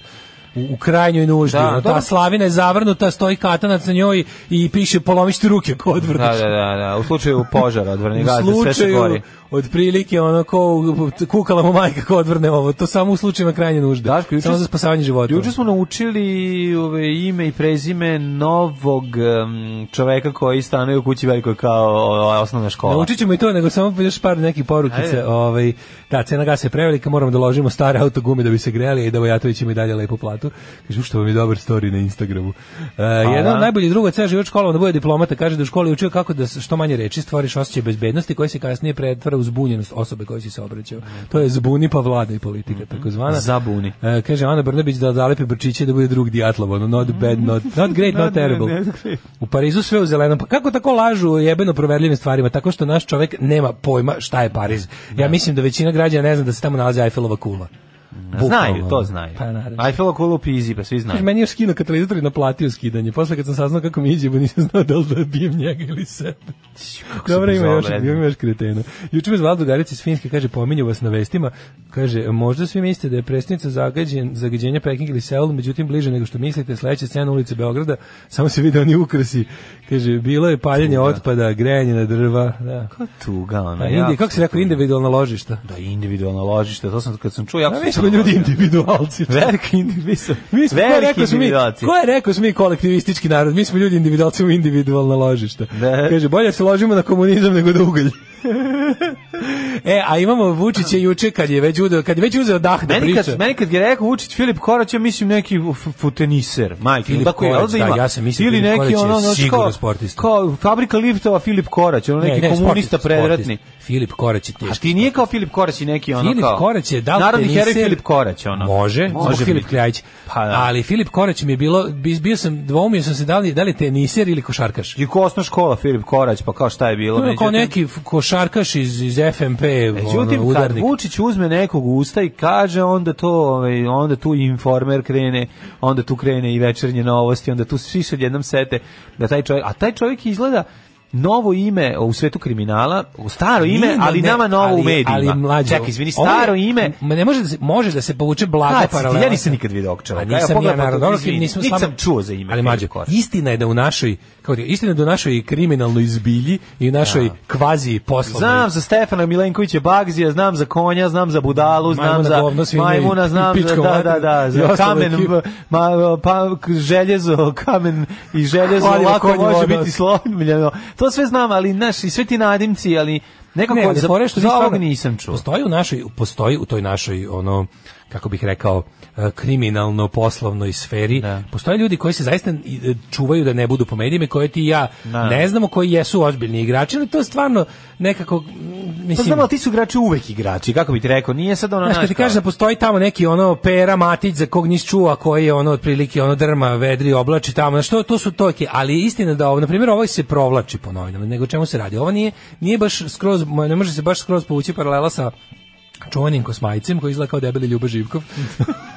Speaker 5: u, u krajnjoj nuždi.
Speaker 6: Da,
Speaker 5: ono, ta
Speaker 6: dobro.
Speaker 5: slavina je zavrnuta, stoji katanac na njoj i piše polomište ruke ako
Speaker 6: Da,
Speaker 5: odvrneš.
Speaker 6: da, da, da, u slučaju požara, odvrni
Speaker 5: U
Speaker 6: gas, da sve se
Speaker 5: slučaju,
Speaker 6: gori.
Speaker 5: otprilike, ono, ko, u- kukala mu majka ko odvrne ovo, to samo u slučajima krajnje nužde.
Speaker 6: Daško, juče
Speaker 5: samo za
Speaker 6: s-
Speaker 5: spasavanje života.
Speaker 6: Juče smo naučili ove, ime i prezime novog em, čoveka koji stanuje u kući velikoj kao o, osnovna škola.
Speaker 5: Naučit ćemo i to, nego samo još par nekih porukice.
Speaker 6: Ajde.
Speaker 5: Ovaj, da, cena gasa je prevelika, moramo da ložimo stare autogume da bi se grejali i da Vojatović ima i dalje lepu platu. Kaže, što vam je dobar story na Instagramu. E, jedan od najboljih druga ceo život školom da bude diplomata, kaže da je u školi učio kako da s- što manje reči stvoriš osjećaj bezbednosti koji se kasnije pretvara u zbunjenost osobe koji si se obraćao. To je zbuni pa vlada i politika, takozvana.
Speaker 6: Mhm. Zabuni.
Speaker 5: E, kaže Ana Brnabić da zalepi brčiće da bude drug Dijatlov, ono not bad, not, not great, not terrible. U Parizu sve u zelenom. Pa kako tako lažu o jebeno proverljivim stvarima? Tako što naš čovek nema pojma šta je Pariz. Ja mislim da većina građana ne zna da se tamo nalazi Eiffelova kula.
Speaker 6: Znaju,
Speaker 5: Bukvalno.
Speaker 6: to znaju.
Speaker 5: Pa naravno.
Speaker 6: Ajfela kulu pizi, pa svi
Speaker 5: Kaže,
Speaker 6: znaju.
Speaker 5: meni je skino katalizator i naplatio skidanje. Posle kad sam saznao kako mi iđe, bo nisam znao da li da bijem njega ili sebe.
Speaker 6: se
Speaker 5: Dobro, ima još,
Speaker 6: bezobrazno.
Speaker 5: ima još kretena. Juče me zvala drugarica iz Finjske, kaže, pominju vas na vestima. Kaže, možda svi mislite da je predstavnica zagađen, zagađenja Peking ili Seul, međutim, bliže nego što mislite, sledeća scena ulice Beograda, samo se vide oni ukrasi. Kaže, bilo je paljenje otpada, grejanje na drva. Da.
Speaker 6: Tuga, ona.
Speaker 5: A Indi, kako se rekao, individualna ložišta.
Speaker 6: Da, individualno ložište, to sam kad sam čuo, jako
Speaker 5: A
Speaker 6: sam
Speaker 5: mi smo
Speaker 6: se-
Speaker 5: ljudi individualci.
Speaker 6: Veliki individualci.
Speaker 5: Mi smo, ko je rekao
Speaker 6: Veliki
Speaker 5: smo mi,
Speaker 6: individualci.
Speaker 5: ko je rekao smo mi kolektivistički narod? Mi smo ljudi individualci u individualna ložišta.
Speaker 6: Da.
Speaker 5: Kaže, bolje se ložimo na komunizam nego na ugalj. E, a imamo Vučića juče kad je već uzeo, kad je već uzeo dah da
Speaker 6: Meni
Speaker 5: priča.
Speaker 6: kad, meni kad je rekao Vučić Filip Korać, ja mislim neki f- futeniser, majke.
Speaker 5: Filip
Speaker 6: tako je,
Speaker 5: Korać,
Speaker 6: jel
Speaker 5: da,
Speaker 6: ima?
Speaker 5: ja sam mislio
Speaker 6: Ili
Speaker 5: Filip
Speaker 6: neki
Speaker 5: Korać je
Speaker 6: ono, znaš,
Speaker 5: sigurno
Speaker 6: kao-
Speaker 5: sportista.
Speaker 6: Kao fabrika liftova Filip Korać, ono neki komunista
Speaker 5: sportist, sportist.
Speaker 6: predratni.
Speaker 5: Filip Korać je
Speaker 6: A
Speaker 5: teški.
Speaker 6: ti nije kao Filip Korać i neki ono
Speaker 5: Filip
Speaker 6: kao...
Speaker 5: Korać je da li
Speaker 6: Narodni
Speaker 5: teniser?
Speaker 6: heroj Filip Korać, ono.
Speaker 5: Može, može zbog
Speaker 6: biti.
Speaker 5: Filip Kljajić.
Speaker 6: Pa da.
Speaker 5: Ali Filip Korać mi je bilo, bi- bio sam, dvoumio sam se da li, da li teniser ili košarkaš.
Speaker 6: I ko osnovna škola Filip Korać, pa kao šta je bilo?
Speaker 5: To je Ono, kao
Speaker 6: međutim-
Speaker 5: neki f- košarkaš iz, iz FMP, ono,
Speaker 6: Međutim, kad
Speaker 5: udarnik.
Speaker 6: Vučić uzme nekog u usta i kaže, onda to, ovaj, onda tu informer krene, onda tu krene i večernje novosti, onda tu svi se jednom sete da taj čovjek, a taj čovjek izgleda novo ime u svetu kriminala, u staro ime,
Speaker 5: Nije,
Speaker 6: ali
Speaker 5: ne,
Speaker 6: nama novo u
Speaker 5: ali-
Speaker 6: medijima.
Speaker 5: ali mlađe,
Speaker 6: Čekaj, izvini,
Speaker 5: ovo je-
Speaker 6: staro ime,
Speaker 5: Ma ne može da se, može da se povuče blaga
Speaker 6: Kaci,
Speaker 5: paralela.
Speaker 6: ja nisam nikad video ovog čovjeka.
Speaker 5: A
Speaker 6: Evo,
Speaker 5: nisam ja,
Speaker 6: pogledaj
Speaker 5: naravno,
Speaker 6: foto,
Speaker 5: dobro,
Speaker 6: izvini,
Speaker 5: nisam,
Speaker 6: niti
Speaker 5: slama-
Speaker 6: sam čuo za ime
Speaker 5: Ali
Speaker 6: Filip
Speaker 5: mađo,
Speaker 6: Korać.
Speaker 5: istina je da u našoj, kako ti, istina je da u našoj kriminalnoj zbilji i u našoj kvazi poslovnoj
Speaker 6: Znam za Stefana Milenkovića Bagzija, znam za konja, znam za budalu, znam
Speaker 5: Majmuna,
Speaker 6: za
Speaker 5: govno, svinje i-
Speaker 6: majmuna,
Speaker 5: i
Speaker 6: znam za da,
Speaker 5: pičko materinu
Speaker 6: da, da,
Speaker 5: i
Speaker 6: za
Speaker 5: ostalu
Speaker 6: kamen,
Speaker 5: ekipu.
Speaker 6: ma, pa, k- željezo, kamen i željezo
Speaker 5: Hladilo
Speaker 6: lako
Speaker 5: konj
Speaker 6: može
Speaker 5: voda.
Speaker 6: biti slomljeno. To sve znam, ali naš, i sve ti nadimci, ali nekako
Speaker 5: Ne, ali
Speaker 6: za,
Speaker 5: fora je što mi
Speaker 6: za ovog
Speaker 5: stvarno-
Speaker 6: nisam čuo.
Speaker 5: Postoji u našoj, postoji u toj našoj ono kako bih rekao e, kriminalno poslovnoj sferi.
Speaker 6: Da.
Speaker 5: Postoje ljudi koji se zaista i, e, čuvaju da ne budu po medijima i koje ti i ja
Speaker 6: Da.
Speaker 5: ne znamo koji jesu ozbiljni igrači, ali to je stvarno nekako mm,
Speaker 6: Pa
Speaker 5: mislim
Speaker 6: znam, ali ti su igrači uvek igrači, kako bi ti rekao, nije sad ono
Speaker 5: Znaš, kad ti
Speaker 6: kao-
Speaker 5: kažeš da postoji tamo neki ono Pera Matić za kog nisi čuo, a koji je ono otprilike ono drma, vedri, oblači tamo, znaš, to, to su toke, ali je istina da ovo, na primjer, ovo se provlači po novinama, nego o čemu se radi, ovo nije, nije baš skroz, ne može se baš skroz povući paralela sa čuvanim kosmajcem koji izgleda kao debeli Ljuba Živkov.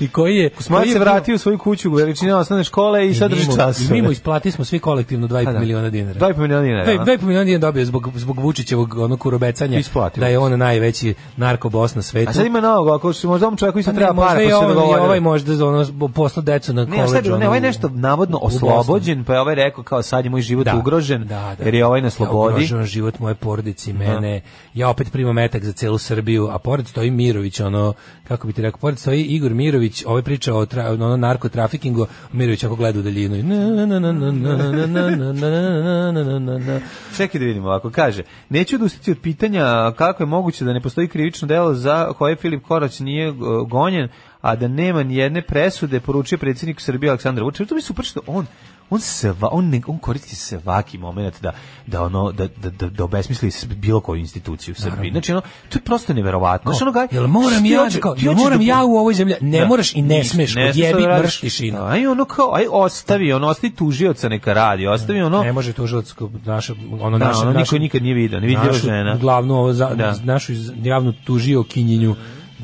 Speaker 5: I koji je...
Speaker 6: Kosmajac
Speaker 5: koji
Speaker 6: se
Speaker 5: je-
Speaker 6: vratio u svoju kuću u veličine osnovne škole i sad
Speaker 5: mi
Speaker 6: drži
Speaker 5: mu-
Speaker 6: čas.
Speaker 5: Mi mu isplatili smo svi kolektivno 2,5
Speaker 6: Pa da.
Speaker 5: miliona dinara.
Speaker 6: 2,5 miliona dinara, ono.
Speaker 5: Dve-
Speaker 6: da.
Speaker 5: 2,5 miliona dinara dobio zbog, zbog Vučićevog onog kurobecanja
Speaker 6: Isplatio
Speaker 5: da
Speaker 6: mu
Speaker 5: je on najveći narkobos na svetu.
Speaker 6: A sad ima novog, ako se možda ovom čovjeku isto
Speaker 5: Pa ne,
Speaker 6: treba para,
Speaker 5: možda
Speaker 6: pa
Speaker 5: i
Speaker 6: se
Speaker 5: ovaj,
Speaker 6: dogovorili.
Speaker 5: i ovaj možda za ono zbog posla decu na
Speaker 6: Ne, a
Speaker 5: koleđžu.
Speaker 6: šta je bilo? Ne,
Speaker 5: ono,
Speaker 6: ovaj je nešto navodno
Speaker 5: u Bosni.
Speaker 6: oslobođen, pa je ovaj rekao kao sad je moj život ugrožen, jer je ovaj na slobodi.
Speaker 5: Ugrožen život moje porodici, mene. Ja opet primam metak za celu Srbiju, a pored stoji Mirović, ono, kako bi ti rekao, pored stoji Igor Mirović, ovaj priča o tra, ono, narkotrafikingu, Mirović ako gleda u daljinu. i na, na, na, na, na, na, na, na, na, na, na, na, na.
Speaker 6: Čekaj da vidimo ovako, kaže, neću odustati od pitanja kako je moguće da ne postoji krivično delo za koje Filip Korać nije e, gonjen, a da nema ni jedne presude, poručio predsjednik Srbije Aleksandar Vučić. To mi je super što on on se on ne, on koristi svaki moment da da ono da da da, da obesmisli s- bilo koju instituciju u Srbiji. Znači ono to je prosto neverovatno. Znači ono ga
Speaker 5: Jel moram ja, kao, jel moram ja u ovoj zemlji? Ne moraš i ne smeš, odjebi,
Speaker 6: da radiš.
Speaker 5: mrš tišina.
Speaker 6: Aj ono kao aj ostavi, ono ostavi tužioca neka radi, ostavi ono
Speaker 5: ne može tužilac ko- naša ono
Speaker 6: Da,
Speaker 5: naša
Speaker 6: ono niko
Speaker 5: naša-
Speaker 6: nikad nije video, ne vidljiva
Speaker 5: našu
Speaker 6: žena.
Speaker 5: Glavnu ovo za,
Speaker 6: Da.
Speaker 5: našu iz- javnu tužio kinjinju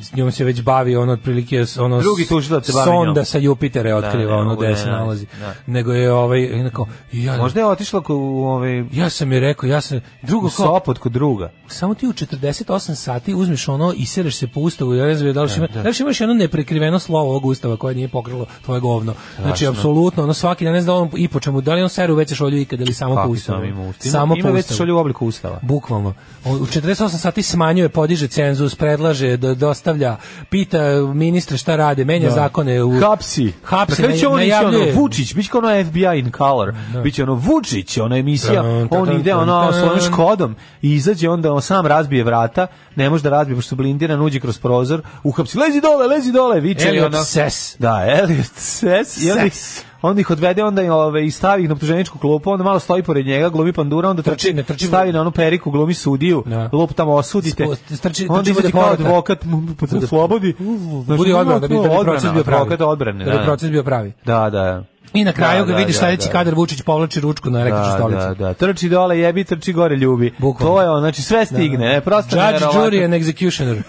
Speaker 5: s njom se već bavi ono otprilike s- ono
Speaker 6: Drugi
Speaker 5: s-
Speaker 6: tužilac se bavi njom.
Speaker 5: sonda sa Jupitera je otkriva
Speaker 6: ne
Speaker 5: ono
Speaker 6: mogu
Speaker 5: gde
Speaker 6: da
Speaker 5: se
Speaker 6: nađe,
Speaker 5: nalazi
Speaker 6: da.
Speaker 5: nego je ovaj onako ja
Speaker 6: Možda je otišla ko- u ovaj
Speaker 5: ja sam je rekao ja sam drugo
Speaker 6: u
Speaker 5: kao
Speaker 6: Sopot kod druga.
Speaker 5: samo ti u 48 sati uzmeš ono i sereš se po ustavu, ja ne znam da li, ima, da li imaš jedno neprekriveno slovo ovog ustava koje nije pokrilo tvoje govno. Znači, apsolutno, ono svaki, ja ne znam da li on i po čemu, da li on seru veće šolju ikad ili samo po
Speaker 6: Kako
Speaker 5: ustavu.
Speaker 6: sam ima ustav? Ima-
Speaker 5: Samo
Speaker 6: ima
Speaker 5: po
Speaker 6: već
Speaker 5: ustavu.
Speaker 6: šolju u obliku ustava.
Speaker 5: Bukvalno. On u 48 sati smanjuje, podiže cenzus, predlaže, da dostavlja, pita ministre šta rade, menja zakone. U...
Speaker 6: Hapsi.
Speaker 5: Hapsi,
Speaker 6: Na kraju će
Speaker 5: naj-
Speaker 6: on ići ono,
Speaker 5: najavljuje.
Speaker 6: Vučić, bit će kao ono FBI in color. Biće ono Vučić, ona emisija,
Speaker 5: Tan, tan,
Speaker 6: on ide
Speaker 5: tan,
Speaker 6: ono
Speaker 5: tan.
Speaker 6: svojom škodom i izađe onda on sam razbije vrata, ne može da razbije pošto su blindiran, uđe kroz prozor, uhapsi, lezi dole, lezi dole, viče i
Speaker 5: Elliot
Speaker 6: ono.
Speaker 5: Ses.
Speaker 6: Da, Elliot Ses. I onda ih,
Speaker 5: Ses.
Speaker 6: onda ih odvede, onda i, ove, i stavi ih na optuženičku klupu, onda malo stoji pored njega, glumi pandura, onda
Speaker 5: Trči,
Speaker 6: trči,
Speaker 5: ne, trči-
Speaker 6: stavi na onu periku, glumi sudiju,
Speaker 5: Da.
Speaker 6: lup tamo osudite,
Speaker 5: Spo- trči-
Speaker 6: onda
Speaker 5: trči
Speaker 6: izađe
Speaker 5: bude
Speaker 6: kao
Speaker 5: porota.
Speaker 6: advokat, mu- mu- mu- slobodi. Znači,
Speaker 5: Budi
Speaker 6: ima
Speaker 5: odbrana, da bi, da bi
Speaker 6: odbrana,
Speaker 5: proces bio pravi.
Speaker 6: advokat odbrane,
Speaker 5: da bi proces bio pravi.
Speaker 6: da, da.
Speaker 5: I na kraju
Speaker 6: Da,
Speaker 5: ga
Speaker 6: da,
Speaker 5: vidiš
Speaker 6: da,
Speaker 5: sledeći
Speaker 6: da.
Speaker 5: kadar Vučić povlači ručku na električnu
Speaker 6: Da,
Speaker 5: stolicu.
Speaker 6: da, da. Trči dole, jebi, trči gore, ljubi.
Speaker 5: Bukvalno.
Speaker 6: To je on, znači sve stigne, ne, prosto
Speaker 5: Judge,
Speaker 6: neverovatno.
Speaker 5: jury and executioner.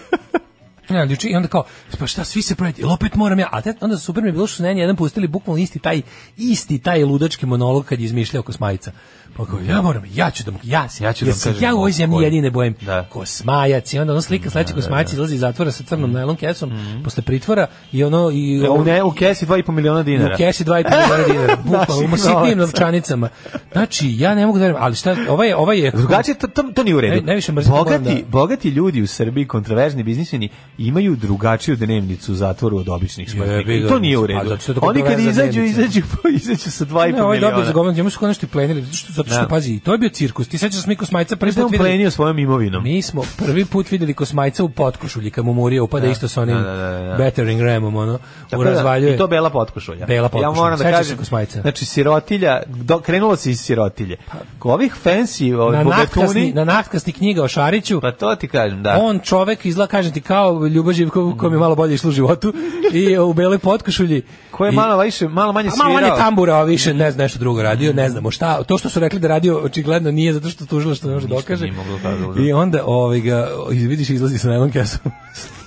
Speaker 5: Ja, ljuči, i onda kao, pa šta, svi se pravite, jel opet moram ja, a te, onda super mi je bilo što su na jedan pustili bukvalno isti taj, isti taj ludački monolog kad je izmišljao Kosmajica. Pa kao, ja moram, ja ću da mu, ja, se-
Speaker 6: Ja ću da
Speaker 5: jer
Speaker 6: mu
Speaker 5: se
Speaker 6: kažem
Speaker 5: ja u ovoj zemlji
Speaker 6: koji.
Speaker 5: jedine bojem
Speaker 6: Da.
Speaker 5: Kosmajac i onda ono slika sledeći Kosmajac izlazi iz zatvora sa crnom najlon kesom posle pritvora i ono, i
Speaker 6: Mhm. U, ne, u kesi 2,5 miliona dinara.
Speaker 5: u kesi 2,5 miliona dinara, bukvalno,
Speaker 6: Naših
Speaker 5: u sitnim
Speaker 6: novaca.
Speaker 5: novčanicama. Znači, ja ne mogu da verujem, ali šta, ovaj, je- ovaj je...
Speaker 6: Drugačije, to, to, to nije u redu.
Speaker 5: Naj- najviše mrzim kad
Speaker 6: bogati,
Speaker 5: moram da-
Speaker 6: bogati ljudi u Srbiji, kontraverzni biznismeni, imaju drugačiju dnevnicu u zatvoru od običnih smrtnika.
Speaker 5: Jebi
Speaker 6: I
Speaker 5: ga,
Speaker 6: to nije u
Speaker 5: a
Speaker 6: redu.
Speaker 5: zato što je to
Speaker 6: Oni kad
Speaker 5: kontroverza
Speaker 6: izađu,
Speaker 5: dnevnica.
Speaker 6: izađu, izađu sa 2,5
Speaker 5: Ne,
Speaker 6: miliona.
Speaker 5: ovaj dobio za govorom, njemu su kao nešto i plenili, zato što, zato što
Speaker 6: Da.
Speaker 5: pazi, to je bio cirkus. Ti sećaš da smo mi Kosmajca prvi
Speaker 6: Znaš da je
Speaker 5: put
Speaker 6: on
Speaker 5: videli?
Speaker 6: plenio svojom imovinom.
Speaker 5: Mi smo prvi put videli Kosmajca u potkošulji, kad mu Murija upada
Speaker 6: Da,
Speaker 5: isto sa onim
Speaker 6: da, da, da, da.
Speaker 5: battering ramom, ono, u
Speaker 6: da,
Speaker 5: razvaljuje.
Speaker 6: I to bela potkošulja.
Speaker 5: Bela potkošulja.
Speaker 6: Ja moram da
Speaker 5: Sećaš se
Speaker 6: kažem,
Speaker 5: Kosmajca? Pa-
Speaker 6: znači sirotilja, do, krenulo se iz sirotilje. Ko ovih fancy,
Speaker 5: na
Speaker 6: ovih
Speaker 5: nahtkasni,
Speaker 6: bogatuni,
Speaker 5: na nahtkasni knjiga o Šariću,
Speaker 6: pa to ti kažem, da.
Speaker 5: on čovek izgleda, kažem ti, kao Ljubo Živkov, kom je malo bolje išlo u životu, i u beloj potkošulji.
Speaker 6: Ko je
Speaker 5: I-
Speaker 6: malo, više, malo manje
Speaker 5: A
Speaker 6: svirao.
Speaker 5: malo on je tambura, a više ne zna nešto drugo radio, ne znamo šta. To što su rekli da radio, očigledno nije zato što tužilo što ne može
Speaker 6: Ništa
Speaker 5: dokaže.
Speaker 6: nije moglo da dokaže.
Speaker 5: I onda ovaj ga vidiš izlazi sa najlon kesom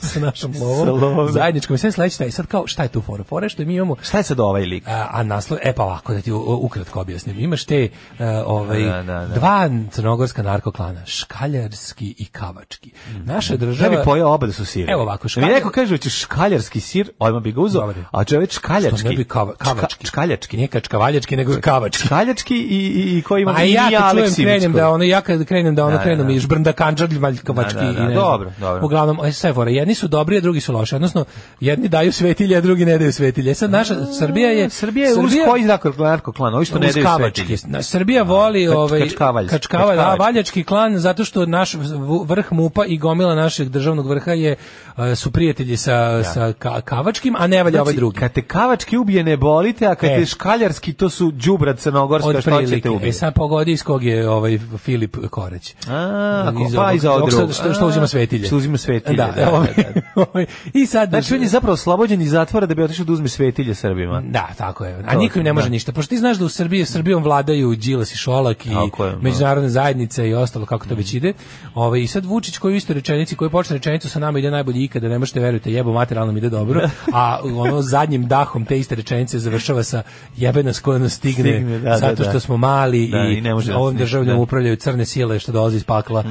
Speaker 5: sa našom lovom.
Speaker 6: lovom.
Speaker 5: Zajedničkom i sve sledeće taj. Sad kao šta je tu fora? Fora je što mi imamo
Speaker 6: Šta je sad ovaj lik?
Speaker 5: a, a naslov, e pa ovako da ti u- u- ukratko objasnim. Imaš te e, ovaj,
Speaker 6: Da, da, da.
Speaker 5: dva crnogorska narkoklana, škaljarski i kavački. Naša
Speaker 6: Mm. Ja
Speaker 5: država...
Speaker 6: bi pojao oba da su siri.
Speaker 5: Evo ovako,
Speaker 6: Da mi neko kaže hoćeš škaljarski sir, odmah bi ga uzeo,
Speaker 5: Dobar je.
Speaker 6: a čovjek škaljački.
Speaker 5: Što ne bi kava- kavački.
Speaker 6: Čka- škaljački.
Speaker 5: Nije kačkavaljački, nego kavački.
Speaker 6: Škaljački i, i, i koji ima
Speaker 5: A ja
Speaker 6: nije
Speaker 5: kad čujem
Speaker 6: Aleksivić
Speaker 5: krenem
Speaker 6: koji-
Speaker 5: da ono ja kad krenem da ono
Speaker 6: Da, da,
Speaker 5: krenem
Speaker 6: da.
Speaker 5: i žbrnda kandžarlj valjkavački
Speaker 6: Da, da, da.
Speaker 5: i ne znam.
Speaker 6: Dobro, dobro.
Speaker 5: Uglavnom aj sve fora, jedni su dobri, a drugi su loši. Odnosno, jedni daju svetilje, a drugi ne daju svetilje. E Sad naša Srbija je
Speaker 6: Mm, Srbija je uz koji narko- narkoklan, ovi što ne
Speaker 5: uz
Speaker 6: daju
Speaker 5: kavački.
Speaker 6: svetilje.
Speaker 5: Na- Srbija voli
Speaker 6: Kač-
Speaker 5: ovaj
Speaker 6: kačkavaljski.
Speaker 5: kačkava, da,
Speaker 6: Kačkavaljski.
Speaker 5: valjački klan zato što naš v- vrh MUPA i gomila našeg državnog vrha je eh, su prijatelji sa sa ka- kavačkim, a ne valja ovaj drugi.
Speaker 6: Znači, Kad te kavački ubije ne bolite, a kad
Speaker 5: E.
Speaker 6: te škaljarski to su đubra crnogorska što
Speaker 5: Otprilike.
Speaker 6: ćete
Speaker 5: E
Speaker 6: ubiti.
Speaker 5: sad pogodi iz kog je ovaj Filip Korać.
Speaker 6: A, ko-
Speaker 5: Iz
Speaker 6: pa
Speaker 5: ovog-
Speaker 6: iz ovog
Speaker 5: što-
Speaker 6: drugog.
Speaker 5: Što, što uzima
Speaker 6: A,
Speaker 5: svetilje.
Speaker 6: što uzima svetilje,
Speaker 5: Da,
Speaker 6: da,
Speaker 5: ovaj-
Speaker 6: da,
Speaker 5: ovaj- I sad...
Speaker 6: Znači, on je zapravo oslobođen iz zatvora da bi otišao da uzme svetilje Srbima.
Speaker 5: Da, tako je. A
Speaker 6: To-
Speaker 5: nikom ne može
Speaker 6: da.
Speaker 5: ništa. Pošto ti znaš da u Srbiji Srbijom vladaju Đilas i Šolak i
Speaker 6: Tako je, da. Mhm.
Speaker 5: međunarodne zajednice i ostalo kako to već ide. Ovaj i sad Vučić koji u istoj rečenici koji počne rečenicu sa nama ide najbolje ikada, ne možete verujete, jebo materijalno mi ide dobro, a ono zadnjim dahom te iste rečenice završava sa jebe nas ko nas stigne,
Speaker 6: Stigne, da, da,
Speaker 5: zato
Speaker 6: da.
Speaker 5: što smo mali
Speaker 6: Da,
Speaker 5: i,
Speaker 6: i ne može nas
Speaker 5: ovom
Speaker 6: ništa,
Speaker 5: državljom
Speaker 6: da. Mhm.
Speaker 5: upravljaju crne sile što dolazi iz pakla,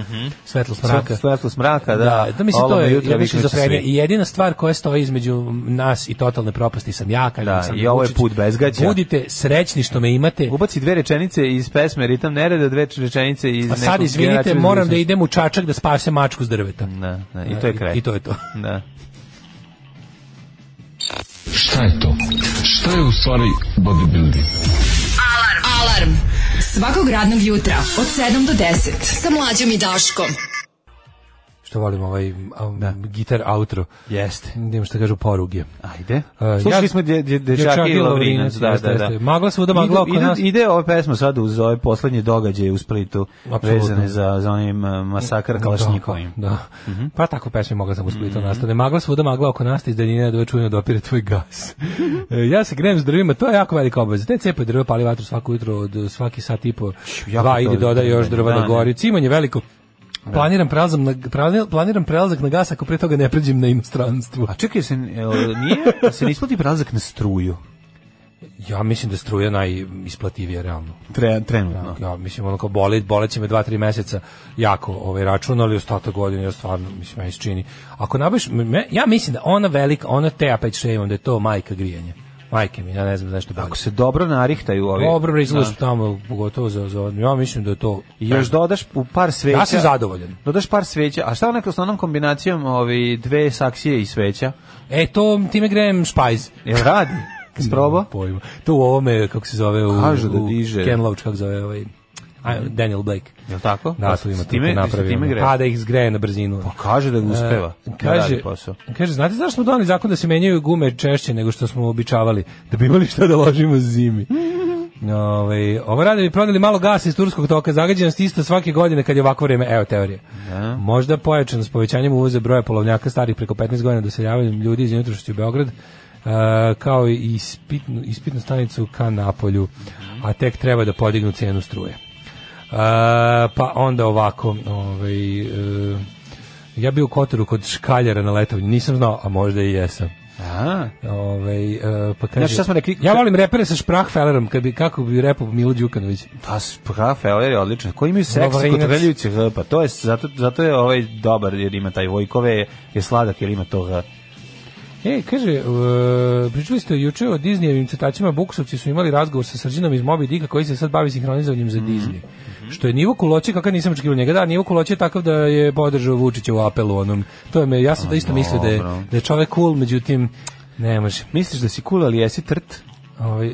Speaker 5: svetlo smraka.
Speaker 6: Svetlo smraka, Pa da.
Speaker 5: Da, da mislim to
Speaker 6: Olamo
Speaker 5: je
Speaker 6: jutro,
Speaker 5: jedna
Speaker 6: viknuće
Speaker 5: šizofrenija.
Speaker 6: svi.
Speaker 5: I jedina stvar koja stoji između nas i totalne propasti sam ja, kažem
Speaker 6: Da,
Speaker 5: Aleksandar
Speaker 6: i ovo je
Speaker 5: Vučić.
Speaker 6: put bezgađa.
Speaker 5: Budite srećni što me imate.
Speaker 6: Ubaci dve rečenice iz pesme Ritam nereda, dve rečenice iz
Speaker 5: A sad
Speaker 6: nekog
Speaker 5: izvinite,
Speaker 6: generacije iz
Speaker 5: moram da
Speaker 6: budućnosti.
Speaker 5: idem u Čačak da spasem mačku s drveta.
Speaker 6: Da, da, i to je kraj.
Speaker 5: I to je to.
Speaker 6: Da.
Speaker 12: Šta je to? Šta je u stvari bodybuilding?
Speaker 4: Alarm. Alarm. Svakog radnog jutra od 7 do 10 sa mlađom i Daškom.
Speaker 5: Što volim ovaj um, gitar outro.
Speaker 6: Jeste.
Speaker 5: Idem što kažu poruge.
Speaker 6: Ajde.
Speaker 5: E,
Speaker 6: Slušali
Speaker 5: ja-
Speaker 6: smo dje, dje,
Speaker 5: Dječaki
Speaker 6: dječaki
Speaker 5: i
Speaker 6: i Lavrinac. Da,
Speaker 5: jeste,
Speaker 6: da, da.
Speaker 5: jeste. Magla svuda, magla oko
Speaker 6: ide,
Speaker 5: nas.
Speaker 6: Ide, ide ova pesma sad uz ove poslednje događaje u Splitu
Speaker 5: Apsolutno.
Speaker 6: vezane za, za onim e, masakr Kalašnikovim.
Speaker 5: Da. da. Pa tako pesme mogla sam uspiti mm nastane. Magla svuda, magla oko nas, iz daljine da čujno dopire tvoj gas. E, ja se grem s drvima, to je jako velika obaveza. Te cepe drva pali vatru svako jutro od e, svaki sat i po.
Speaker 6: jako
Speaker 5: Dva
Speaker 6: to
Speaker 5: ide
Speaker 6: je
Speaker 5: doda još drva
Speaker 6: da,
Speaker 5: da,
Speaker 6: ne.
Speaker 5: gori. Cimanje veliko. Planiram prelazak na planil- planiram prelazak na gas ako pre toga ne pređem na inostranstvo.
Speaker 6: A čekaj, se, jel nije, da se ne isplati prelazak na struju
Speaker 5: Ja mislim da struja najisplativija realno.
Speaker 6: Tre, trenutno.
Speaker 5: Ja mislim ono kao boli, boleće me 2-3 meseca jako ovaj račun, ali ostatak godine ja stvarno mislim meni se čini. Ako nabaviš me, ja mislim da ona velika, ona te ja peć da je to majka grijanja. Majke mi, ja ne znam zašto bolje.
Speaker 6: Ako se dobro narihtaju ovi...
Speaker 5: Dobro bre izlazi
Speaker 6: Da.
Speaker 5: tamo pogotovo za za ja mislim da je to
Speaker 6: I još dodaš u par sveća.
Speaker 5: Ja sam zadovoljan.
Speaker 6: Dodaš par sveća. A šta onako s onom kombinacijom ovi dve saksije i sveća?
Speaker 5: E to time grejem špajz.
Speaker 6: Jel radi? Sprobo?
Speaker 5: Nemam Pojma. To u ovome kako se zove u,
Speaker 6: Kažu da
Speaker 5: u
Speaker 6: diže.
Speaker 5: Ken Loach kako zove ovaj a, Daniel Blake.
Speaker 6: Jel tako?
Speaker 5: Da,
Speaker 6: Pa
Speaker 5: tu ima
Speaker 6: s
Speaker 5: to
Speaker 6: time- s
Speaker 5: napravi.
Speaker 6: time
Speaker 5: ono,
Speaker 6: gre.
Speaker 5: Pa da ih zgreje na brzinu.
Speaker 6: Pa kaže da ga uspeva.
Speaker 5: E,
Speaker 6: da
Speaker 5: Kaže,
Speaker 6: radi posao.
Speaker 5: kaže, znate zašto smo doneli zakon da se menjaju gume češće nego što smo običavali? Da bi imali šta da ložimo zimi. Ove, Ovaj, ovo rade bi prodali malo gasa iz turskog toka, zagađenost ista svake godine kad je ovako vreme, evo teorije. Možda pojačano s povećanjem uvoza broja polovnjaka starih preko 15 godina doseljavanjem ljudi iz unutrašnjosti u Beograd, e, kao i ispitnu, ispitnu stanicu ka Napolju, a tek treba da podignu cenu struje. E, pa onda ovako, ovaj, e, ja bio u Kotoru kod škaljara na letovanju, nisam znao, a možda i jesam.
Speaker 6: A,
Speaker 5: Ovaj e, pa kaže,
Speaker 6: Znači, šta smo rekli?
Speaker 5: Ja volim repere sa Sprachfellerom, kad bi, kako bi repo Milo Đukanović.
Speaker 6: pa kafe, ovo je odlično. Koji imaju seks
Speaker 5: Lovrinac.
Speaker 6: kotrljujući H, pa to je, zato, zato je ovaj dobar jer ima taj vojkove, je sladak jer ima to H.
Speaker 5: E, kaže, uh, pričali ste juče o Disneyevim crtačima, Buksovci su imali razgovor sa Srđinom iz Moby Dicka koji se sad bavi sinhronizovanjem za Disney. Što je nivo kuloće, kakav nisam očekivao njega, da, nivo kuloće je takav da je podržao Vučića u apelu onom. To je me, ja sam da isto mislio da je,
Speaker 6: dobro.
Speaker 5: da je čovek cool, međutim, ne može.
Speaker 6: Misliš da si cool, ali jesi trt?
Speaker 5: Ovaj,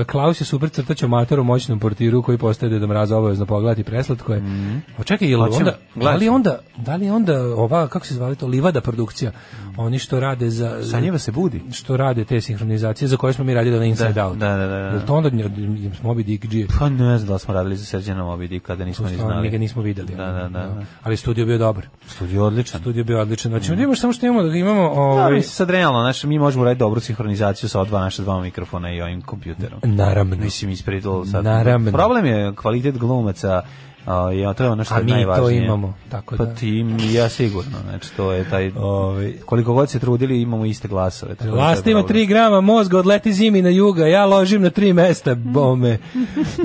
Speaker 5: e, Klaus je super crtač amator u moćnom portiru koji postaje deda mraza obavezno pogledati preslatko je. Mm Očekaj, je li
Speaker 6: Mhm. Hoćemo,
Speaker 5: onda, da li
Speaker 6: gledat
Speaker 5: je
Speaker 6: ćemo.
Speaker 5: onda, da li je onda ova, kako se zvali to, Livada produkcija,
Speaker 6: Mhm.
Speaker 5: oni što rade za...
Speaker 6: Sanjeva se budi.
Speaker 5: Što rade te sinhronizacije za koje smo mi radili na Inside
Speaker 6: Da,
Speaker 5: Out.
Speaker 6: da, da, da, da.
Speaker 5: Jel to onda od nje- od- im smo Moby Dick G.
Speaker 6: Pa ne znam da li smo radili za Srđana Mobidi kada nismo ni
Speaker 5: Pa Stvarno, mi ga
Speaker 6: znali.
Speaker 5: nismo videli. ono,
Speaker 6: Da, da, da, da.
Speaker 5: Ali studio bio dobar.
Speaker 6: Studio je odličan.
Speaker 5: Studio bio odličan. Znači, mm. samo što imamo, da imamo...
Speaker 6: Da,
Speaker 5: Ovaj,
Speaker 6: mislim, sad realno, znaš, mi možemo raditi dobru sinhronizaciju sa ova dva naša dva mikrofona i ovim kompjuterom.
Speaker 5: Naravno.
Speaker 6: Mislim, ispred ovo sad.
Speaker 5: Naravno.
Speaker 6: Problem je kvalitet glumaca, a, ja, to je ono što
Speaker 5: A
Speaker 6: je
Speaker 5: mi to
Speaker 6: najvažnije.
Speaker 5: imamo, tako
Speaker 6: Pa
Speaker 5: da.
Speaker 6: ti, i ja sigurno, znači, to je taj,
Speaker 5: Ovaj.
Speaker 6: koliko god se trudili, imamo iste glasove. tako da to je
Speaker 5: Lasta ima
Speaker 6: problem.
Speaker 5: 3 grama mozga, odleti zimi na juga, ja ložim na tri mesta, bome.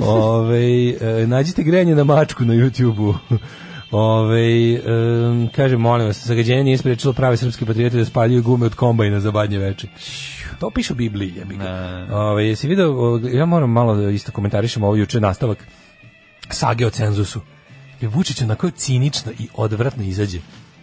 Speaker 5: Ove, e, nađite grejanje na mačku na YouTube-u. Ove, em, kaže, molim vas, zagađenje nije sprečilo prave srpske patriote da spaljuju gume od kombajna za badnje veče. To piše u Bibliji, jebi ga. Ove, jesi video, o, ja moram malo da isto komentarišem ovo juče nastavak sage o cenzusu. Je Vučić onako cinično i odvratno izađe.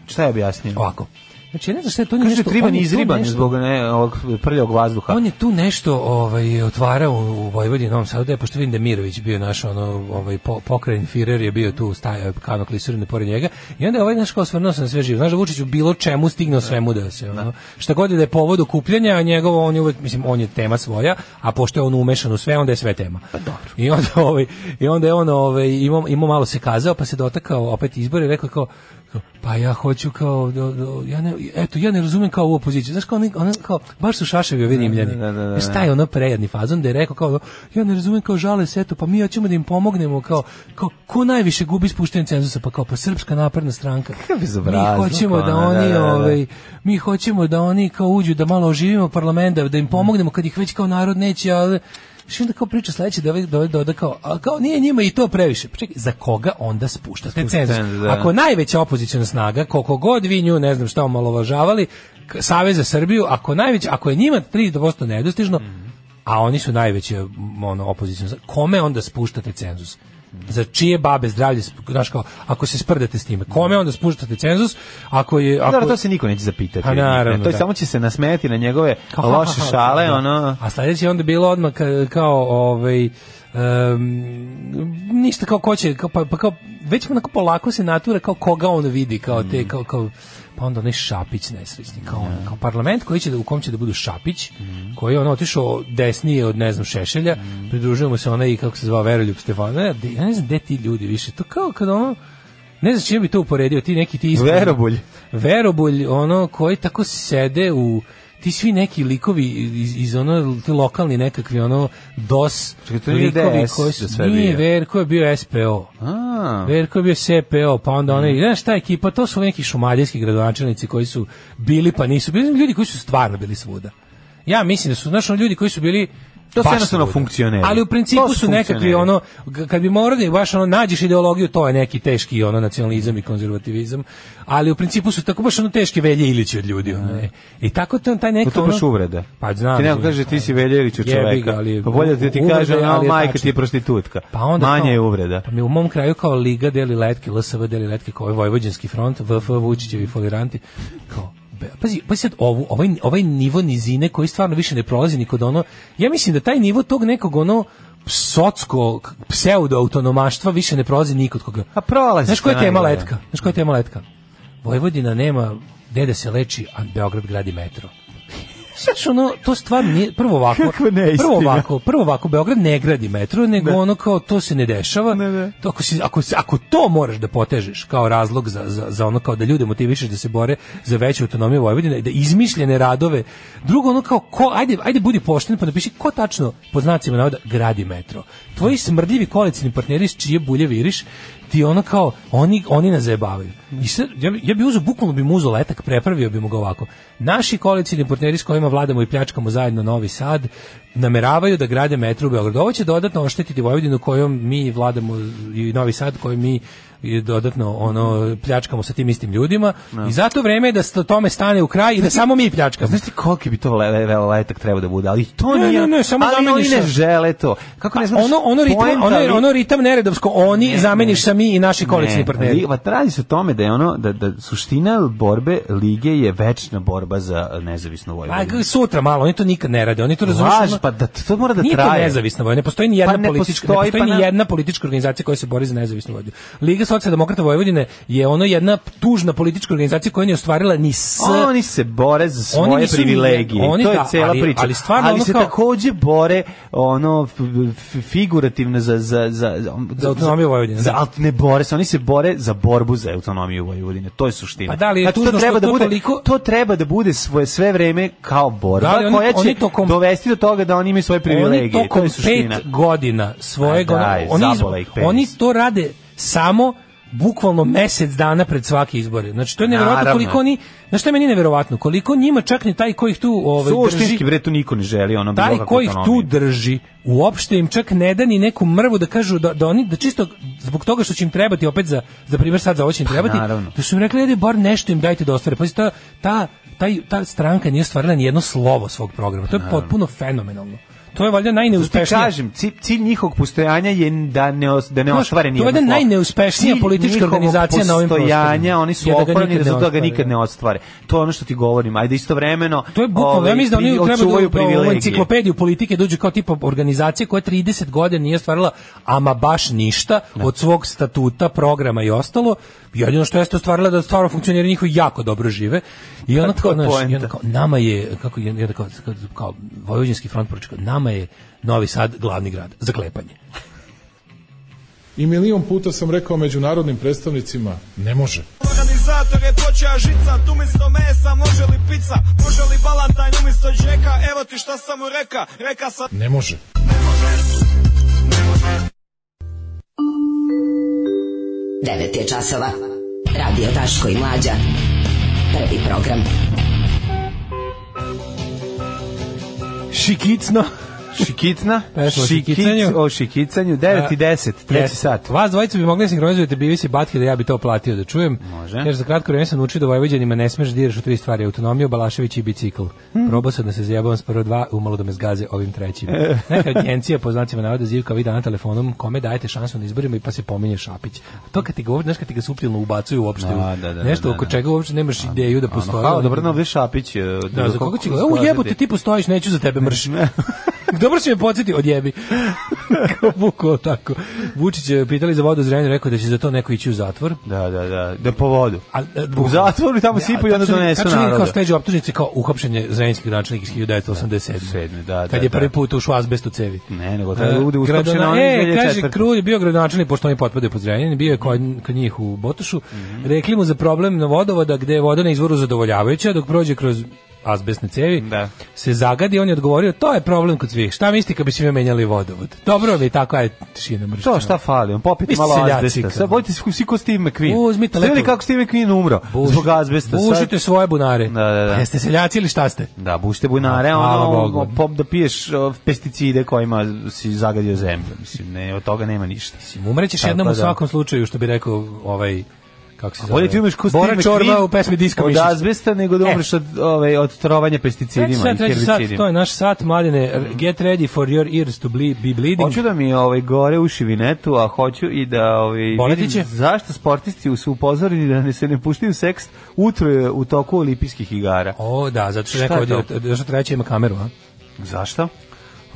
Speaker 6: Šta je objasnio?
Speaker 5: Ovako. Znači, ja ne znam šta je to nije
Speaker 6: Kaže,
Speaker 5: nešto- on
Speaker 6: triban
Speaker 5: je to
Speaker 6: izriban
Speaker 5: nešto-
Speaker 6: zbog ne, ovog prljog vazduha.
Speaker 5: on je tu nešto ovaj otvarao u Vojvodini, Novom Sadu, da je, pošto vidim da je Mirović bio naš ono ovaj po, pokrajin Firer je bio tu stajao kano klisurine pored njega i onda je ovaj naš kao osvrnuo se na sve živo. Znaš da Vučić u bilo čemu stignuo svemu da se ono. Šta god je da je povod okupljanja, a njegovo on je uvek mislim on je tema svoja, a pošto je on umešan u sve, onda je sve tema. I onda ovaj i onda je on ovaj imao imao malo se kazao, pa se dotakao opet izbora i rekao je kao kao, pa ja hoću kao do, do, ja ne eto ja ne razumem kao ovu opoziciju znaš kao oni, oni kao baš su šaševi ovi rimljani
Speaker 6: Da, da, da, da.
Speaker 5: Znaš, taj ono prejedni fazon da je rekao kao ja ne razumem kao žale se eto pa mi hoćemo da im pomognemo kao kao ko najviše gubi spuštenje cenzusa pa kao pa srpska napredna stranka
Speaker 6: bezobrazluk,
Speaker 5: mi hoćemo da
Speaker 6: ono,
Speaker 5: oni
Speaker 6: da, da, da.
Speaker 5: ovaj mi hoćemo da oni kao uđu da malo oživimo parlamenta da im pomognemo kad ih već kao narod neće ali Što onda kao priča sledeće da ovaj da ovaj doda kao, a kao nije njima i to previše. Pa čekaj, za koga onda spuštate cenzus?
Speaker 6: cenzus, da.
Speaker 5: Ako najveća opoziciona snaga, koliko god vi nju, ne znam šta, omalovažavali, k- Savez za Srbiju, ako, najveć, ako je njima 3% nedostižno, a oni su najveći m, ono, opoziciona snaga, kome onda spuštate cenzus? Za čije babe zdravlje, sp- znaš kao, ako se sprdate s time, kome onda spuštate cenzus? Ako je, ako,
Speaker 6: Dobro, to se niko neće zapitati.
Speaker 5: A, Pa naravno,
Speaker 6: to je
Speaker 5: da.
Speaker 6: samo će se nasmejati na njegove
Speaker 5: Kao, ha,
Speaker 6: loše
Speaker 5: ha, ha,
Speaker 6: šale,
Speaker 5: da.
Speaker 6: ono...
Speaker 5: A sledeće je onda bilo odmah ka- kao ovaj em, ništa kao ko će, kao, pa, pa kao, već onako polako se natura kao koga on vidi, kao te,
Speaker 6: Mm.
Speaker 5: kao, kao pa onda onaj Šapić nesrećni, kao, on, kao parlament koji će da, u kom će da budu Šapić,
Speaker 6: Mm.
Speaker 5: koji je on otišao desnije od, ne znam, Šešelja, pridružujemo se onaj, kako se zvao, Veroljub Stefanović, ja, de- ja ne znam gde ti ljudi više, to kao kad ono, ne znam s čime bi to uporedio, ti neki ti ispred-
Speaker 6: Verobulj.
Speaker 5: Verobulj, ono, koji tako sede u ti svi neki likovi iz, iz ono ti lokalni nekakvi ono dos
Speaker 6: Čekaj, to nije DS
Speaker 5: koji
Speaker 6: da sve
Speaker 5: nije
Speaker 6: bio.
Speaker 5: Verko je bio SPO
Speaker 6: A, Mm.
Speaker 5: Verko je bio SPO pa onda onaj znaš ta ekipa to su neki šumadijski gradonačelnici koji su bili pa nisu bili ljudi koji su stvarno bili svuda ja mislim da su znaš ono, ljudi koji su bili
Speaker 6: To su
Speaker 5: baš
Speaker 6: jednostavno
Speaker 5: svuda.
Speaker 6: funkcioneri.
Speaker 5: Ali u principu
Speaker 6: To su
Speaker 5: su, nekakvi
Speaker 6: funkcioneri.
Speaker 5: ono g- kad bi morali baš ono nađeš ideologiju to je neki teški ono nacionalizam i konzervativizam, ali u principu su tako baš ono teški Velje Ilići od ljudi ono. e. I tako to taj neki
Speaker 6: Pa to baš uvreda.
Speaker 5: Pa znam.
Speaker 6: Ti neko kaže ti si Veljerić u
Speaker 5: Jebi ga,
Speaker 6: čoveka.
Speaker 5: ali-
Speaker 6: Pa bolje da ti
Speaker 5: uvreda
Speaker 6: kaže,
Speaker 5: je,
Speaker 6: a
Speaker 5: ali je
Speaker 6: majka
Speaker 5: tačno.
Speaker 6: ti je prostitutka.
Speaker 5: Pa onda
Speaker 6: Manje
Speaker 5: kao-
Speaker 6: je uvreda.
Speaker 5: Pa mi u mom kraju kao Liga deli letke, LSV deli letke, kao ovaj Vojvođanski front, VF Vučićevi foliranti, kao be- Pazi, pazi sad ovu, ovaj, ovaj nivo nizine koji stvarno više ne prolazi ni kod ono, ja mislim da taj nivo tog nekog ono socko pseudoautonomaštva više ne prolazi ni kod koga.
Speaker 6: A prolazi. ono.
Speaker 5: Znaš koja je
Speaker 6: što
Speaker 5: tema
Speaker 6: najgore.
Speaker 5: letka? Znaš koja je tema letka? Vojvodina nema gde da se leči, a Beograd gradi metro. Znaš, ono, to stvarno nije, prvo ovako,
Speaker 6: Kakva neistina.
Speaker 5: prvo ovako, prvo ovako, Beograd ne gradi metro, nego ono kao, to se ne dešava,
Speaker 6: Ne, ne.
Speaker 5: To ako, si, ako, si- ako to moraš da potežeš kao razlog za, za, za ono kao da ljude motivišeš da se bore za veću autonomiju Vojvodine, i da izmišljene radove, drugo ono kao, ko, ajde, ajde budi pošten pa napiši ko tačno po znacima navoda gradi metro. Tvoji smrdljivi koalicijni partneri iz čije bulje viriš, ti ono kao, oni, oni nas zajebavaju. I sad, ja, bi- ja bi uzeo, bukvalno bi mu uzeo letak, prepravio bi mu ga ovako. Naši koalicijni partneri s kojima vladamo i pljačkamo zajedno Novi Sad, nameravaju da grade metro u Beogradu. Ovo će dodatno oštetiti Vojvodinu kojom mi vladamo i Novi Sad kojom mi i dodatno ono pljačkamo sa tim istim ljudima i zato vreme je da se tome stane u kraj i da samo mi pljačkamo.
Speaker 6: Znaš ti koliki bi to le, le, le, letak treba da bude, ali to
Speaker 5: Ne,
Speaker 6: nije...
Speaker 5: ne, ne, samo
Speaker 6: ali oni
Speaker 5: zameniš
Speaker 6: ne
Speaker 5: sa-
Speaker 6: žele to. Kako ne znaš,
Speaker 5: ono ono ritam,
Speaker 6: poenta li-
Speaker 5: ono, ono ritam neredovsko, oni zameniš sa mi i naši koalicijni
Speaker 6: Ne,
Speaker 5: partneri.
Speaker 6: li- pa radi se o tome da je ono da da suština borbe lige je večna borba za nezavisnu
Speaker 5: Pa
Speaker 6: Vojvodinu.
Speaker 5: g- sutra malo, oni to nikad ne rade, oni to razumiju.
Speaker 6: Laž, pa da to mora da
Speaker 5: Nije to
Speaker 6: traje.
Speaker 5: nezavisna vojna, ne postoji ni jedna
Speaker 6: Pa ne
Speaker 5: politička,
Speaker 6: postoji,
Speaker 5: ne postoji
Speaker 6: pa
Speaker 5: ni
Speaker 6: ne-
Speaker 5: jedna politička organizacija koja se bori za nezavisnu Vojvodinu. Liga socijaldemokrata Vojvodine je ono jedna tužna politička organizacija koja nije ostvarila ni s
Speaker 6: Oni se bore za
Speaker 5: Oni
Speaker 6: svoje
Speaker 5: nisu ni
Speaker 6: privilegije.
Speaker 5: jedni, oni
Speaker 6: to je
Speaker 5: da,
Speaker 6: cela
Speaker 5: ali-
Speaker 6: priča.
Speaker 5: ali stvarno ono
Speaker 6: se
Speaker 5: kao-
Speaker 6: takođe bore ono f- f- figurativno za za za
Speaker 5: za autonomiju Vojvodine.
Speaker 6: Za,
Speaker 5: da.
Speaker 6: ali ne bore se, oni se bore za borbu za autonomiju Vojvodine. To je suština.
Speaker 5: Pa da li je
Speaker 6: znači, to
Speaker 5: tužno što
Speaker 6: treba da
Speaker 5: to
Speaker 6: bude
Speaker 5: toliko-
Speaker 6: to treba da bude svoje sve vreme kao borba
Speaker 5: Da li oni-
Speaker 6: koja će
Speaker 5: oni tokom-
Speaker 6: dovesti do toga da oni imaju svoje
Speaker 5: Oni
Speaker 6: privilegije. to
Speaker 5: tokom
Speaker 6: je suština.
Speaker 5: pet godina svojeg,
Speaker 6: A
Speaker 5: ono-
Speaker 6: daj,
Speaker 5: oni, iz-
Speaker 6: zabola ih penis.
Speaker 5: oni to rade samo bukvalno mesec dana pred svake izbore. Znači to je neverovatno
Speaker 6: Naravno.
Speaker 5: koliko oni, znači što je meni neverovatno, koliko njima čak ni taj kojih tu ovaj drži,
Speaker 6: Suštinski bre to niko ne želi, ono bilo
Speaker 5: taj
Speaker 6: kakvu
Speaker 5: koji ih tu
Speaker 6: autonomiju.
Speaker 5: drži uopšte im čak ne da ni neku mrvu da kažu da, da oni da čisto zbog toga što će im trebati opet za za primjer sad za ovo će im trebati
Speaker 6: Pa naravno.
Speaker 5: da su im rekli ajde bar nešto im dajte da ostvare pa ta ta taj, ta stranka nije ostvarila ni jedno slovo svog programa
Speaker 6: Pa
Speaker 5: to je potpuno fenomenalno to je valjda
Speaker 6: Ti
Speaker 5: najneuspešnija
Speaker 6: kažem, cilj, cilj njihovog postojanja je da ne, os- da ne
Speaker 5: Znaš,
Speaker 6: ostvare
Speaker 5: to
Speaker 6: nijedno
Speaker 5: je valjda
Speaker 6: slovo.
Speaker 5: najneuspešnija
Speaker 6: Cilj
Speaker 5: politička
Speaker 6: njihovog
Speaker 5: organizacija na ovim
Speaker 6: postojanja,
Speaker 5: prostorima
Speaker 6: oni su
Speaker 5: je da ga
Speaker 6: oprani da
Speaker 5: nikad ne
Speaker 6: zato da ga
Speaker 5: ostvare,
Speaker 6: nikad
Speaker 5: da.
Speaker 6: ne ostvare. To je ono što ti govorim, ajde istovremeno
Speaker 5: To je bukvalno,
Speaker 6: ovaj,
Speaker 5: ja mislim da
Speaker 6: pri-
Speaker 5: oni treba da
Speaker 6: očuvaju
Speaker 5: u- da u
Speaker 6: privilegije.
Speaker 5: enciklopediju politike dođu kao tipa organizacije koja 30 godina nije stvarila ama baš ništa od svog statuta, programa i ostalo. Jedino što jeste ostvarila da stvarno funkcioneri njihovi jako dobro žive. I ona
Speaker 6: Pa to
Speaker 5: kao,
Speaker 6: je
Speaker 5: znaš, i
Speaker 6: poenta.
Speaker 5: ona kao, nama je, kako je, jedna kao, kao, kao Vojvođanski front poručio, kao, nama je Novi Sad glavni grad, zaklepanje.
Speaker 13: I milion puta sam rekao međunarodnim predstavnicima, ne može.
Speaker 14: Organizator je počeo žica, tu umjesto mesa može li pizza, može li balantajn umjesto džeka, evo ti šta sam mu reka, reka sam...
Speaker 13: Ne može.
Speaker 9: Devet je časova. Radio Daško i Mlađa. Prvi program.
Speaker 5: Šikicno.
Speaker 6: Šikicna,
Speaker 5: Pesma o
Speaker 6: šikic-
Speaker 5: šikicanju.
Speaker 6: o šikicanju, 9 i 10, treći
Speaker 5: Jeste.
Speaker 6: sat.
Speaker 5: Vas dvojica bi mogli da sinhronizujete bivisi batke da ja bi to platio da čujem.
Speaker 6: Može.
Speaker 5: Jer za kratko vreme sam učio da Vojvođanima ne smeš da diraš u tri stvari, autonomiju, Balašević i bicikl.
Speaker 6: Hm.
Speaker 5: Probao sam da se zajebavam s prvo dva, umalo da me zgaze ovim trećim.
Speaker 6: E.
Speaker 5: Neka agencija po znacima navoda zivka vi dana telefonom kome dajete šansu na izborima i pa se pominje Šapić. A to kad ti govori, znaš kad ti ga suptilno ubacuju uopšte, u
Speaker 6: Da, da, da,
Speaker 5: nešto
Speaker 6: da,
Speaker 5: oko
Speaker 6: da.
Speaker 5: čega uopšte nemaš ideju da
Speaker 6: Ono,
Speaker 5: postoji.
Speaker 6: hvala, dobro, no, ovdje Šapić. e,
Speaker 5: Da,
Speaker 6: drugo,
Speaker 5: za koga će
Speaker 6: kako-
Speaker 5: O,
Speaker 6: kako
Speaker 5: jebote,
Speaker 6: kažete?
Speaker 5: ti postojiš, neću za tebe mrš. Dobro si me podsjetio, odjebi. Kao bukvalo tako. Vučić je pitali za vodu zrenju, rekao da će za to neko ići u zatvor.
Speaker 6: Da, da, da, da po vodu.
Speaker 5: A, e,
Speaker 6: U zatvoru i tamo
Speaker 5: Ja,
Speaker 6: sipaju i onda
Speaker 5: tačno je-
Speaker 6: donesu
Speaker 5: tačno je Kao
Speaker 6: narodu.
Speaker 5: steđu optužnice kao uhapšenje zrenjskih gradonačelnika iz 1987.
Speaker 6: Sedmi, da, da,
Speaker 5: Kad je
Speaker 6: da.
Speaker 5: prvi put ušao azbest u cevi.
Speaker 6: Ne, nego
Speaker 5: E,
Speaker 6: treba da bude uskopšen
Speaker 5: gradona-
Speaker 6: on
Speaker 5: E, kaže,
Speaker 6: 2004.
Speaker 5: Krulj je bio gradonačelnik, pošto oni potpadaju pod Zrenjanin, bio je kod, kod njih u Botošu.
Speaker 6: Mhm.
Speaker 5: Rekli mu za problem na vodovoda gde je voda na izvoru zadovoljavajuća, dok prođe kroz azbestne cevi,
Speaker 6: Da.
Speaker 5: se zagadi, on je odgovorio, to je problem kod svih. Šta mislite kad bi svi menjali vodovod? Dobro vi tako, ajde, šina mršća.
Speaker 6: To šta fali, on popiti
Speaker 5: Vi ste
Speaker 6: malo
Speaker 5: seljaci,
Speaker 6: azbesta.
Speaker 5: kao.
Speaker 6: Sad budite svi svi ko Steve McQueen.
Speaker 5: Uzmite
Speaker 6: Ste vidjeli
Speaker 5: lepo.
Speaker 6: kako Steve McQueen umro?
Speaker 5: Buš-
Speaker 6: Zbog azbesta. Sad-
Speaker 5: Bušite svoje bunare.
Speaker 6: Da, da, da.
Speaker 5: Pa Jeste seljaci ili šta ste?
Speaker 6: Da, bušte bunare,
Speaker 5: Hvala
Speaker 6: ono,
Speaker 5: Bogu.
Speaker 6: pop da piješ o, pesticide kojima si zagadio zemlju. Mislim, ne, od toga nema ništa.
Speaker 5: Umrećeš
Speaker 6: Tako
Speaker 5: jednom u
Speaker 6: da.
Speaker 5: svakom slučaju, što bi rekao ovaj kako se zove.
Speaker 6: Bolje ti umreš ko Steve
Speaker 5: Bora
Speaker 6: McQueen
Speaker 5: Čorba u pesmi Diska
Speaker 6: od
Speaker 5: Mišić.
Speaker 6: azbesta nego da
Speaker 5: E.
Speaker 6: umreš od, ovaj, od trovanja pesticidima
Speaker 5: Treći
Speaker 6: i
Speaker 5: sat, treći sat, to
Speaker 6: herbicidima.
Speaker 5: je naš sat, mladine. R- Get ready for your ears to ble, be bleeding.
Speaker 6: Hoću da mi ovaj gore uši vinetu, a hoću i da ovaj
Speaker 5: Boleti
Speaker 6: vidim
Speaker 5: će?
Speaker 6: zašto sportisti su upozoreni da ne se ne puštaju seks utro je u toku olimpijskih igara.
Speaker 5: O, da, zato što
Speaker 6: Šta
Speaker 5: neko
Speaker 6: je to?
Speaker 5: ovdje, zato što treća ima kameru, a?
Speaker 6: Zašto?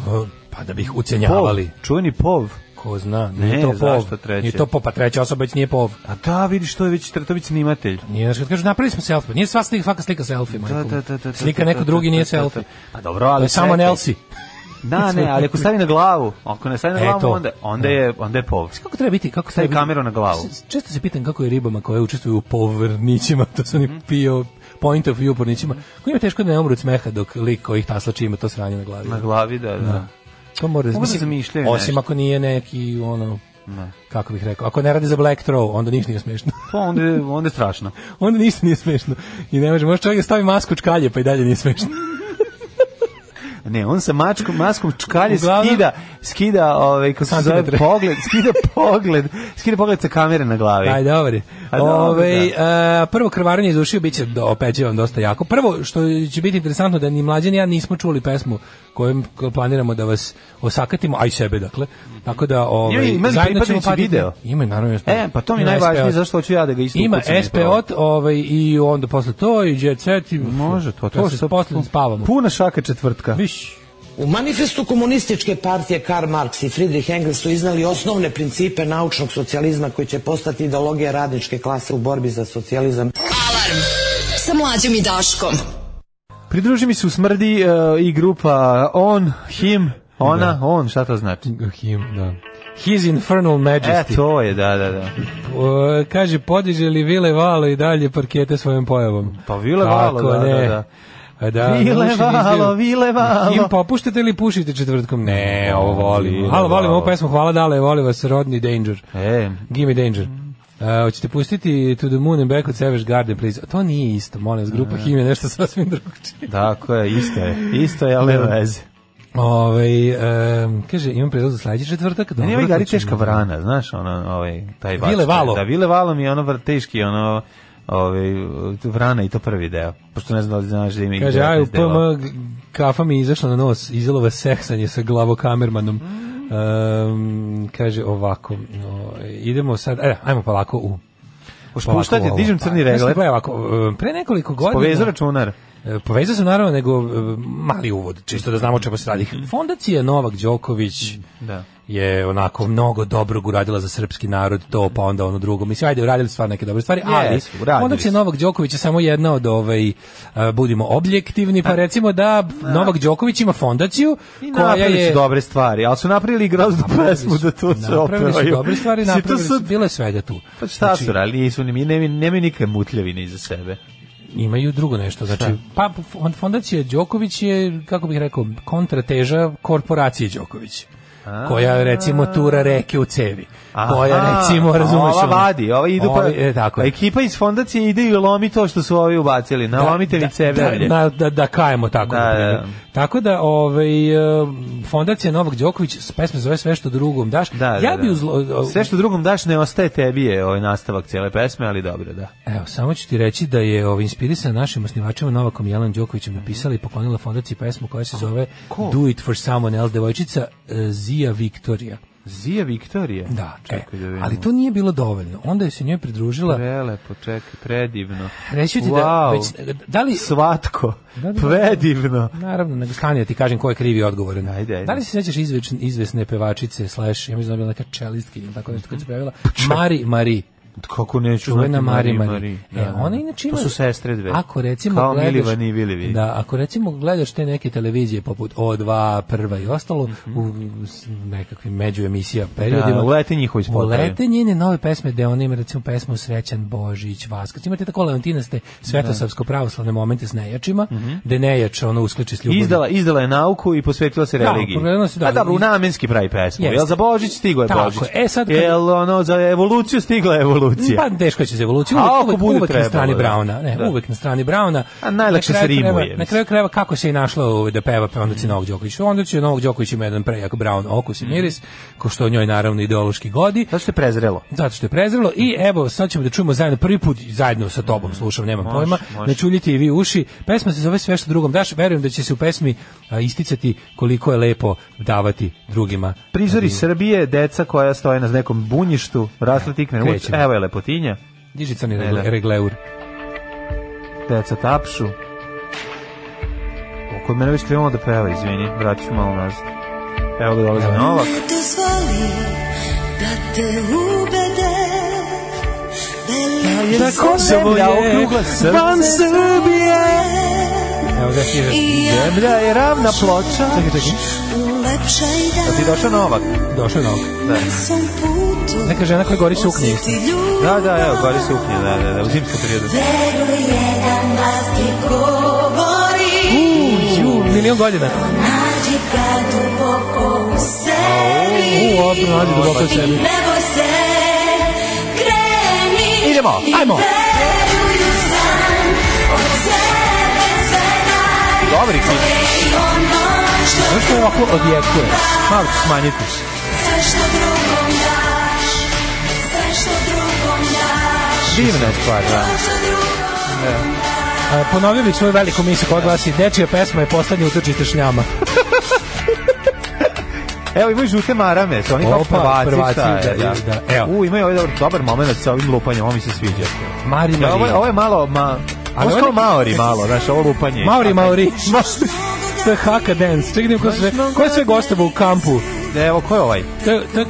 Speaker 5: O, Pa da bi ih ucenjavali.
Speaker 6: Pov, čuveni pov.
Speaker 5: Ko zna, nije
Speaker 6: Ne,
Speaker 5: to
Speaker 6: zašto
Speaker 5: pov.
Speaker 6: treće?
Speaker 5: Nije to pov, pa treća osoba već nije pov.
Speaker 6: A da, vidiš, to je već, to je već snimatelj.
Speaker 5: Nije, znaš, kad kažu, napravili smo selfie. Nije sva slika, svaka slika selfie,
Speaker 6: Da,
Speaker 5: majko.
Speaker 6: da, da, da, da,
Speaker 5: Slika
Speaker 6: da,
Speaker 5: neko
Speaker 6: da,
Speaker 5: drugi
Speaker 6: da,
Speaker 5: nije
Speaker 6: da, da, da.
Speaker 5: selfie.
Speaker 6: Pa dobro, ali
Speaker 5: To je samo
Speaker 6: čekaj.
Speaker 5: Nelsi.
Speaker 6: Da, ne, ali ako stavi na glavu, ako ne stavi na
Speaker 5: E,
Speaker 6: glavu,
Speaker 5: to.
Speaker 6: onda, onda, je, onda je pov.
Speaker 5: Kako treba biti? Kako
Speaker 6: Stavi
Speaker 5: treba biti?
Speaker 6: kameru na glavu.
Speaker 5: S- Često se pitam kako je ribama koje učestvuju u povrnićima, to su oni pio point of view pornićima, koji ima teško da ne umru od smeha dok lik koji ih taslači ima to sranje na glavi.
Speaker 6: Na glavi, da, da.
Speaker 5: Da. To mora
Speaker 6: Mogu da
Speaker 5: mislim,
Speaker 6: zamišljaju
Speaker 5: Osim
Speaker 6: nešto.
Speaker 5: ako nije neki ono kako bih rekao, ako ne radi za Black Throw, onda ništa nije smešno.
Speaker 6: Pa onda, je- onda je strašno.
Speaker 5: onda ništa nije smešno. I ne može, može čovjek da stavi masku čkalje, pa i dalje nije smešno.
Speaker 6: Ne, on sa mačkom, maskom čkalje
Speaker 5: Uglavnom-
Speaker 6: skida, skida, ovaj, kako se zove,
Speaker 5: Santimetre.
Speaker 6: pogled, skida pogled, skida pogled sa kamere na glavi.
Speaker 5: Aj, dobar je.
Speaker 6: A E. Pa dobro,
Speaker 5: Ovaj, e, prvo krvarenje iz ušiju biće do opeđivan dosta jako. Prvo što će biti interesantno da ni mlađan i ja nismo čuli pesmu kojom planiramo da vas osakatimo, a i sebe dakle. Tako da
Speaker 6: Ima-
Speaker 5: ovaj
Speaker 6: ima li
Speaker 5: zajedno ćemo
Speaker 6: pripadajući
Speaker 5: patiti.
Speaker 6: video?
Speaker 5: Ima naravno.
Speaker 6: E, pa to mi je
Speaker 5: Ima
Speaker 6: najvažnije,
Speaker 5: SPO.
Speaker 6: zašto hoću ja da ga isto
Speaker 5: Ima
Speaker 6: ukucam i
Speaker 5: SPO, ovaj i onda posle to i Jet Set i može to. To se posle spavamo.
Speaker 6: Puna šaka četvrtka.
Speaker 5: Viš.
Speaker 15: U manifestu komunističke partije Karl Marx i Friedrich Engels su iznali osnovne principe naučnog socijalizma koji će postati ideologija radničke klase u borbi za socijalizam.
Speaker 4: Alarm sa mlađom i Daškom.
Speaker 6: Pridruži mi se u smrdi e, i grupa On, Him, Ona, On, šta to znači?
Speaker 5: Him, da. His Infernal Majesty.
Speaker 6: E, to je, da, da, da.
Speaker 5: O, kaže, podiže li Vile Valo i dalje parkete svojom pojavom?
Speaker 6: Pa Vile Valo,
Speaker 5: Kako
Speaker 6: da,
Speaker 5: ne?
Speaker 6: da, da.
Speaker 5: A da,
Speaker 6: Vile
Speaker 5: uši nizdio.
Speaker 6: Valo, Vile Valo.
Speaker 5: Im popuštate ili pušite četvrtkom? Ne, ovo volim.
Speaker 6: Vile
Speaker 5: Halo, volim
Speaker 6: Valo.
Speaker 5: ovu pesmu, hvala dale, volim vas, rodni danger.
Speaker 6: E.
Speaker 5: Give me danger. Uh, hoćete pustiti To the Moon and Back od Savage Garden, please? To nije isto, molim vas,
Speaker 6: E.
Speaker 5: grupa Him je nešto sasvim drugačije.
Speaker 6: Dakle, isto je, isto je, ali nema veze.
Speaker 5: Ove, Ovaj, em, kaže, imam predlog za sledeći četvrtak.
Speaker 6: Ne, nema
Speaker 5: dobro,
Speaker 6: igari
Speaker 5: to ćemo-
Speaker 6: teška vrana, znaš, ono, ovaj, taj bač.
Speaker 5: Vile Valo.
Speaker 6: Da, Vile Valo mi je ono vr- teški, ono, ovaj, vrana i to prvi deo. Pošto ne znam da li znaš da ima i
Speaker 5: Kaže,
Speaker 6: 19
Speaker 5: aj, u
Speaker 6: delova.
Speaker 5: PM kafa mi je izašla na nos, izjelova seksanje sa glavokamermanom. Um, kaže ovako, no, idemo sad, e, ajmo polako u...
Speaker 6: Hoš
Speaker 5: polako
Speaker 6: puštati,
Speaker 5: u ovo.
Speaker 6: dižem crni
Speaker 5: Pa,
Speaker 6: regler.
Speaker 5: znaš šta, gledaj ovako, e, pre nekoliko godina...
Speaker 6: Povezao računar.
Speaker 5: E, Povezao sam naravno, nego e, mali uvod, čisto da znamo o čemu se radi. Fondacija Novak Đoković
Speaker 6: Mhm. Da.
Speaker 5: je onako mnogo dobrog uradila za srpski narod, to pa onda ono drugo. Mislim, ajde, uradili su stvarno neke dobre stvari, ali
Speaker 6: Mhm. Jesu, uradili
Speaker 5: onda će
Speaker 6: su.
Speaker 5: Novak Đoković je samo jedna od ovaj, e, budimo objektivni, pa recimo da Novak Đoković ima fondaciju
Speaker 6: I
Speaker 5: koja
Speaker 6: napravili
Speaker 5: je...
Speaker 6: su dobre stvari, ali su napravili i groznu pesmu da to se operaju.
Speaker 5: Napravili su dobre stvari,
Speaker 6: Mislim, to
Speaker 5: napravili su,
Speaker 6: sad-
Speaker 5: bilo je svega tu.
Speaker 6: Pa šta
Speaker 5: Znači,
Speaker 6: su radili, nisu, ni- nemaju nemaju nikakve mutljavine iza sebe.
Speaker 5: Imaju drugo nešto, znači
Speaker 6: Šta?
Speaker 5: pa fon- fondacija Đoković je kako bih rekao kontrateža korporacije Đoković.
Speaker 6: A.
Speaker 5: koja recimo tura reke u cevi.
Speaker 6: Aha,
Speaker 5: koja recimo razumeš.
Speaker 6: Ova
Speaker 5: ono,
Speaker 6: vadi, ova idu pa...
Speaker 5: ovi, e, tako je.
Speaker 6: Ekipa iz fondacije ide i lomi to što su ovi ubacili. Na lomite li cebe
Speaker 5: da,
Speaker 6: ovdje?
Speaker 5: da, da, da kajemo tako.
Speaker 6: Da,
Speaker 5: na primjer.
Speaker 6: da.
Speaker 5: Tako da ovaj e, fondacija Novak Đoković s pesme zove sve što drugom daš.
Speaker 6: Da, da,
Speaker 5: ja bi
Speaker 6: da.
Speaker 5: uz o-
Speaker 6: Sve što drugom daš ne ostaje tebi je ovaj nastavak cijele pesme, ali dobro, da.
Speaker 5: Evo, samo ću ti reći da je ovaj, inspirisan našim osnivačima Novakom i Jelan Đokovićem napisala i poklonila fondaciji pesmu koja se zove
Speaker 6: Ko?
Speaker 5: Do It For Someone Else, devojčica e, Zia Victoria.
Speaker 6: Zija Viktorije.
Speaker 5: Da,
Speaker 6: čekaj
Speaker 5: e,
Speaker 6: da vidimo.
Speaker 5: ali to nije bilo dovoljno. Onda je se njoj pridružila
Speaker 6: Prelepo, čekaj, predivno.
Speaker 5: Reći ću ti da,
Speaker 6: wow.
Speaker 5: već, da li...
Speaker 6: Svatko,
Speaker 5: Da, da, da.
Speaker 6: predivno.
Speaker 5: Naravno, nego stani da ti kažem ko je krivi i odgovoran.
Speaker 6: Ajde, ajde.
Speaker 5: Da li se sećaš izvečn- izvesne pevačice, slash, ja mislim da je bila neka čelistki ili tako nešto koja se pojavila? Mari, Mari.
Speaker 6: Kako neću
Speaker 5: Čuvena
Speaker 6: znati
Speaker 5: Mari Mari.
Speaker 6: Da,
Speaker 5: E,
Speaker 6: da.
Speaker 5: ona inače ima...
Speaker 6: To su sestre dve.
Speaker 5: Ako recimo
Speaker 6: Kao
Speaker 5: gledaš...
Speaker 6: Milivan i Vilivi.
Speaker 5: Da, ako recimo gledaš te neke televizije poput O2, Prva i ostalo, u s- nekakvim međuemisija periodima...
Speaker 6: Mhm. Da, ulete njihovi spotovi.
Speaker 5: Ulete njene nove pesme, gde ona ima recimo pesmu Srećan Božić, Vaskrs. Imate tako Leontinaste svetosavsko-pravoslavne momente s nejačima, gde nejač ono uskliči s ljubavlju.
Speaker 6: Mhm. Izdala, izdala je nauku i posvetila se
Speaker 5: Da,
Speaker 6: religiji.
Speaker 5: pogledala se, da,
Speaker 6: A dobro,
Speaker 5: iz-
Speaker 6: u namenski pravi pesmu.
Speaker 5: Jeste.
Speaker 6: Jel za Božić stigo je
Speaker 5: Tako
Speaker 6: Božić?
Speaker 5: je. E, sad kad-
Speaker 6: Jel ono, za evoluciju stigla je evolucija?
Speaker 5: Pa teško će se evolucija.
Speaker 6: A
Speaker 5: Uvek,
Speaker 6: ako
Speaker 5: uvek,
Speaker 6: bude
Speaker 5: uvek na
Speaker 6: trebalo,
Speaker 5: strani
Speaker 6: da.
Speaker 5: Brauna. Ne,
Speaker 6: Da.
Speaker 5: uvek na strani Brauna.
Speaker 6: A najlakše
Speaker 5: Na kraju
Speaker 6: se rimuje,
Speaker 5: krajeva- Na
Speaker 6: mislim.
Speaker 5: kraju krajeva kako se i našla ovaj, da peva Pandaci Novog Đokovića. Onda će Novog Đoković ima jedan prejak Brown okus
Speaker 6: Mm.
Speaker 5: i miris, ko što njoj naravno ideološki godi.
Speaker 6: Zato što je prezrelo.
Speaker 5: Zato što je prezrelo i evo sad ćemo da čujemo zajedno prvi put zajedno sa tobom slušam nemam
Speaker 6: Mm. Može,
Speaker 5: pojma
Speaker 6: može.
Speaker 5: ne čuljite i vi uši pesma se zove sve što drugom daš verujem da će se u pesmi a, isticati koliko je lepo davati drugima
Speaker 6: Prizori Srbije, deca koja stoje na nekom bunjištu, rasle tikne uč,
Speaker 5: Krećemo.
Speaker 6: evo je lepotinja,
Speaker 5: diži crni
Speaker 6: Ne,
Speaker 5: regle-
Speaker 6: da.
Speaker 5: regleur
Speaker 6: deca tapšu. O, Kod mene već krenulo da peva, izvini, vratit ću malo nazad. Evo ga dolaze Novak.
Speaker 4: Dozvoli da te ubede da
Speaker 6: Na Kosovo je okrugla van Srbije.
Speaker 5: evo ga stiže.
Speaker 6: Zemlja je ravna ploča.
Speaker 5: Čekaj, čekaj.
Speaker 4: Ulepšaj
Speaker 6: Da Pa ti je
Speaker 4: dan
Speaker 6: došao Novak?
Speaker 5: došao je Novak.
Speaker 6: Da.
Speaker 4: sam putu
Speaker 5: neka žena koja gori suknje isto.
Speaker 4: Osjeti ljubav
Speaker 6: Da, da, evo, gori se upnje, da, da, da, u zimsku periodu.
Speaker 4: Veruj jedan glas ti govori
Speaker 5: Ju, milion godina.
Speaker 4: Nađi ga duboko u sebi
Speaker 5: U, opno, nađi duboko u
Speaker 4: I
Speaker 5: sebi.
Speaker 4: ne boj se Kreni
Speaker 6: Idemo,
Speaker 4: i
Speaker 5: ajmo.
Speaker 4: veruj u san Od sebe sve daj
Speaker 6: Dobri ti.
Speaker 4: I ono
Speaker 5: Ovo što je ovako odjekuje. Malo ću smanjiti. Divna je stvar, da. E. A, Ponovio bih svoju veliku misiju koja glasi Dečija pesma je poslednje utočište šljama.
Speaker 6: Evo imaju žute marame, su oni kao
Speaker 5: Opa,
Speaker 6: prvaci,
Speaker 5: prvaci,
Speaker 6: šta je,
Speaker 5: da,
Speaker 6: da.
Speaker 5: da, evo.
Speaker 6: U, imaju ovaj dobar, dobar moment sa ovim lupanjem, ovo mi se sviđa.
Speaker 5: Mari
Speaker 6: Da, ovo, je-
Speaker 5: Marija.
Speaker 6: ovo je malo, ma,
Speaker 5: Ali
Speaker 6: ovo je
Speaker 5: ovo
Speaker 6: kao
Speaker 5: neki-
Speaker 6: maori malo, znaš, ovo lupanje.
Speaker 5: Mauri, Mauri. To je haka dance. Čekaj, da vidim ko sve, ko je sve gostava u kampu?
Speaker 6: Evo, ko je ovaj?
Speaker 5: To, je- to, je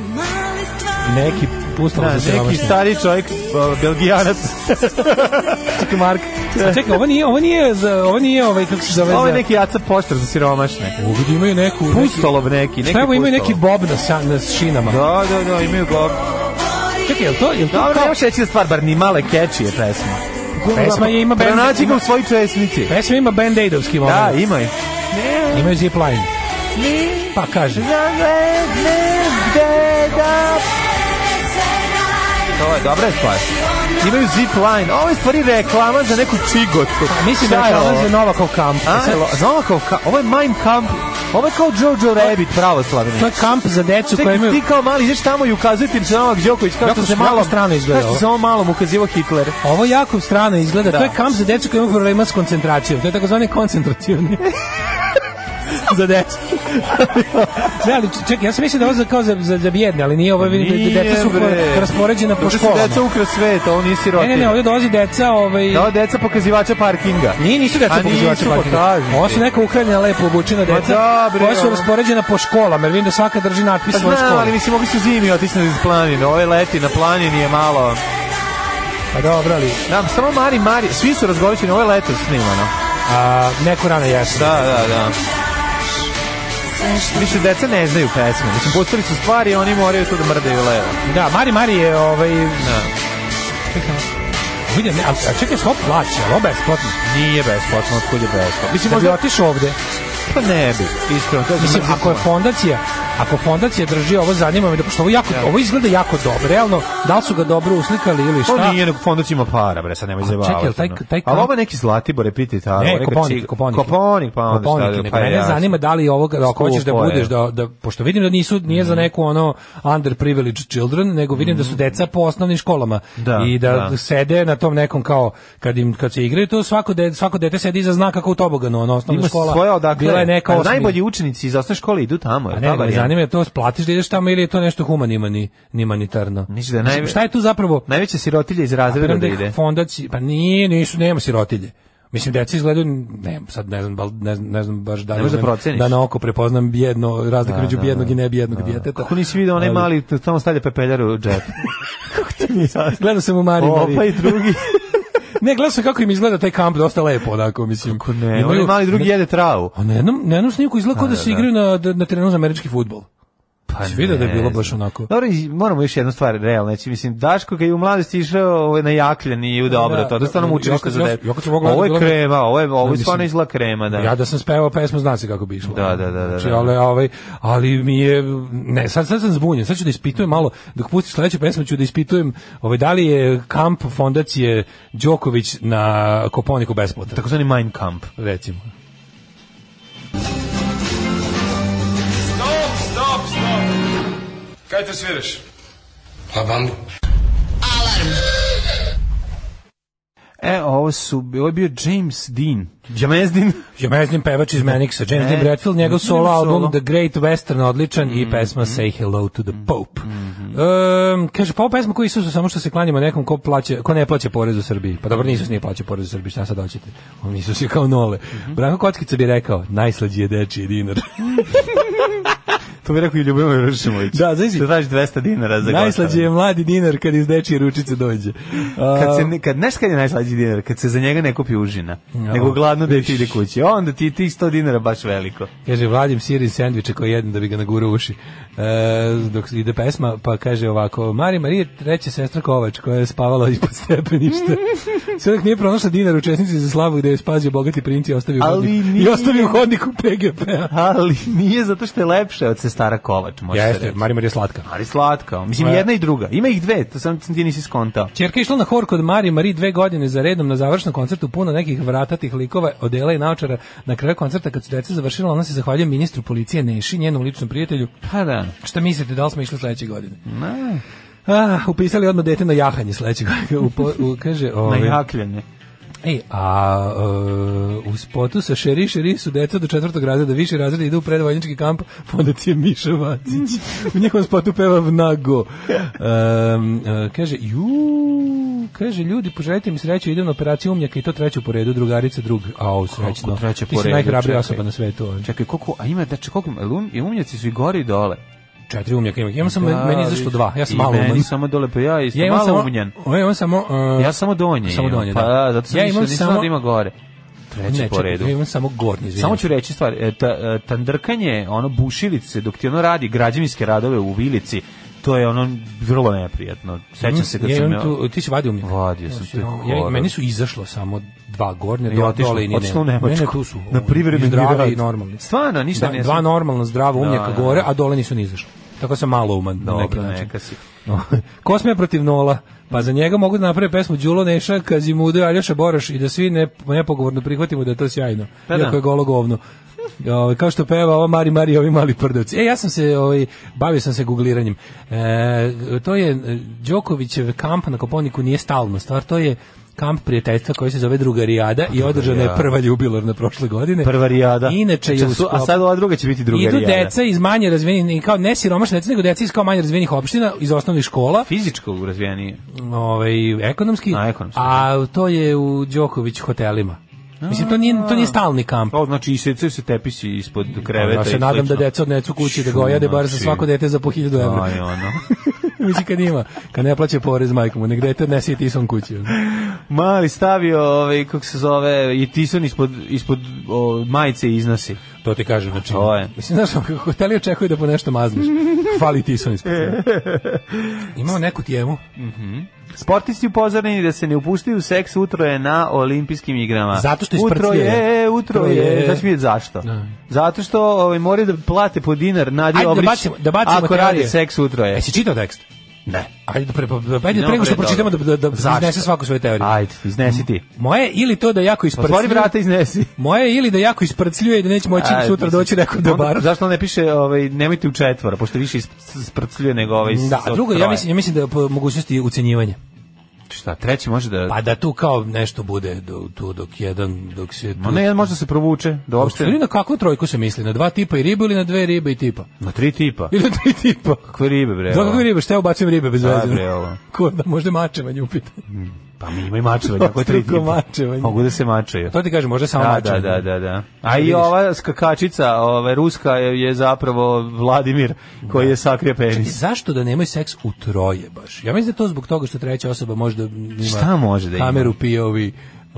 Speaker 5: neki pustalo
Speaker 6: Da,
Speaker 5: za
Speaker 6: neki
Speaker 5: siromašne.
Speaker 6: stari čovjek, uh, belgijanac.
Speaker 5: Čekaj, Mark. A čekaj, ovo nije, ovo nije, za, ovo nije ovaj, kako se zove?
Speaker 6: Ovo je
Speaker 5: za-
Speaker 6: neki jaca poštar za siromašne.
Speaker 5: Ovdje imaju neku... neki-
Speaker 6: Pustolov neki, neki
Speaker 5: Šta evo imaju neki
Speaker 6: pustolov.
Speaker 5: bob na, sa, na šinama?
Speaker 6: Da, da, da, imaju go.
Speaker 5: Čekaj, je li to, je li to
Speaker 6: Dobro,
Speaker 5: kao-
Speaker 6: ne možeš reći da stvar, bar ni male keči je pesma.
Speaker 5: Pesma je ima bend-
Speaker 6: Pronađi ga u svojoj česnici.
Speaker 5: Pesma ima band-aidovski
Speaker 6: Da,
Speaker 5: moment.
Speaker 6: ima ih.
Speaker 5: Imaju zipline. Pa kaže.
Speaker 6: To je dobra je stvar. Imaju zip line. Ovo je stvari reklama za neku čigotu.
Speaker 5: Pa, mislim da je ovo za Novakov kamp.
Speaker 6: A,
Speaker 5: Sad-
Speaker 6: znamo kao, ka, ovo je Mime Camp, ovo je kao Jojo Rabbit pravoslavni.
Speaker 5: To je kamp za decu koja
Speaker 6: Čekaj,
Speaker 5: imaju...
Speaker 6: ti kao mali ideš tamo i ukazujete im se Novak Đoković, kao
Speaker 5: Jako
Speaker 6: što se
Speaker 5: jako
Speaker 6: malo
Speaker 5: strano izgleda
Speaker 6: Kao što
Speaker 5: ovo.
Speaker 6: se ovo malom ukazivo Hitler.
Speaker 5: Ovo jako strano izgleda.
Speaker 6: Da.
Speaker 5: To je kamp za decu koji imaju problema s koncentracijom. To je takozvani koncentracioni. za decu. ne, ali čekaj, ja sam mislio da je ovo za, kao za, za, za bjedne, ali nije ovo, vidim da- da deca su
Speaker 6: Pa Nije, bre.
Speaker 5: po- raspoređena po
Speaker 6: Ovde su
Speaker 5: školama.
Speaker 6: Deca ukra sveta, ovo nisi
Speaker 5: Ne,
Speaker 6: rotin.
Speaker 5: ne, ne, ovdje dolazi deca, ovaj...
Speaker 6: Da, ovo deca pokazivača parkinga.
Speaker 5: Nije, nisu deca
Speaker 6: A
Speaker 5: pokazivača
Speaker 6: nisu, pa
Speaker 5: parkinga.
Speaker 6: kažem
Speaker 5: Ovo
Speaker 6: ti.
Speaker 5: su neka ukrajena lepo obučena deca,
Speaker 6: dobro,
Speaker 5: koja su
Speaker 6: ono.
Speaker 5: raspoređena po školama, jer vidim da svaka drži natpis
Speaker 6: Pa
Speaker 5: svoje
Speaker 6: znam, ali
Speaker 5: škole.
Speaker 6: mislim, mogli su zimi otići na planinu, ovo je leti na planini je malo...
Speaker 5: Pa dobro, ali...
Speaker 6: Da, samo Mari, Mari, svi su razgoličeni, ovo je leto snimano.
Speaker 5: A, neko rano jesen.
Speaker 6: Da, da, da. Više deca ne znaju pesme, mislim, postali su stvari i oni moraju to da mrdaju levo.
Speaker 5: Da, Mari Mari je ovaj...
Speaker 6: Da.
Speaker 5: Vidim, ne, a, a čekaj, svoj plaća, ali ovo besplatno.
Speaker 6: Nije besplatno, otkud je besplatno. Mislim,
Speaker 5: Da bi
Speaker 6: možda...
Speaker 5: otišao ovde.
Speaker 6: Pa ne bi, iskreno. To je
Speaker 5: Mislim,
Speaker 6: mrzitno.
Speaker 5: ako je fondacija, ako fondacija drži ovo zanima me da pošto ovo jako ovo izgleda jako dobro. Realno, da li su ga dobro uslikali ili šta?
Speaker 6: To nije, nego fondac ima para, bre, sad nemoj zajebavati.
Speaker 5: čekaj, jel taj-
Speaker 6: ono.
Speaker 5: taj
Speaker 6: Ali
Speaker 5: kamp-
Speaker 6: ovo je neki Zlatibor, piti ta... ovo je
Speaker 5: Ne,
Speaker 6: neka
Speaker 5: Koponik,
Speaker 6: čig-
Speaker 5: Koponik.
Speaker 6: Koponik, pa onda šta
Speaker 5: Koponik,
Speaker 6: da-
Speaker 5: nego
Speaker 6: pa
Speaker 5: mene
Speaker 6: jasno.
Speaker 5: zanima da li ovo da ako hoćeš da
Speaker 6: Skupo je.
Speaker 5: budeš da da pošto vidim da nisu nije
Speaker 6: Mm.
Speaker 5: za neku ono underprivileged children, nego vidim da su deca po osnovnim školama
Speaker 6: Da,
Speaker 5: i da,
Speaker 6: da.
Speaker 5: sede na tom nekom kao kad im kad se igraju to svako dete svako dete sedi iza znaka kao u toboganu, ono osnovna
Speaker 6: Ima
Speaker 5: škola.
Speaker 6: svoje odakle.
Speaker 5: Bila je neka
Speaker 6: A
Speaker 5: osmi-
Speaker 6: Najbolji učenici iz osnovne škole idu tamo.
Speaker 5: A ne, nego me zanima je to platiš da ideš tamo ili je to nešto humanimani, nimanitarno.
Speaker 6: Mislim da je
Speaker 5: Mislim,
Speaker 6: najve-
Speaker 5: Šta je tu zapravo?
Speaker 6: Najveća sirotilja iz razreda
Speaker 5: Apiram
Speaker 6: da
Speaker 5: da ih
Speaker 6: ide.
Speaker 5: fondaci, pa nije, nisu, nema sirotilje. Mislim, deca izgledaju, ne, sad ne znam, bal- ne, znam- ne znam baš da,
Speaker 6: Ne možeš da
Speaker 5: razumem,
Speaker 6: proceniš.
Speaker 5: da na oko prepoznam jedno, razliku
Speaker 6: Da,
Speaker 5: među
Speaker 6: da,
Speaker 5: bijednog
Speaker 6: da.
Speaker 5: i nebijednog da.
Speaker 6: Kako nisi vidio onaj mali, t- tamo stavlja pepeljaru u džep.
Speaker 5: Gledao sam u Mari Mari.
Speaker 6: Opa pa i drugi.
Speaker 5: Ne, gledao sam kako im izgleda taj kamp, dosta lepo, onako, mislim.
Speaker 6: Kako ne, onaj mali drugi jede travu.
Speaker 5: A na jednom, na jednom snimku izgleda kao da, se igraju na, da- na terenu za američki futbol. Pa si vidio da je
Speaker 6: ne
Speaker 5: bilo baš
Speaker 6: znam.
Speaker 5: onako.
Speaker 6: Dobro, i moramo još jednu stvar, realno, znači, mislim, Daško kad je u mladosti išao ovaj, na jakljen i u dobro,
Speaker 5: Da,
Speaker 6: to, to
Speaker 5: da,
Speaker 6: stvarno
Speaker 5: ja
Speaker 6: mu učilište
Speaker 5: kad-
Speaker 6: za
Speaker 5: ja-
Speaker 6: dete.
Speaker 5: ja kad sam mogla-
Speaker 6: Ovo je
Speaker 5: bila-
Speaker 6: krema, ovo je, ovo je
Speaker 5: Mislim,
Speaker 6: stvarno izgleda krema, da.
Speaker 5: Ja da sam spevao pesmu, zna se kako bi išlo.
Speaker 6: Da, da, da, da,
Speaker 5: Znači,
Speaker 6: da.
Speaker 5: ali, ovaj, ali mi je, ne, sad, sad sam zbunjen, sad ću da ispitujem malo, dok pustiš sledeću pesmu ću da ispitujem ovaj, da li je kamp fondacije Đoković na Koponiku besplatan, tako
Speaker 6: Takozvani Mein Kampf.
Speaker 5: recimo.
Speaker 14: Stop, stop, stop. Kaj te sviraš?
Speaker 7: Pa bandu.
Speaker 6: E, ovo su, ovo je bio James Dean. James Dean.
Speaker 5: Ja meznim pevač iz Manixa, James
Speaker 6: E,
Speaker 5: Dean Bradfield, njegov
Speaker 6: njegov
Speaker 5: solo
Speaker 6: solo. Mm-hmm.
Speaker 5: album The Great Western odličan i pesma Say Hello to the Pope. Ehm, kaže, pa ovo pesma koji su samo što se klanjamo nekom ko, plaća, ko ne plaća porez u Srbiji. Pa dobro, nisu nije plaća porez u Srbiji, šta sad hoćete? On Isus je kao nole.
Speaker 6: Mm-hmm.
Speaker 5: Branko Kockica bi rekao, najslađi je dečiji dinar.
Speaker 6: To bi rekao i Ljubomir Ršimović.
Speaker 5: Da, znaš,
Speaker 6: Što tražiš 200 dinara za
Speaker 5: najslađi je
Speaker 6: gotovinu.
Speaker 5: mladi dinar kad iz dečije ručice dođe.
Speaker 6: Kad se
Speaker 5: Ehm,
Speaker 6: ne, kad znaš kad je najslađi dinar, kad se za njega ne kupi užina, nego gladno da ti ide kući. Onda ti je tih 100 dinara baš veliko.
Speaker 5: Kaže, vladim sirin sendviče koji jedem da bi ga nagurao u uši. E, dok ide pesma, pa kaže ovako, Mari Marije, treća sestra Kovač, koja je spavala ispod stepeništa. Sve dok nije pronašla dinar u česnici za slavu gde je spazio bogati princ i ostavio, u
Speaker 6: Ali
Speaker 5: hodniku, P-a.
Speaker 6: nije.
Speaker 5: i ostavio u hodniku PGP-a.
Speaker 6: Ali nije zato što je lepše od stara kovač, može se
Speaker 5: Jeste,
Speaker 6: reći.
Speaker 5: Marimar je slatka.
Speaker 6: Ali slatka. Mislim,
Speaker 5: Ma-
Speaker 6: jedna i druga. Ima ih dve, to sam sam ti nisi skontao.
Speaker 5: Čerka je išla na hor kod Mari Mari dve godine za redom na završnom koncertu puno nekih vratatih likova, odela i naočara. Na kraju koncerta kad su deca završila, ona se zahvaljuje ministru policije Neši, njenom ličnom prijatelju.
Speaker 6: Pa da.
Speaker 5: Šta mislite, da li smo išli sledeće godine?
Speaker 6: Na,
Speaker 5: Ah, upisali odmah dete na jahanje sledećeg. U, po- u, kaže,
Speaker 6: na
Speaker 5: ovaj,
Speaker 6: jakljanje.
Speaker 5: Ej, a e, u spotu sa Šeri Šeri su deca do četvrtog razreda, više razreda idu u predvojnički kamp fondacije Miša Vacić. u njihovom spotu peva Vnago. Em, e, kaže, ju, kaže, ljudi, poželite mi sreću, idem na operaciju umnjaka i to treću po redu, drugarica drug. Au, srećno.
Speaker 6: treće
Speaker 5: Ti
Speaker 6: po
Speaker 5: si
Speaker 6: redu,
Speaker 5: najhrabrija
Speaker 6: čekaj.
Speaker 5: osoba na svetu. ono.
Speaker 6: Čekaj, koliko, a ima, da če, koliko ima, jel um- i umnjaci su i gore i dole.
Speaker 5: Četiri umnjaka ima. Ja sam,
Speaker 6: Da,
Speaker 5: meni izašlo
Speaker 6: vidiš.
Speaker 5: dva, ja sam
Speaker 6: I
Speaker 5: malo
Speaker 6: meni
Speaker 5: uman.
Speaker 6: samo dole, pa ja isto
Speaker 5: Ja imam
Speaker 6: malo
Speaker 5: samo,
Speaker 6: umanjen.
Speaker 5: ja imam samo, e,
Speaker 6: Ja samo donje.
Speaker 5: Samo
Speaker 6: imam.
Speaker 5: donje,
Speaker 6: pa,
Speaker 5: da.
Speaker 6: zato sam
Speaker 5: Ja
Speaker 6: ja
Speaker 5: imam
Speaker 6: imam
Speaker 5: samo-
Speaker 6: da ima gore. Treći
Speaker 5: Ne,
Speaker 6: po
Speaker 5: čekaj,
Speaker 6: redu.
Speaker 5: ja imam samo gornji, izvinjam
Speaker 6: Samo
Speaker 5: se.
Speaker 6: ću reći stvar, e, ta, e, tandrkanje, ono bušilice, dok ti ono radi građevinske radove u vilici, to je ono vrlo neprijatno. Sećam se kad
Speaker 5: Mhm. ja
Speaker 6: sam...
Speaker 5: imam tu, ti si vadio mi.
Speaker 6: Vadio sam, to je
Speaker 5: ja,
Speaker 6: horor.
Speaker 5: meni su izašlo samo dva gornje,
Speaker 6: I
Speaker 5: do,
Speaker 6: otišlo-
Speaker 5: dole i nije.
Speaker 6: otišlo u
Speaker 5: nema.
Speaker 6: Nemačku.
Speaker 5: Ne, ne, tu su.
Speaker 6: Na
Speaker 5: ono,
Speaker 6: privremeni
Speaker 5: i zdravi
Speaker 6: rad.
Speaker 5: i normalni.
Speaker 6: Stvarno, ništa
Speaker 5: da,
Speaker 6: ne
Speaker 5: Dva
Speaker 6: znam.
Speaker 5: normalno zdrava
Speaker 6: Da,
Speaker 5: umnjaka
Speaker 6: da,
Speaker 5: gore,
Speaker 6: da.
Speaker 5: a dole nisu ni izašli. Tako sam malo uman na neki
Speaker 6: Dobro,
Speaker 5: način.
Speaker 6: neka si.
Speaker 5: Kosme protiv Nola. Pa za njega mogu da naprave pesmu Đulo Neša, Kazimudo i Aljoša Boraš i da svi ne, nepogovorno prihvatimo da je to sjajno.
Speaker 6: Pa da.
Speaker 5: Iako je golo govno. Ovaj, kao što peva ova Mari Mari i ovi mali prdevci. E, ja sam se, ovaj, bavio sam se gugliranjem. E, to je, e, Đokovićev kamp na Koponiku nije stalno stvar, to je kamp prijateljstva koji se zove Drugarijada i održana je prva ljubilorna prošle godine.
Speaker 6: Prva rijada.
Speaker 5: Inače je
Speaker 6: Čak
Speaker 5: u
Speaker 6: su- A
Speaker 5: sklopu-
Speaker 6: sad ova druga će biti druga
Speaker 5: Idu
Speaker 6: rijada.
Speaker 5: deca iz manje razvijenih, kao ne siromašne deca, nego deca iz kao manje razvijenih opština, iz osnovnih škola,
Speaker 6: Fizičko razvijenije.
Speaker 5: ovaj, ekonomski,
Speaker 6: A, ekonomski.
Speaker 5: a to je u Đoković hotelima. Mislim, to nije, to nije stalni kamp.
Speaker 6: To znači i secaju se tepisi ispod kreveta.
Speaker 5: Pa, Ja se
Speaker 6: i
Speaker 5: nadam da
Speaker 6: slično.
Speaker 5: deca odnecu kući da ga ojade bar za
Speaker 6: Znači,
Speaker 5: svako dete za po 1000 evra.
Speaker 6: Aj, ono.
Speaker 5: Mislim kad ima, kad ne plaća porez majkom, mu, nek dete odnese i ti sam kući. ono.
Speaker 6: Mali stavio, ovaj, kako se zove, i tison ispod, ispod o, majice i iznosi.
Speaker 5: To ti kažem, znači.
Speaker 6: To je.
Speaker 5: Mislim, znaš, kako hoteli očekuju da po nešto mazniš. Hvali ti sam ispod. Imamo neku tijemu.
Speaker 6: Sportisti upozoreni da se ne upuštaju u seks utro je na olimpijskim igrama.
Speaker 5: Zato što
Speaker 6: utro je,
Speaker 5: isprcljaju.
Speaker 6: utro
Speaker 5: To
Speaker 6: je.
Speaker 5: je-
Speaker 6: Znaš mi je zašto? Zato što ovaj, moraju da plate po dinar Nadi
Speaker 5: Ajde da
Speaker 6: Obrić
Speaker 5: bacimo, da bacimo
Speaker 6: ako
Speaker 5: teorije.
Speaker 6: radi seks utro je.
Speaker 5: Jesi čitao tekst?
Speaker 6: Ne.
Speaker 5: Ajde, pre, pre, ajde
Speaker 6: Idemo
Speaker 5: E. pre nego što
Speaker 6: pre
Speaker 5: pročitamo da,
Speaker 6: toga.
Speaker 5: da, da
Speaker 6: Zašto?
Speaker 5: iznese svaku svoju teoriju.
Speaker 6: Ajde, iznesi ti.
Speaker 5: Moje ili to da jako isprcljuje.
Speaker 6: Otvori vrata, iznesi.
Speaker 5: Moje ili da jako isprcljuje i da neće moći
Speaker 6: Ajde,
Speaker 5: sutra
Speaker 6: mislim,
Speaker 5: doći nekom da
Speaker 6: onda-
Speaker 5: bar.
Speaker 6: Zašto ne piše, ovaj, nemojte u četvora, pošto više isp- sprcljuje nego ovaj... s-
Speaker 5: Da,
Speaker 6: od
Speaker 5: a drugo, ja
Speaker 6: troje.
Speaker 5: mislim, ja mislim da je po mogućnosti ucenjivanje.
Speaker 6: Šta, treći može da...
Speaker 5: Pa da tu kao nešto bude do, tu dok jedan, dok se...
Speaker 6: Ma
Speaker 5: Tu,
Speaker 6: ne, možda se provuče, da uopšte...
Speaker 5: Ili na kakvu trojku se misli? Na dva tipa i ribu ili na dve ribe i tipa?
Speaker 6: Na tri tipa.
Speaker 5: Ili na tri tipa?
Speaker 6: Kakve ribe, bre? ono?
Speaker 5: Do
Speaker 6: ovo?
Speaker 5: kakve ribe? Šta ja ubacujem ribe bez
Speaker 6: Da,
Speaker 5: veze?
Speaker 6: bre, ovo.
Speaker 5: Kurda, možda mačeva nju pita.
Speaker 6: Pa mi ima i mačevanje, ako je tri
Speaker 5: Dvostruko
Speaker 6: tipa.
Speaker 5: mačevanje.
Speaker 6: Mogu da se mačeju.
Speaker 5: Pa To ti kažem, možda samo
Speaker 6: Da, da,
Speaker 5: mačevanje.
Speaker 6: da, da, da. A i
Speaker 5: vidiš.
Speaker 6: ova skakačica, ova ruska je, je zapravo Vladimir koji je sakrio
Speaker 5: Čekaj,
Speaker 6: penis.
Speaker 5: zašto da nemaju seks u troje baš? Ja mislim da je to zbog toga što treća osoba možda ima
Speaker 6: Šta može da ima?
Speaker 5: kameru POV.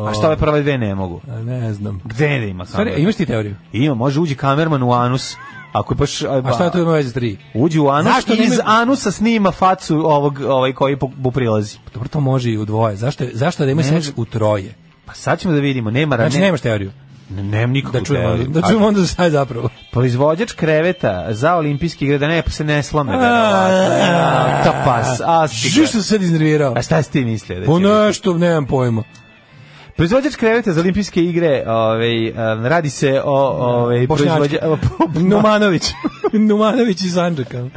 Speaker 6: A šta ove prve dve ne mogu?
Speaker 5: A Ne znam.
Speaker 6: Gde da ima
Speaker 5: Stvari,
Speaker 6: kameru?
Speaker 5: imaš ti teoriju?
Speaker 6: Ima, može uđi kamerman u anus. Ako je baš...
Speaker 5: A šta to ima veze s tri?
Speaker 6: Uđi u anus
Speaker 5: Zašto
Speaker 6: i iz
Speaker 5: nemaju-
Speaker 6: anusa snima facu ovog ovaj koji bu, bu prilazi.
Speaker 5: Dobro, to može i u dvoje. Zašto, je- zašto da imaju
Speaker 6: Ne.
Speaker 5: seks u troje?
Speaker 6: Pa sad ćemo da vidimo, nema
Speaker 5: Znači,
Speaker 6: ne-
Speaker 5: nemaš teoriju.
Speaker 6: Ne- nemam nikakvu
Speaker 5: Da čujemo,
Speaker 6: teoriju. Pa-
Speaker 5: onda, da čujemo onda šta je zapravo.
Speaker 6: Proizvođač kreveta za olimpijske igre, da ne, pa se ne slame.
Speaker 5: A,
Speaker 6: Tapas,
Speaker 5: Žiš što
Speaker 6: astika.
Speaker 5: se sad iznervirao?
Speaker 6: A Pa šta si ti mislio? Da će
Speaker 5: Po
Speaker 6: biti?
Speaker 5: nešto, nemam pojma.
Speaker 6: Proizvođač kreveta za olimpijske igre, ovaj, em, radi se o... Ovaj,
Speaker 5: Bošnjački.
Speaker 6: proizvođa-
Speaker 5: Numanović. Numanović iz Andžaka.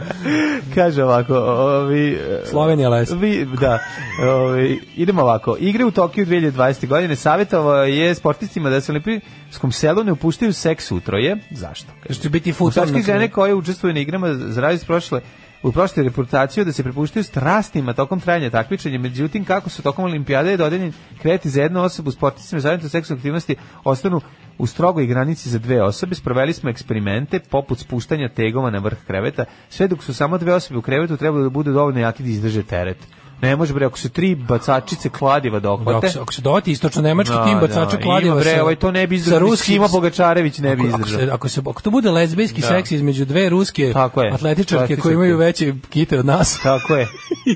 Speaker 6: Kaže ovako, ovi... e,
Speaker 5: Slovenija les.
Speaker 6: Vi, da, ovi, idemo ovako. Igre u Tokiju 2020. godine savjetovao je sportistima da se u olimpijskom selu ne upuštaju seks utroje. Zašto?
Speaker 5: Što će biti futon.
Speaker 6: Muškarske žene koje učestvuju na igrama zaradi iz prošle u prošloj reputaciju da se prepuštaju strastima tokom trajanja takmičenja, međutim kako su tokom olimpijade dodeljeni kreti za jednu osobu sportistima zajedno seksualne aktivnosti ostanu u strogoj granici za dve osobe, sproveli smo eksperimente poput spuštanja tegova na vrh kreveta, sve dok su samo dve osobe u krevetu trebalo da budu dovoljno jaki da izdrže teret. Ne može bre, ako se tri bacačice kladiva dohvate.
Speaker 5: Ako se, ako se doti istočno nemački tim bacača
Speaker 6: da,
Speaker 5: kladiva
Speaker 6: ima, bre,
Speaker 5: sa-
Speaker 6: ovaj to ne bi izdržao.
Speaker 5: sa
Speaker 6: ni
Speaker 5: ruskim-
Speaker 6: Simo Bogačarević ne bi
Speaker 5: Ako- Ako, se,
Speaker 6: izdržao.
Speaker 5: ako, se, ako to bude lezbijski
Speaker 6: Da.
Speaker 5: seks između dve ruske
Speaker 6: Tako je.
Speaker 5: atletičarke
Speaker 6: Atletičarke.
Speaker 5: koje imaju veće kite od nas.
Speaker 6: Tako je.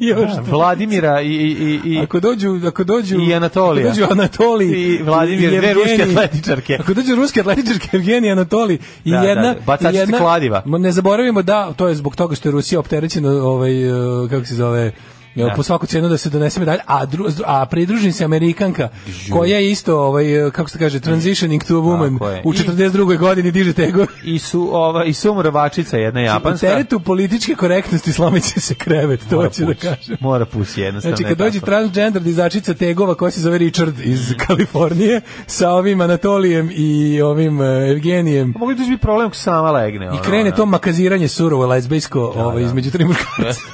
Speaker 5: I još
Speaker 6: Da,
Speaker 5: da,
Speaker 6: Vladimira i, i, i, i
Speaker 5: Ako dođu, ako dođu
Speaker 6: I Anatolija.
Speaker 5: Ako dođu Anatoli
Speaker 6: I Vladimir, dve
Speaker 5: Evgenij-
Speaker 6: ruske atletičarke.
Speaker 5: Ako dođu ruske atletičarke Evgenij Anatoli i
Speaker 6: Da, da,
Speaker 5: jedna
Speaker 6: da. Bacačice
Speaker 5: i jedna,
Speaker 6: kladiva.
Speaker 5: Ma, Ne zaboravimo da to je zbog toga što je Rusija opterećena ovaj eh, kako se zove
Speaker 6: Da.
Speaker 5: Da. po svaku cenu da se donese medalja, a, dru, a pridruži se Amerikanka, koja je isto, ovaj, eh, kako se kaže, transitioning to a
Speaker 6: Tako je.
Speaker 5: woman, u
Speaker 6: I-
Speaker 5: 42. godini diže tegove.
Speaker 6: i su ova i sumrovačica jedna japanska.
Speaker 5: U teretu političke korektnosti slomit će se krevet, to
Speaker 6: Mora
Speaker 5: hoću da
Speaker 6: pući.
Speaker 5: kažem.
Speaker 6: Mora pusti jednostavno.
Speaker 5: Znači,
Speaker 6: je
Speaker 5: kad dođe
Speaker 6: tako.
Speaker 5: transgender dizačica tegova koja se zove Richard
Speaker 6: Mm.
Speaker 5: iz Kalifornije sa ovim Anatolijem i ovim uh, Evgenijem
Speaker 6: A Mogu da Pa bi problem ako sama legne. ono,
Speaker 5: i krene to makaziranje surovo lezbijsko
Speaker 6: Da,
Speaker 5: ovo,
Speaker 6: da.
Speaker 5: između tri muškarca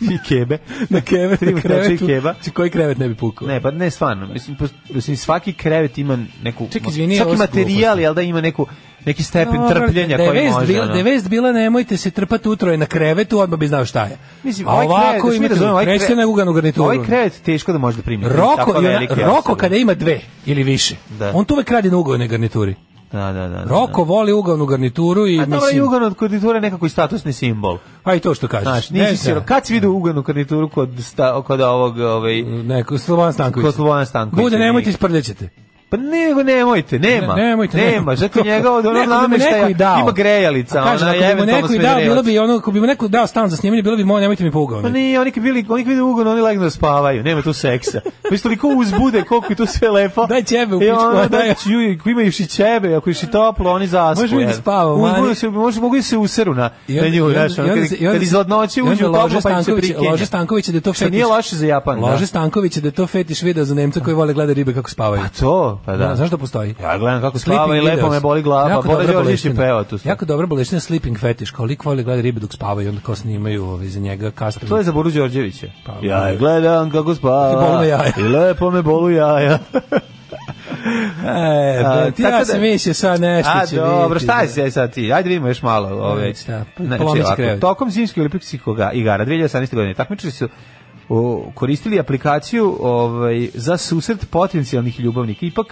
Speaker 6: I kebe.
Speaker 5: na kevet,
Speaker 6: Tri
Speaker 5: na
Speaker 6: muškarca i
Speaker 5: krevetu.
Speaker 6: keba.
Speaker 5: Znači, koji krevet ne bi pukao?
Speaker 6: Ne, pa ne stvarno. Mislim, pos- mislim svaki krevet ima neku
Speaker 5: Ček, izvini,
Speaker 6: svaki
Speaker 5: ovo su
Speaker 6: materijal jel da ima neku neki stepen
Speaker 5: Dobro,
Speaker 6: trpljenja
Speaker 5: da je
Speaker 6: koji
Speaker 5: vest
Speaker 6: može.
Speaker 5: Bila,
Speaker 6: ono.
Speaker 5: da je vest bila nemojte se trpati utroje na krevetu, odmah bi znao šta je.
Speaker 6: Mislim,
Speaker 5: A
Speaker 6: ovaj krevet,
Speaker 5: ovako
Speaker 6: da se mi
Speaker 5: imate,
Speaker 6: razumemo, ovaj
Speaker 5: krećete
Speaker 6: krevet-
Speaker 5: na uganu garnituru.
Speaker 6: Ovaj krevet teško da može da primi.
Speaker 5: Roko,
Speaker 6: Tako
Speaker 5: i ona-
Speaker 6: velike
Speaker 5: Roko
Speaker 6: osobe.
Speaker 5: kada ima dve ili više,
Speaker 6: Da.
Speaker 5: on tu uvek radi na ugovne garnituri.
Speaker 6: Da, da, da. da.
Speaker 5: Roko voli ugavnu garnituru i
Speaker 6: A dobro, i
Speaker 5: mislim...
Speaker 6: ugan od konditura je nekako i statusni simbol.
Speaker 5: A Pa i to što kažeš.
Speaker 6: Znaš, nisi
Speaker 5: Znači,
Speaker 6: ono,
Speaker 5: Ne
Speaker 6: siro.
Speaker 5: znam.
Speaker 6: Znači, Kad si vidio uganu kandiduru kod, sta, kod ovog, ovaj,
Speaker 5: Neko, Slobodan Stanković.
Speaker 6: kod Slobodana Stankovića?
Speaker 5: Bude, nemojte isprljećete.
Speaker 6: Pa ne, nego nemojte, nema.
Speaker 5: Ne, nemojte,
Speaker 6: nema.
Speaker 5: nemojte.
Speaker 6: Zato ono njega od onog
Speaker 5: Neko bi mu
Speaker 6: nameštaja
Speaker 5: neko i dao.
Speaker 6: ima grejalica,
Speaker 5: A kažem,
Speaker 6: ona
Speaker 5: ako bi mu
Speaker 6: eventualno
Speaker 5: neko i dao,
Speaker 6: smederevac.
Speaker 5: bilo bi ono, ako bi mu neko dao stan za snimanje, bilo bi moj, nemojte mi pugao.
Speaker 6: Pa nije, oni kad bili, oni kad vide ugon, oni legnu da spavaju, nema tu seksa. Pa isto toliko uzbude, koliko je tu sve lepo.
Speaker 5: Daj ćebe u
Speaker 6: I
Speaker 5: pičku,
Speaker 6: ono,
Speaker 5: a daj-
Speaker 6: daj, ju, ako ima još i ćebe, ako je još i toplo, oni zaspu.
Speaker 5: Možemo i da
Speaker 6: jel?
Speaker 5: spavamo,
Speaker 6: Uzbude
Speaker 5: mani.
Speaker 6: se, može, mogu i se useru na,
Speaker 5: I
Speaker 6: na
Speaker 5: onda-
Speaker 6: nju,
Speaker 5: i onda-
Speaker 6: znaš,
Speaker 5: i
Speaker 6: ono,
Speaker 5: onda
Speaker 6: kad,
Speaker 5: se- i onda
Speaker 6: kad
Speaker 5: se-
Speaker 6: iz hladnoće
Speaker 5: i onda
Speaker 6: uđe u
Speaker 5: lože
Speaker 6: toplo, pa im se
Speaker 5: Stanković-
Speaker 6: prikenja.
Speaker 5: Lože Stanković da je to
Speaker 6: Što
Speaker 5: fetiš.
Speaker 6: nije loše za Japan, da.
Speaker 5: Lože Stanković da je to fetiš video za Nemca koji vole gleda ribe kako spavaju.
Speaker 6: Pa to, pa da.
Speaker 5: Da, znaš da postoji?
Speaker 6: Ja gledam kako
Speaker 5: Sleeping
Speaker 6: spava i lepo
Speaker 5: videos.
Speaker 6: me boli glava, pa
Speaker 5: Jako
Speaker 6: Bora
Speaker 5: dobra
Speaker 6: Đorđević je
Speaker 5: boleština.
Speaker 6: pevao tu.
Speaker 5: Jako dobra boleština sleeping fetiš, kao lik voli gleda ribe dok spavaju, onda kao snimaju ovaj, za njega kasnije.
Speaker 6: To je za Boru Đorđevića.
Speaker 5: Pa,
Speaker 6: ja je gledam kako spava.
Speaker 5: Ti bolu na jaja.
Speaker 6: I lepo me bolu jaja.
Speaker 5: E,
Speaker 6: A,
Speaker 5: bre, ti
Speaker 6: tako da-
Speaker 5: ja sam mislio sad nešto
Speaker 6: A
Speaker 5: će
Speaker 6: dobro,
Speaker 5: biti,
Speaker 6: šta je
Speaker 5: da.
Speaker 6: sve sad ti? Ajde vidimo još malo. Ove,
Speaker 5: Šta,
Speaker 6: znači,
Speaker 5: polomići
Speaker 6: ovako,
Speaker 5: krevet.
Speaker 6: tokom zimskih olimpijskih igara 2018. godine takmičari su o, koristili aplikaciju ovaj, za susret potencijalnih ljubavnika. Ipak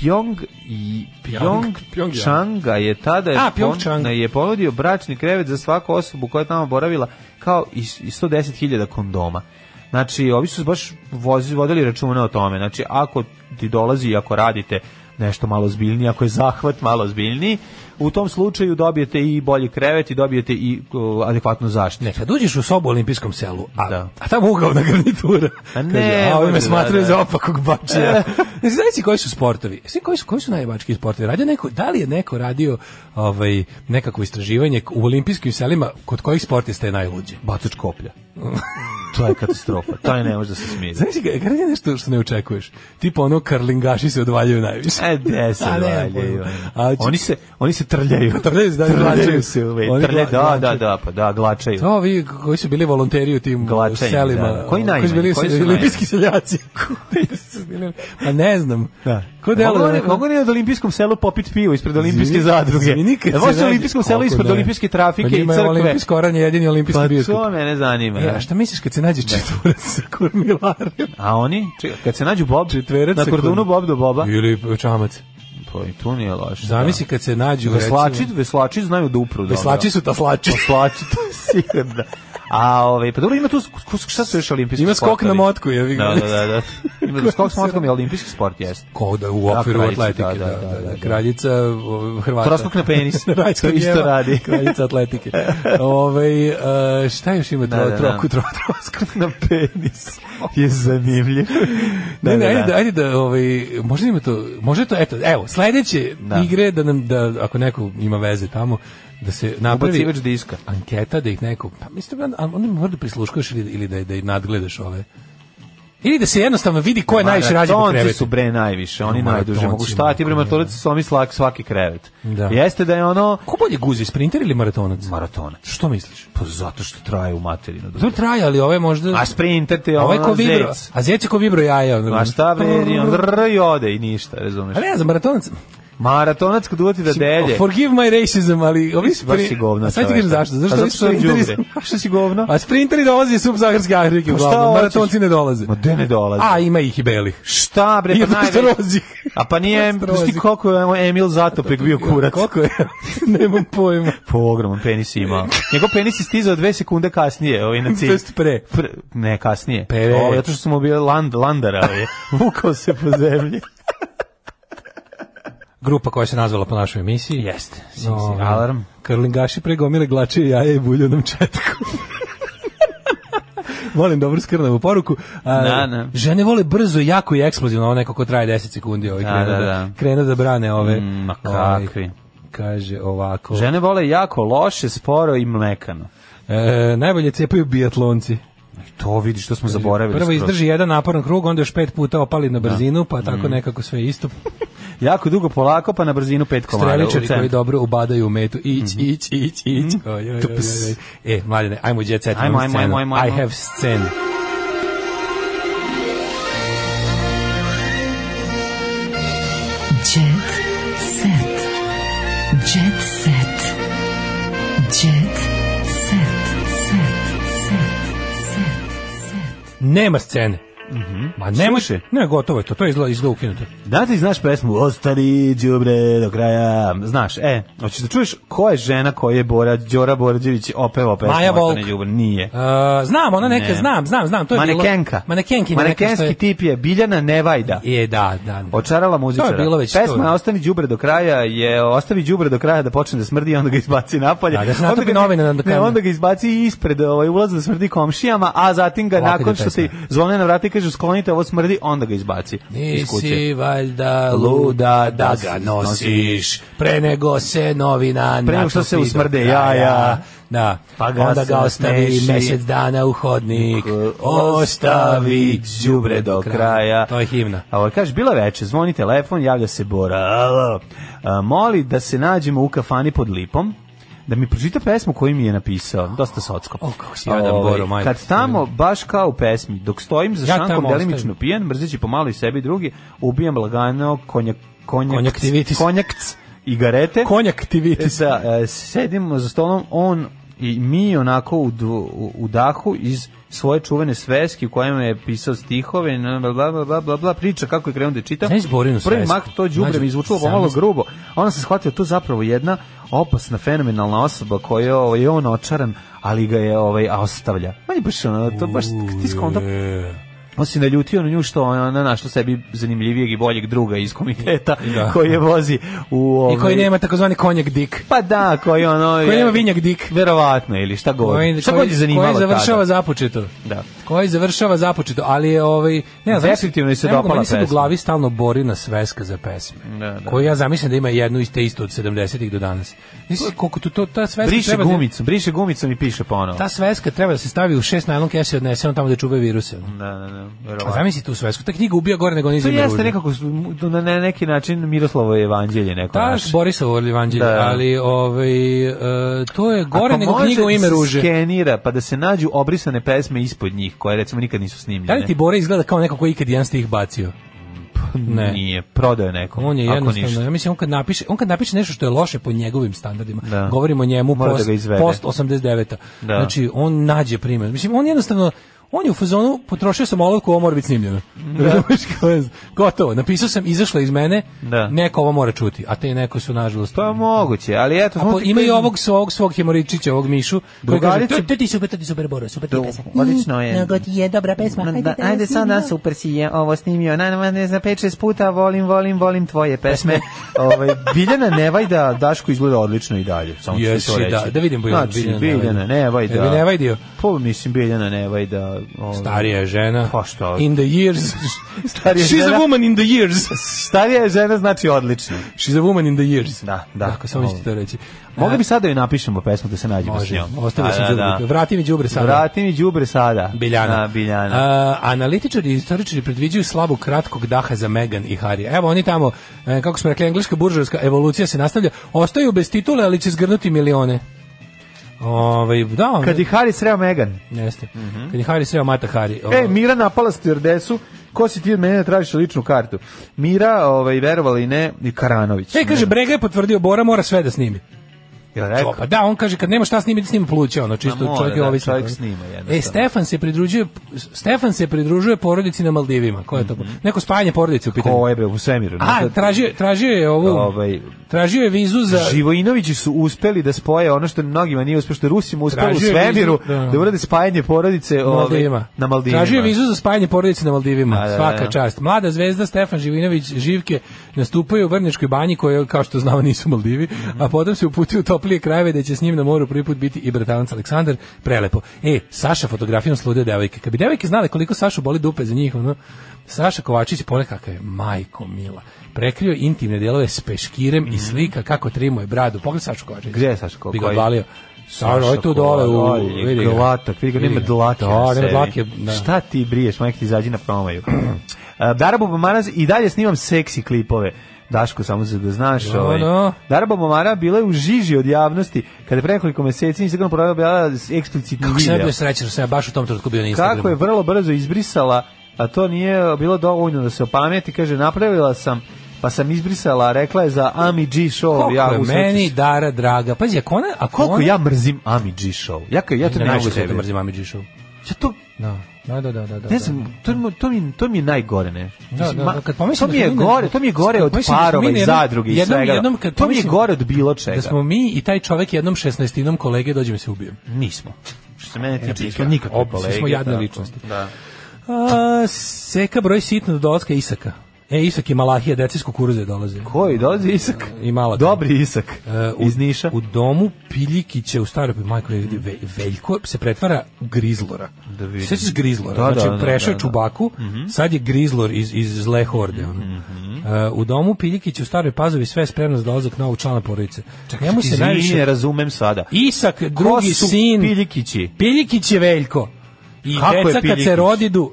Speaker 6: Pjong i Pjong,
Speaker 5: Pjong- Pjongjang.
Speaker 6: Changa je tada
Speaker 5: A,
Speaker 6: pon-
Speaker 5: Pjongchang.
Speaker 6: je ponudio bračni krevet za svaku osobu koja je tamo boravila kao i s- i 110.000 kondoma. Znači, ovi su baš vozi, vodili računa o tome. Znači, ako ti dolazi i ako radite nešto malo zbiljnije, ako je zahvat malo zbiljniji, u tom slučaju dobijete i bolji krevet i dobijete i o, adekvatnu zaštitu.
Speaker 5: Ne, kad uđeš u sobu u olimpijskom selu, a,
Speaker 6: Da.
Speaker 5: a tamo ugovna garnitura.
Speaker 6: A ne,
Speaker 5: Kaže, a ovi
Speaker 6: može,
Speaker 5: me smatraju
Speaker 6: da, da.
Speaker 5: za opakog bačija. Znači, znaš si koji su sportovi? E, Svi koji su, koji su najbački sportovi? Radio neko, da li je neko radio ovaj, nekako istraživanje u olimpijskim selima kod kojih sportista je najluđe?
Speaker 6: Bacač koplja. to je katastrofa. To je ne može da se smije.
Speaker 5: Znaš si, kad je nešto što ne očekuješ, tipa ono karlingaši se odvaljuju najviše.
Speaker 6: E, gde se
Speaker 5: A, ne,
Speaker 6: valjaju?
Speaker 5: pojma.
Speaker 6: oni?
Speaker 5: A, či- Pa
Speaker 6: Oni se, oni se trljaju.
Speaker 5: Trljaju se, da,
Speaker 6: trljaju
Speaker 5: glačaju.
Speaker 6: se. uvek.
Speaker 5: Oni
Speaker 6: Trljaju, da,
Speaker 5: gla- znači-
Speaker 6: da, da, pa da, glačaju.
Speaker 5: To ovi koji su bili volonteri u tim
Speaker 6: Glačanje,
Speaker 5: selima.
Speaker 6: da. Koji
Speaker 5: o,
Speaker 6: najmanji?
Speaker 5: su bili
Speaker 6: Koji su
Speaker 5: se-
Speaker 6: najmanji?
Speaker 5: olimpijski seljaci. Koji su bili- Pa ne znam.
Speaker 6: Da.
Speaker 5: Ko
Speaker 6: mogu,
Speaker 5: deluje?
Speaker 6: oni,
Speaker 5: onako-
Speaker 6: mogu oni od olimpijskom selu popiti pivo ispred olimpijske
Speaker 5: Izvini,
Speaker 6: zadruge.
Speaker 5: izvini, kad
Speaker 6: Da
Speaker 5: se
Speaker 6: možete u
Speaker 5: radi-
Speaker 6: olimpijskom selu
Speaker 5: Kako
Speaker 6: ispred
Speaker 5: ne?
Speaker 6: olimpijske trafike
Speaker 5: Pa
Speaker 6: i
Speaker 5: njima je
Speaker 6: crkve.
Speaker 5: Olimpijsko oran je jedini olimpijski
Speaker 6: Pa
Speaker 5: bioskop.
Speaker 6: to mene zanima.
Speaker 5: E,
Speaker 6: da.
Speaker 5: a šta misliš kad se nađe četvораc sa kurmilarem?
Speaker 6: A oni? Čekaj, kad se nađu Bob,
Speaker 5: Četverac
Speaker 6: na
Speaker 5: sa
Speaker 6: kordonu
Speaker 5: kordon-
Speaker 6: Bob do Boba.
Speaker 5: Ili čamac.
Speaker 6: Pa i tu nije loše.
Speaker 5: Zamisli
Speaker 6: da.
Speaker 5: kad se nađu
Speaker 6: Veslači,
Speaker 5: recimo-
Speaker 6: veslači znaju da upru. dobro.
Speaker 5: Veslači su taslači.
Speaker 6: Veslači, to je sigurno. A ove, pa dobro, ima tu, sk- sk- šta su još olimpijski
Speaker 5: Ima skok
Speaker 6: sportovi?
Speaker 5: na motku, jevi ga.
Speaker 6: Da, da, da. da. Ima skok s motkom je olimpijski sport, jeste.
Speaker 5: Ko da u okviru
Speaker 6: Da, kraljica,
Speaker 5: atletike, da, da, da, kraljica o, Hrvata.
Speaker 6: Troskok na penis,
Speaker 5: Rajskog
Speaker 6: to isto
Speaker 5: jeva,
Speaker 6: radi.
Speaker 5: kraljica atletike. Ovaj e, šta još ima tro,
Speaker 6: Da, da, da.
Speaker 5: troku, tro, troskok?
Speaker 6: Skok na penis je zanimljiv.
Speaker 5: Ne, ne, ajde, da, ajde da, ovaj, možda ima to, može to, eto, evo, sledeće
Speaker 6: Da.
Speaker 5: igre, da nam, da, ako neko ima veze tamo, da se napravi
Speaker 6: Ubacivač diska.
Speaker 5: anketa, da ih neko, pa mislim, da- ali oni mora da prisluškaš ili, ili da, da ih nadgledaš ove. Ili da se jednostavno vidi ko je najviše rađe po
Speaker 6: Maratonci
Speaker 5: krevetu.
Speaker 6: su bre najviše, oni
Speaker 5: Ma,
Speaker 6: najduže mogu
Speaker 5: maratonci,
Speaker 6: šta ti bre
Speaker 5: ma,
Speaker 6: maratonac su oni slak svaki krevet.
Speaker 5: Da.
Speaker 6: Jeste da je ono
Speaker 5: Ko bolje guzi, sprinter ili maratonac?
Speaker 6: maratonac.
Speaker 5: Što misliš?
Speaker 6: Pa zato što traje u materinu.
Speaker 5: Dobro Pa traje, ali ove možda...
Speaker 6: A sprinter ti je
Speaker 5: Ovo je
Speaker 6: ono
Speaker 5: ovaj ko vibro,
Speaker 6: zec. Pa
Speaker 5: a zec je ko vibro jaja. ono.
Speaker 6: A šta bre, i on rr i ode i ništa, razumeš?
Speaker 5: A ne znam, maratonac,
Speaker 6: Maratonac kad uvati da delje.
Speaker 5: Forgive my racism, ali ovi
Speaker 6: si baš si govno,
Speaker 5: A sad ti kažem
Speaker 6: čoveče.
Speaker 5: zašto?
Speaker 6: A
Speaker 5: Zašto
Speaker 6: zato
Speaker 5: ovi
Speaker 6: što sam
Speaker 5: sprinteri-
Speaker 6: đubre. Što si govno?
Speaker 5: A sprinteri dolaze iz subsaharske Afrike,
Speaker 6: Pa šta
Speaker 5: uglavnom.
Speaker 6: hoćeš?
Speaker 5: Maratonci ne dolaze.
Speaker 6: Ma gde ne dolaze?
Speaker 5: A ima ih i belih.
Speaker 6: Šta bre,
Speaker 5: Ima
Speaker 6: pa najveći.
Speaker 5: Prostorozi.
Speaker 6: A pa nije,
Speaker 5: Prostorozi.
Speaker 6: pusti koliko je Emil Zatopek bio kurac.
Speaker 5: Koliko je? Nemam pojma.
Speaker 6: Po ogroman penis je imao. Njegov penis je stizao dve sekunde kasnije, ovaj na cilj.
Speaker 5: To jest pre.
Speaker 6: Pre- ne, kasnije.
Speaker 5: Pre.
Speaker 6: Ovo, zato što smo bili land, landara, ovaj. Vukao se po zemlji.
Speaker 5: Grupa koja se nazvala po našoj emisiji.
Speaker 6: Jeste.
Speaker 5: No,
Speaker 6: alarm.
Speaker 5: Karlingaši pregomile glače jaje i bulju nam četku. Molim dobru skrnavu poruku. A,
Speaker 6: Da, da.
Speaker 5: Žene vole brzo, jako i eksplozivno, ovo neko ko traje 10 sekundi, ovaj
Speaker 6: Da,
Speaker 5: krene
Speaker 6: da,
Speaker 5: da,
Speaker 6: da.
Speaker 5: krene da brane ove.
Speaker 6: Mm, ma
Speaker 5: ovaj,
Speaker 6: kakvi.
Speaker 5: kaže ovako.
Speaker 6: Žene vole jako loše, sporo i mlekano.
Speaker 5: E, najbolje cepaju biatlonci.
Speaker 6: To vidi što smo zaboravili.
Speaker 5: Prvo
Speaker 6: skroz.
Speaker 5: izdrži jedan naporan krug, onda još pet puta opali na brzinu, pa
Speaker 6: Mm.
Speaker 5: tako nekako sve isto.
Speaker 6: Jako dugo polako, pa na brzinu pet komada. u
Speaker 5: Streličari koji
Speaker 6: centru.
Speaker 5: dobro ubadaju u metu. Ić,
Speaker 6: Mhm.
Speaker 5: ić, ić, ić. Oj, oj, oj, oj, oj. E, mladine, ajmo u jet set.
Speaker 6: Ajmo,
Speaker 5: imam
Speaker 6: ajmo,
Speaker 5: scenu.
Speaker 6: ajmo, ajmo, ajmo.
Speaker 5: I have scenu.
Speaker 4: Jet set. Jet set. Jet set. Set. Set. Set. Set.
Speaker 5: Nema scene.
Speaker 6: Mhm.
Speaker 5: Ma nema se. Ne, gotovo je to. To je izgleda, izgleda ukinuto. E,
Speaker 6: Da ti znaš pesmu Ostani đubre do kraja. Znaš, e, hoćeš da čuješ ko je žena koja je Bora Đora Borađević opeva pesmu
Speaker 5: Maja Volk.
Speaker 6: Ostani đubre? Nije.
Speaker 5: Uh, znam, ona neka,
Speaker 6: Ne.
Speaker 5: znam, znam, znam. To je bilo-
Speaker 6: E. Manekenka.
Speaker 5: Manekenki.
Speaker 6: Manekenski
Speaker 5: je...
Speaker 6: tip je Biljana Nevajda.
Speaker 5: Je, da, da. da.
Speaker 6: Očarala muzičara.
Speaker 5: To je bilo već to.
Speaker 6: Pesma je Ostani đubre do kraja je Ostavi đubre do kraja da počne da smrdi i onda ga izbaci napolje.
Speaker 5: Da, da se
Speaker 6: Onda
Speaker 5: natopi
Speaker 6: ga-
Speaker 5: novine na-
Speaker 6: Ne,
Speaker 5: na kamen.
Speaker 6: onda ga izbaci ispred ovaj, ulaza da smrdi komšijama, a zatim ga
Speaker 5: Ovako ide
Speaker 6: nakon što ti
Speaker 5: pesma.
Speaker 6: zvone na vrata i kaže sklonite ovo smrdi, onda ga izbaci iz kuće.
Speaker 5: Nisi valjda luda da ga nosiš, pre nego se novina
Speaker 6: Pre nego što
Speaker 5: natopi
Speaker 6: se
Speaker 5: do
Speaker 6: usmrde
Speaker 5: kraja.
Speaker 6: jaja.
Speaker 5: Da.
Speaker 6: Pa ga
Speaker 5: Onda
Speaker 6: se
Speaker 5: ga ostavi
Speaker 6: nasmeši.
Speaker 5: mesec dana u hodnik.
Speaker 6: E, Ostavi đubre do kraja.
Speaker 5: To je himna.
Speaker 6: A ovo kaže, bila veče, zvoni telefon, javlja se Bora. Alo. A, moli da se nađemo u kafani pod lipom da mi pročita pesmu koju mi je napisao. Dosta socko.
Speaker 5: O, kako si jadan,
Speaker 6: Ovaj,
Speaker 5: Boro, majko
Speaker 6: Kad tamo, baš kao u pesmi, dok stojim za
Speaker 5: Ja
Speaker 6: šankom
Speaker 5: tamo
Speaker 6: delimično
Speaker 5: ostajem.
Speaker 6: pijan, mrzeći pomalo i sebi i drugi, ubijam lagano konjak, konjak,
Speaker 5: Konjaktivitis.
Speaker 6: konjakc i garete.
Speaker 5: Konjak aktivitis.
Speaker 6: Da, e, sedimo za stolom, on i mi onako u, dv- u, u dahu iz svoje čuvene sveske u kojima je pisao stihove, na- bla, bla, bla, bla, bla, bla, priča kako je krenuo da čita.
Speaker 5: Znaš Borinu
Speaker 6: Prvi
Speaker 5: svesku?
Speaker 6: mah to đubre
Speaker 5: Znaš,
Speaker 6: mi izvučilo
Speaker 5: sam
Speaker 6: pomalo
Speaker 5: mislim.
Speaker 6: grubo. a Onda sam shvatio to je zapravo jedna opasna, fenomenalna osoba koja je ovaj, on očaran, ali ga je ovaj, a ostavlja. On je baš ono, to baš kad ti skonto, on se naljutio na nju što ona našla sebi zanimljivijeg i boljeg druga iz komiteta
Speaker 5: Da.
Speaker 6: koji je vozi u...
Speaker 5: I koji
Speaker 6: ovaj,
Speaker 5: nema takozvani konjak dik.
Speaker 6: pa da, koji ono...
Speaker 5: Koji
Speaker 6: je-
Speaker 5: nema vinjak dik.
Speaker 6: Verovatno, ili šta god.
Speaker 5: Koji,
Speaker 6: šta god
Speaker 5: koji,
Speaker 6: je zanimalo
Speaker 5: koji završava
Speaker 6: tada.
Speaker 5: započeto.
Speaker 6: Da.
Speaker 5: Koji završava započeto, ali je ovaj... Ne, znam,
Speaker 6: Definitivno je se
Speaker 5: ne mogu,
Speaker 6: dopala
Speaker 5: meni sad u
Speaker 6: pesma.
Speaker 5: glavi stalno Borina sveska za pesme.
Speaker 6: Da, da.
Speaker 5: Koju ja zamislim da ima jednu iste isto od 70-ih do danas. Mislim, koliko tu to, ta sveska
Speaker 6: Briše
Speaker 5: treba... da-
Speaker 6: gumicom, briše gumicom i piše ponovo.
Speaker 5: ta sveska treba da se stavi u šest najlon kese i odnese on tamo da čuvaju viruse. ono.
Speaker 6: Da, da, da,
Speaker 5: A
Speaker 6: verovatno.
Speaker 5: zamisli tu svesku. Ta knjiga ubija gore nego
Speaker 6: To
Speaker 5: nizim
Speaker 6: jeste nekako, na na neki način Miroslavo evanđelje neko
Speaker 5: Taš
Speaker 6: naše.
Speaker 5: Borisovo evanđelje,
Speaker 6: Da, da.
Speaker 5: ali ovaj, e, to je gore
Speaker 6: Ako
Speaker 5: nego
Speaker 6: može
Speaker 5: knjiga u ime
Speaker 6: da se
Speaker 5: ruže.
Speaker 6: skenira, pa da se nađu obrisane pesme ispod njih, koje recimo nikad nisu
Speaker 5: Da
Speaker 6: snimljene.
Speaker 5: li ti Bore izgleda kao neko koji je ikad jedan stih bacio? Ne.
Speaker 6: Pa Nije, prodao je nekom,
Speaker 5: Pa On je
Speaker 6: ako ništa.
Speaker 5: jednostavno, ja mislim on kad napiše, on kad napiše nešto što je loše po njegovim standardima,
Speaker 6: Da.
Speaker 5: govorimo o njemu
Speaker 6: Mora da
Speaker 5: post,
Speaker 6: ga izvede.
Speaker 5: post 89.
Speaker 6: Da.
Speaker 5: Znači on nađe primjer. Mislim on jednostavno on je u fazonu potrošio sam olovku, ovo mora biti snimljeno. Razumeš kao je- Gotovo, napisao sam, izašla iz mene,
Speaker 6: Da.
Speaker 5: neko ovo mora čuti, a te neko su nažalost.
Speaker 6: Pa moguće, ali eto...
Speaker 5: A po,
Speaker 6: smo ti
Speaker 5: ima i
Speaker 6: kažem-
Speaker 5: ovog svog, svog hemoričića, ovog Mišu, koji kaže,
Speaker 6: Drugarice-
Speaker 5: to, to ti super, to ti super, Boro, super ti
Speaker 6: Do-
Speaker 5: pesma.
Speaker 6: Odlično je.
Speaker 5: Nego ti je dobra pesma.
Speaker 6: Ma
Speaker 5: Ajde,
Speaker 6: da, ajde sada super si je ovo snimio. Na, na, ne znam, 5-6 puta volim, volim, volim tvoje pesme. Ove, Biljana Nevajda Daško izgleda odlično i dalje. Samo ću ti
Speaker 5: Jesi,
Speaker 6: to reći.
Speaker 5: da, da vidim Biljana-
Speaker 6: znači,
Speaker 5: Biljana
Speaker 6: Biljana,
Speaker 5: Nevajda.
Speaker 6: Nevajda.
Speaker 5: Jel bi Nevajdio?
Speaker 6: Pa mislim Biljana ovaj- Nevajda. Ove,
Speaker 5: Starija je žena.
Speaker 6: Pa šta?
Speaker 5: In the years.
Speaker 6: Starija
Speaker 5: She's
Speaker 6: žena.
Speaker 5: a woman in the years.
Speaker 6: Starija je žena znači odlično.
Speaker 5: She's a woman in the years.
Speaker 6: Da, da.
Speaker 5: Tako, samo ću to reći.
Speaker 6: Mogli
Speaker 5: E,
Speaker 6: bi sada da joj napišemo pesmu da se nađemo s
Speaker 5: Može,
Speaker 6: njom.
Speaker 5: ostavio
Speaker 6: Da,
Speaker 5: sam
Speaker 6: da, da.
Speaker 5: đubre. Vrati mi đubre sada.
Speaker 6: Vrati mi đubre sada.
Speaker 5: Biljana.
Speaker 6: A, Biljana.
Speaker 5: A, analitičari i istoričari predviđaju slabu kratkog daha za Meghan i Harry. Evo oni tamo, e, kako smo rekli, engleska buržovska evolucija se nastavlja. Ostaju bez titule, ali će zgrnuti milione. Ovaj da,
Speaker 6: Kad je Harry sreo Megan.
Speaker 5: Jeste. Kad je Harry ovaj. sreo Mata Hari.
Speaker 6: E, Mira napala stjordesu, ko si ti od mene da tražiš ličnu kartu? Mira, ovaj, verovala i ne, i Karanović.
Speaker 5: E, kaže, Brega je potvrdio, Bora mora sve da snimi.
Speaker 6: Jel rekao?
Speaker 5: Pa da, on kaže, kad nema šta snimiti, snima pluća, ono, čisto
Speaker 6: Ma mora,
Speaker 5: čovjek je
Speaker 6: da,
Speaker 5: ovisan.
Speaker 6: čovjek snima, jednostavno.
Speaker 5: E, Stefan se pridružuje, Stefan se pridružuje porodici na Maldivima. Ko je to? Neko spajanje porodice u pitanju.
Speaker 6: Mhm. Ko je bre, u svemiru.
Speaker 5: A, tražio, tražio je ovu,
Speaker 6: Ovaj,
Speaker 5: tražio je vizu za...
Speaker 6: Živojinovići su uspeli da spoje ono što mnogima nije uspelo, što je Rusima uspelo u
Speaker 5: Tražio je
Speaker 6: svemiru,
Speaker 5: vizu, da.
Speaker 6: da urade spajanje porodice
Speaker 5: na
Speaker 6: ovaj,
Speaker 5: Maldivima.
Speaker 6: na Maldivima.
Speaker 5: Tražio je vizu za spajanje porodice na Maldivima.
Speaker 6: A, da, da,
Speaker 5: Svaka
Speaker 6: da.
Speaker 5: čast. Mlada zvezda Stefan Živinović Živke nastupaju u Vrnjačkoj banji koja kao što znamo nisu Maldivi, a potom se uputio u toplije krajeve da će s njim na moru prvi put biti i bratanac Aleksandar. Prelepo. E, Saša fotografijom slude devojke. Kad bi devojke znale koliko Sašu boli dupe za njih, ono, Saša Kovačić ponekakav je majko mila. Prekrio intimne delove s peškirem i slika kako trimuje bradu. Pogledaj Sašu Kovačića.
Speaker 6: Mhm. Gde je Saša Kovačić?
Speaker 5: Bi ga odvalio. Saša, ovo je ovaj tu
Speaker 6: Saša
Speaker 5: dole u...
Speaker 6: Kovačić,
Speaker 5: vidi ga.
Speaker 6: glatak, vidi ga, nema
Speaker 5: Vidi ga.
Speaker 6: dlake
Speaker 5: Da,
Speaker 6: na
Speaker 5: nema
Speaker 6: sebi.
Speaker 5: dlake, da.
Speaker 6: Šta ti briješ, majke ti izađi na promaju. E, Dara Bubamara, i dalje snimam seksi klipove. Daško, samo za da znaš.
Speaker 5: Da,
Speaker 6: ovaj.
Speaker 5: da.
Speaker 6: Dara Bubamara bila je u žiži od javnosti, kada je pre nekoliko meseci Instagram provjela bila eksplicitni
Speaker 5: Kako sam ja
Speaker 6: video.
Speaker 5: bio srećan što sam ja baš u tom trenutku bio na Instagramu.
Speaker 6: Kako je vrlo brzo izbrisala, a to nije bilo dovoljno da se opameti, kaže, napravila sam pa sam izbrisala, rekla je za Ami G show.
Speaker 5: Koliko
Speaker 6: ja,
Speaker 5: je
Speaker 6: u srcu
Speaker 5: meni Dara draga. Pazi, ako ona... Ako
Speaker 6: Koliko
Speaker 5: ona,
Speaker 6: ja mrzim Ami G Show. Ja, ka- ja to
Speaker 5: Ne,
Speaker 6: ne,
Speaker 5: najviše
Speaker 6: mogu
Speaker 5: sveta
Speaker 6: sebi.
Speaker 5: mrzim Ami G Show.
Speaker 6: Ja to,
Speaker 5: Da, da, da, da. da, da.
Speaker 6: ne znam, to, mi- to, mi, to mi je najgore, ne?
Speaker 5: Da,
Speaker 6: Mislim,
Speaker 5: da,
Speaker 6: ma-
Speaker 5: da, kad pomislim
Speaker 6: to mi
Speaker 5: da smo
Speaker 6: je
Speaker 5: mi na-
Speaker 6: gore, to mi je gore
Speaker 5: kad
Speaker 6: od
Speaker 5: pomislim da smo mi
Speaker 6: parova
Speaker 5: na
Speaker 6: i
Speaker 5: jednom-
Speaker 6: zadruge i
Speaker 5: jednom-
Speaker 6: svega.
Speaker 5: jednom kad
Speaker 6: to mi je
Speaker 5: pomislim-
Speaker 6: gore od bilo čega.
Speaker 5: Da smo mi i taj čovek jednom šestnaestinom kolege dođe mi se ubijem.
Speaker 6: Nismo. Što se mene tiče,
Speaker 5: Znači,
Speaker 6: nismo nikakve
Speaker 5: ob- svi
Speaker 6: kolege.
Speaker 5: smo jadne
Speaker 6: tako.
Speaker 5: ličnosti.
Speaker 6: Da.
Speaker 5: A, seka broj sitno do dolazka Isaka. E, Isak i Malahija, deca iz kukuruze dolaze.
Speaker 6: Koji, dolazi Isak?
Speaker 5: I mala.
Speaker 6: Dobri Isak,
Speaker 5: E, u-
Speaker 6: iz Niša.
Speaker 5: U domu Piljikića u staroj majko je ve, Veljko se pretvara u Grizlora.
Speaker 6: Da vidim.
Speaker 5: Sećaš Grizlora?
Speaker 6: Da, da,
Speaker 5: znači,
Speaker 6: da,
Speaker 5: prešao je
Speaker 6: da, Mhm. da.
Speaker 5: Čubaku, sad je Grizlor iz, iz zle horde. ono.
Speaker 6: Mhm.
Speaker 5: E, u domu Piljikića u staroj pazovi sve je spremno za dolazak novog člana porodice. Njemu se
Speaker 6: Izvini, ne
Speaker 5: najviše...
Speaker 6: razumem sada.
Speaker 5: Isak,
Speaker 6: Ko
Speaker 5: drugi
Speaker 6: su
Speaker 5: sin...
Speaker 6: Piljikići?
Speaker 5: Piljikić je Veljko. I
Speaker 6: Kako je
Speaker 5: deca kad se
Speaker 6: Piljikić?
Speaker 5: rodidu...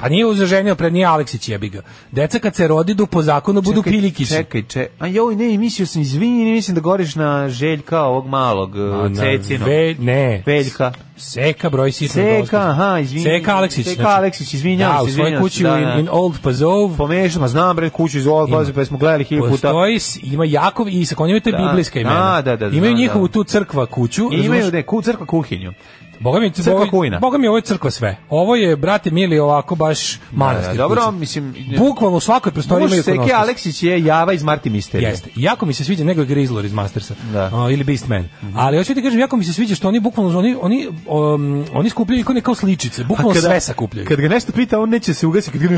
Speaker 5: Pa nije uzaženio pred nije Aleksić jebiga. Deca kad se rodidu po zakonu budu
Speaker 6: Čekaj,
Speaker 5: Piljikići.
Speaker 6: Čekaj, čekaj. A joj, ne, mislio sam, izvini, ne mislim da goriš na Željka ovog malog, e,
Speaker 5: A, na
Speaker 6: Cecino.
Speaker 5: Ve, ne.
Speaker 6: Veljka.
Speaker 5: Seka broj sitno
Speaker 6: Seka, aha, izvini.
Speaker 5: Seka Aleksić.
Speaker 6: Seka
Speaker 5: znači.
Speaker 6: Aleksić, izvinjavam
Speaker 5: da,
Speaker 6: se,
Speaker 5: u svojoj
Speaker 6: izvinjavam
Speaker 5: kući
Speaker 6: se, da,
Speaker 5: u-
Speaker 6: da.
Speaker 5: in, Old Pazov.
Speaker 6: Pomešao, ma znam bre kuću iz ovog pazi, pa smo gledali hiljadu puta.
Speaker 5: Postoji, s- ima Jakov i Isak, oni imaju te
Speaker 6: Da.
Speaker 5: biblijska imena.
Speaker 6: A, da, da,
Speaker 5: imaju
Speaker 6: znam,
Speaker 5: njihovu
Speaker 6: da.
Speaker 5: tu crkva kuću.
Speaker 6: I imaju
Speaker 5: razumeš?
Speaker 6: ne, ku, crkva kuhinju.
Speaker 5: Boga mi,
Speaker 6: crkva
Speaker 5: boga,
Speaker 6: Kujna.
Speaker 5: boga mi ovo je crkva sve. Ovo je, brate mili, ovako baš manastir.
Speaker 6: Da, dobro,
Speaker 5: kuća.
Speaker 6: mislim...
Speaker 5: Bukvalno u svakoj prostoriji
Speaker 6: Muž
Speaker 5: imaju
Speaker 6: Seke
Speaker 5: ikonostas.
Speaker 6: Aleksić je Java iz Marti Misterije.
Speaker 5: Jeste. I Jako mi se sviđa nego je Grizzler iz Mastersa
Speaker 6: Da. Mhm.
Speaker 5: A, ili Beastman. Ali hoću ti kažem jako mi se sviđa što oni bukvalno oni oni um, oni skupljaju ikone kao sličice, bukvalno sve sakupljaju.
Speaker 6: Kad ga nešto pita, on neće se ugasiti. Kad ga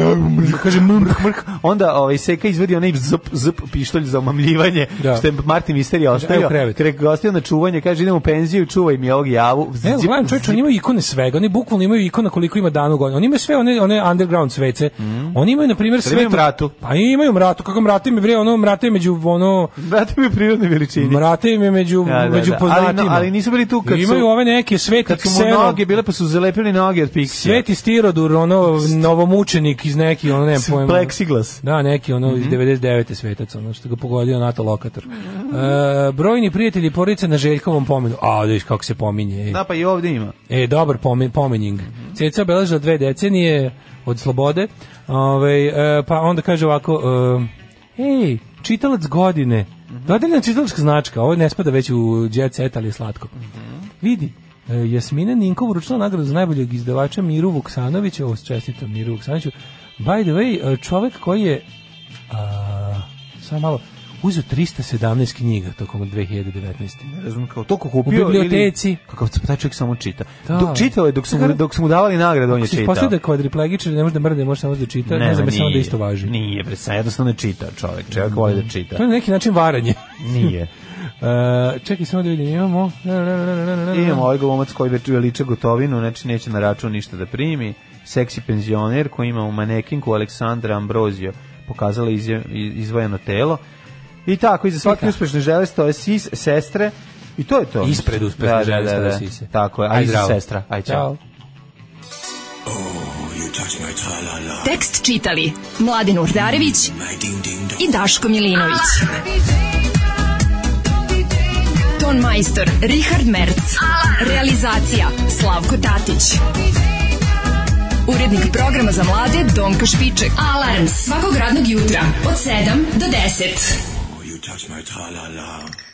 Speaker 6: kaže mrk, mrk, onda ovaj, Seka izvedi onaj zp, zp pištolj za omamljivanje,
Speaker 5: Da.
Speaker 6: što je Martin Misterija
Speaker 5: Evo
Speaker 6: ostavio.
Speaker 5: krevet.
Speaker 6: Kada ga ostavio na čuvanje, kaže idem u penziju, čuvaj mi ovog javu.
Speaker 5: Ne, ali
Speaker 6: Zip,
Speaker 5: gledam, čovječ,
Speaker 6: zip.
Speaker 5: oni imaju ikone svega, oni bukvalno imaju ikona koliko ima dana u godini. Oni imaju sve one, one underground svece. Oni imaju, na primjer, sve...
Speaker 6: Mm. imaju mratu.
Speaker 5: Pa imaju mratu, kako mrate mi, bre, ono, mrate je među, ono,
Speaker 6: Vrati mi prirodne veličini.
Speaker 5: mrate im je među,
Speaker 6: Da, da, da.
Speaker 5: među
Speaker 6: Ali
Speaker 5: poznatima.
Speaker 6: no- ali nisu bili tu kad su-
Speaker 5: Imaju ove neke sveti
Speaker 6: Kad su mu
Speaker 5: ksero-
Speaker 6: noge bile, pa su zalepili noge od piksija.
Speaker 5: Sveti stirodur, ono, novomučenik iz neki, ono, ne
Speaker 6: S-
Speaker 5: pojma.
Speaker 6: Plexiglas.
Speaker 5: Da, neki ono
Speaker 6: Mhm.
Speaker 5: iz 99. svetac, ono što ga pogodio NATO lokator. E, brojni prijatelji i porodice na Željkovom pomenu. A, da viš kako se pominje. ej.
Speaker 6: Da, pa i ovdje ima.
Speaker 5: E, dobar pomen, pomenjing. Ceca obeležila dve decenije od slobode. Ove, e, pa onda kaže ovako, e, ej, čitalac godine. Dodeljena čitalačka značka, ovo ne spada već u jet set, ali je slatko. Vidi, e, Jasmina Ninko uručila nagradu za najboljeg izdavača Miru Vuksanovića, ovo čestitam Miru Vuksanoviću. By the way, e, čovek koji je, a, samo malo, uzeo 317 knjiga tokom 2019.
Speaker 6: Ne Razumem kao toliko kupio
Speaker 5: U biblioteci.
Speaker 6: ili kakav taj čovjek samo čita.
Speaker 5: Da.
Speaker 6: Dok čitao je dok su mu, dok su mu davali nagradu, on je
Speaker 5: Ako se
Speaker 6: čitao.
Speaker 5: ispostavio da je kvadriplegičar, ne može da mrde, može samo da čita, ne, znam,
Speaker 6: ma,
Speaker 5: je samo da
Speaker 6: nije.
Speaker 5: isto važi.
Speaker 6: Nije, bre, sad jednostavno ne čita čovjek. Čovjek voli da čita.
Speaker 5: To je na neki način varanje.
Speaker 6: Nije.
Speaker 5: E, čekaj samo da vidim, imamo...
Speaker 6: Imamo ovaj glumac koji već liče gotovinu, znači neće na račun ništa da primi. Seksi penzioner koji ima u manekinku Aleksandra Ambrozio pokazala izje- i- izvojeno telo. I tako, iza svake uspešne žele stoje sis, sestre i to je to.
Speaker 5: Ispred uspešne žele stoje sise.
Speaker 6: Tako je,
Speaker 5: Aj,
Speaker 6: aj, iza
Speaker 5: zdravo.
Speaker 6: sestra, aj
Speaker 5: Ćao.
Speaker 6: čao.
Speaker 4: Tekst čitali Mladin Urdarević i Daško Milinović. To Ton majstor Richard Merc. Realizacija Slavko Tatić. Urednik programa za mlade Donka Špiček. Alarms svakog radnog jutra od 7 do 10.
Speaker 16: You touch my tra-la-la.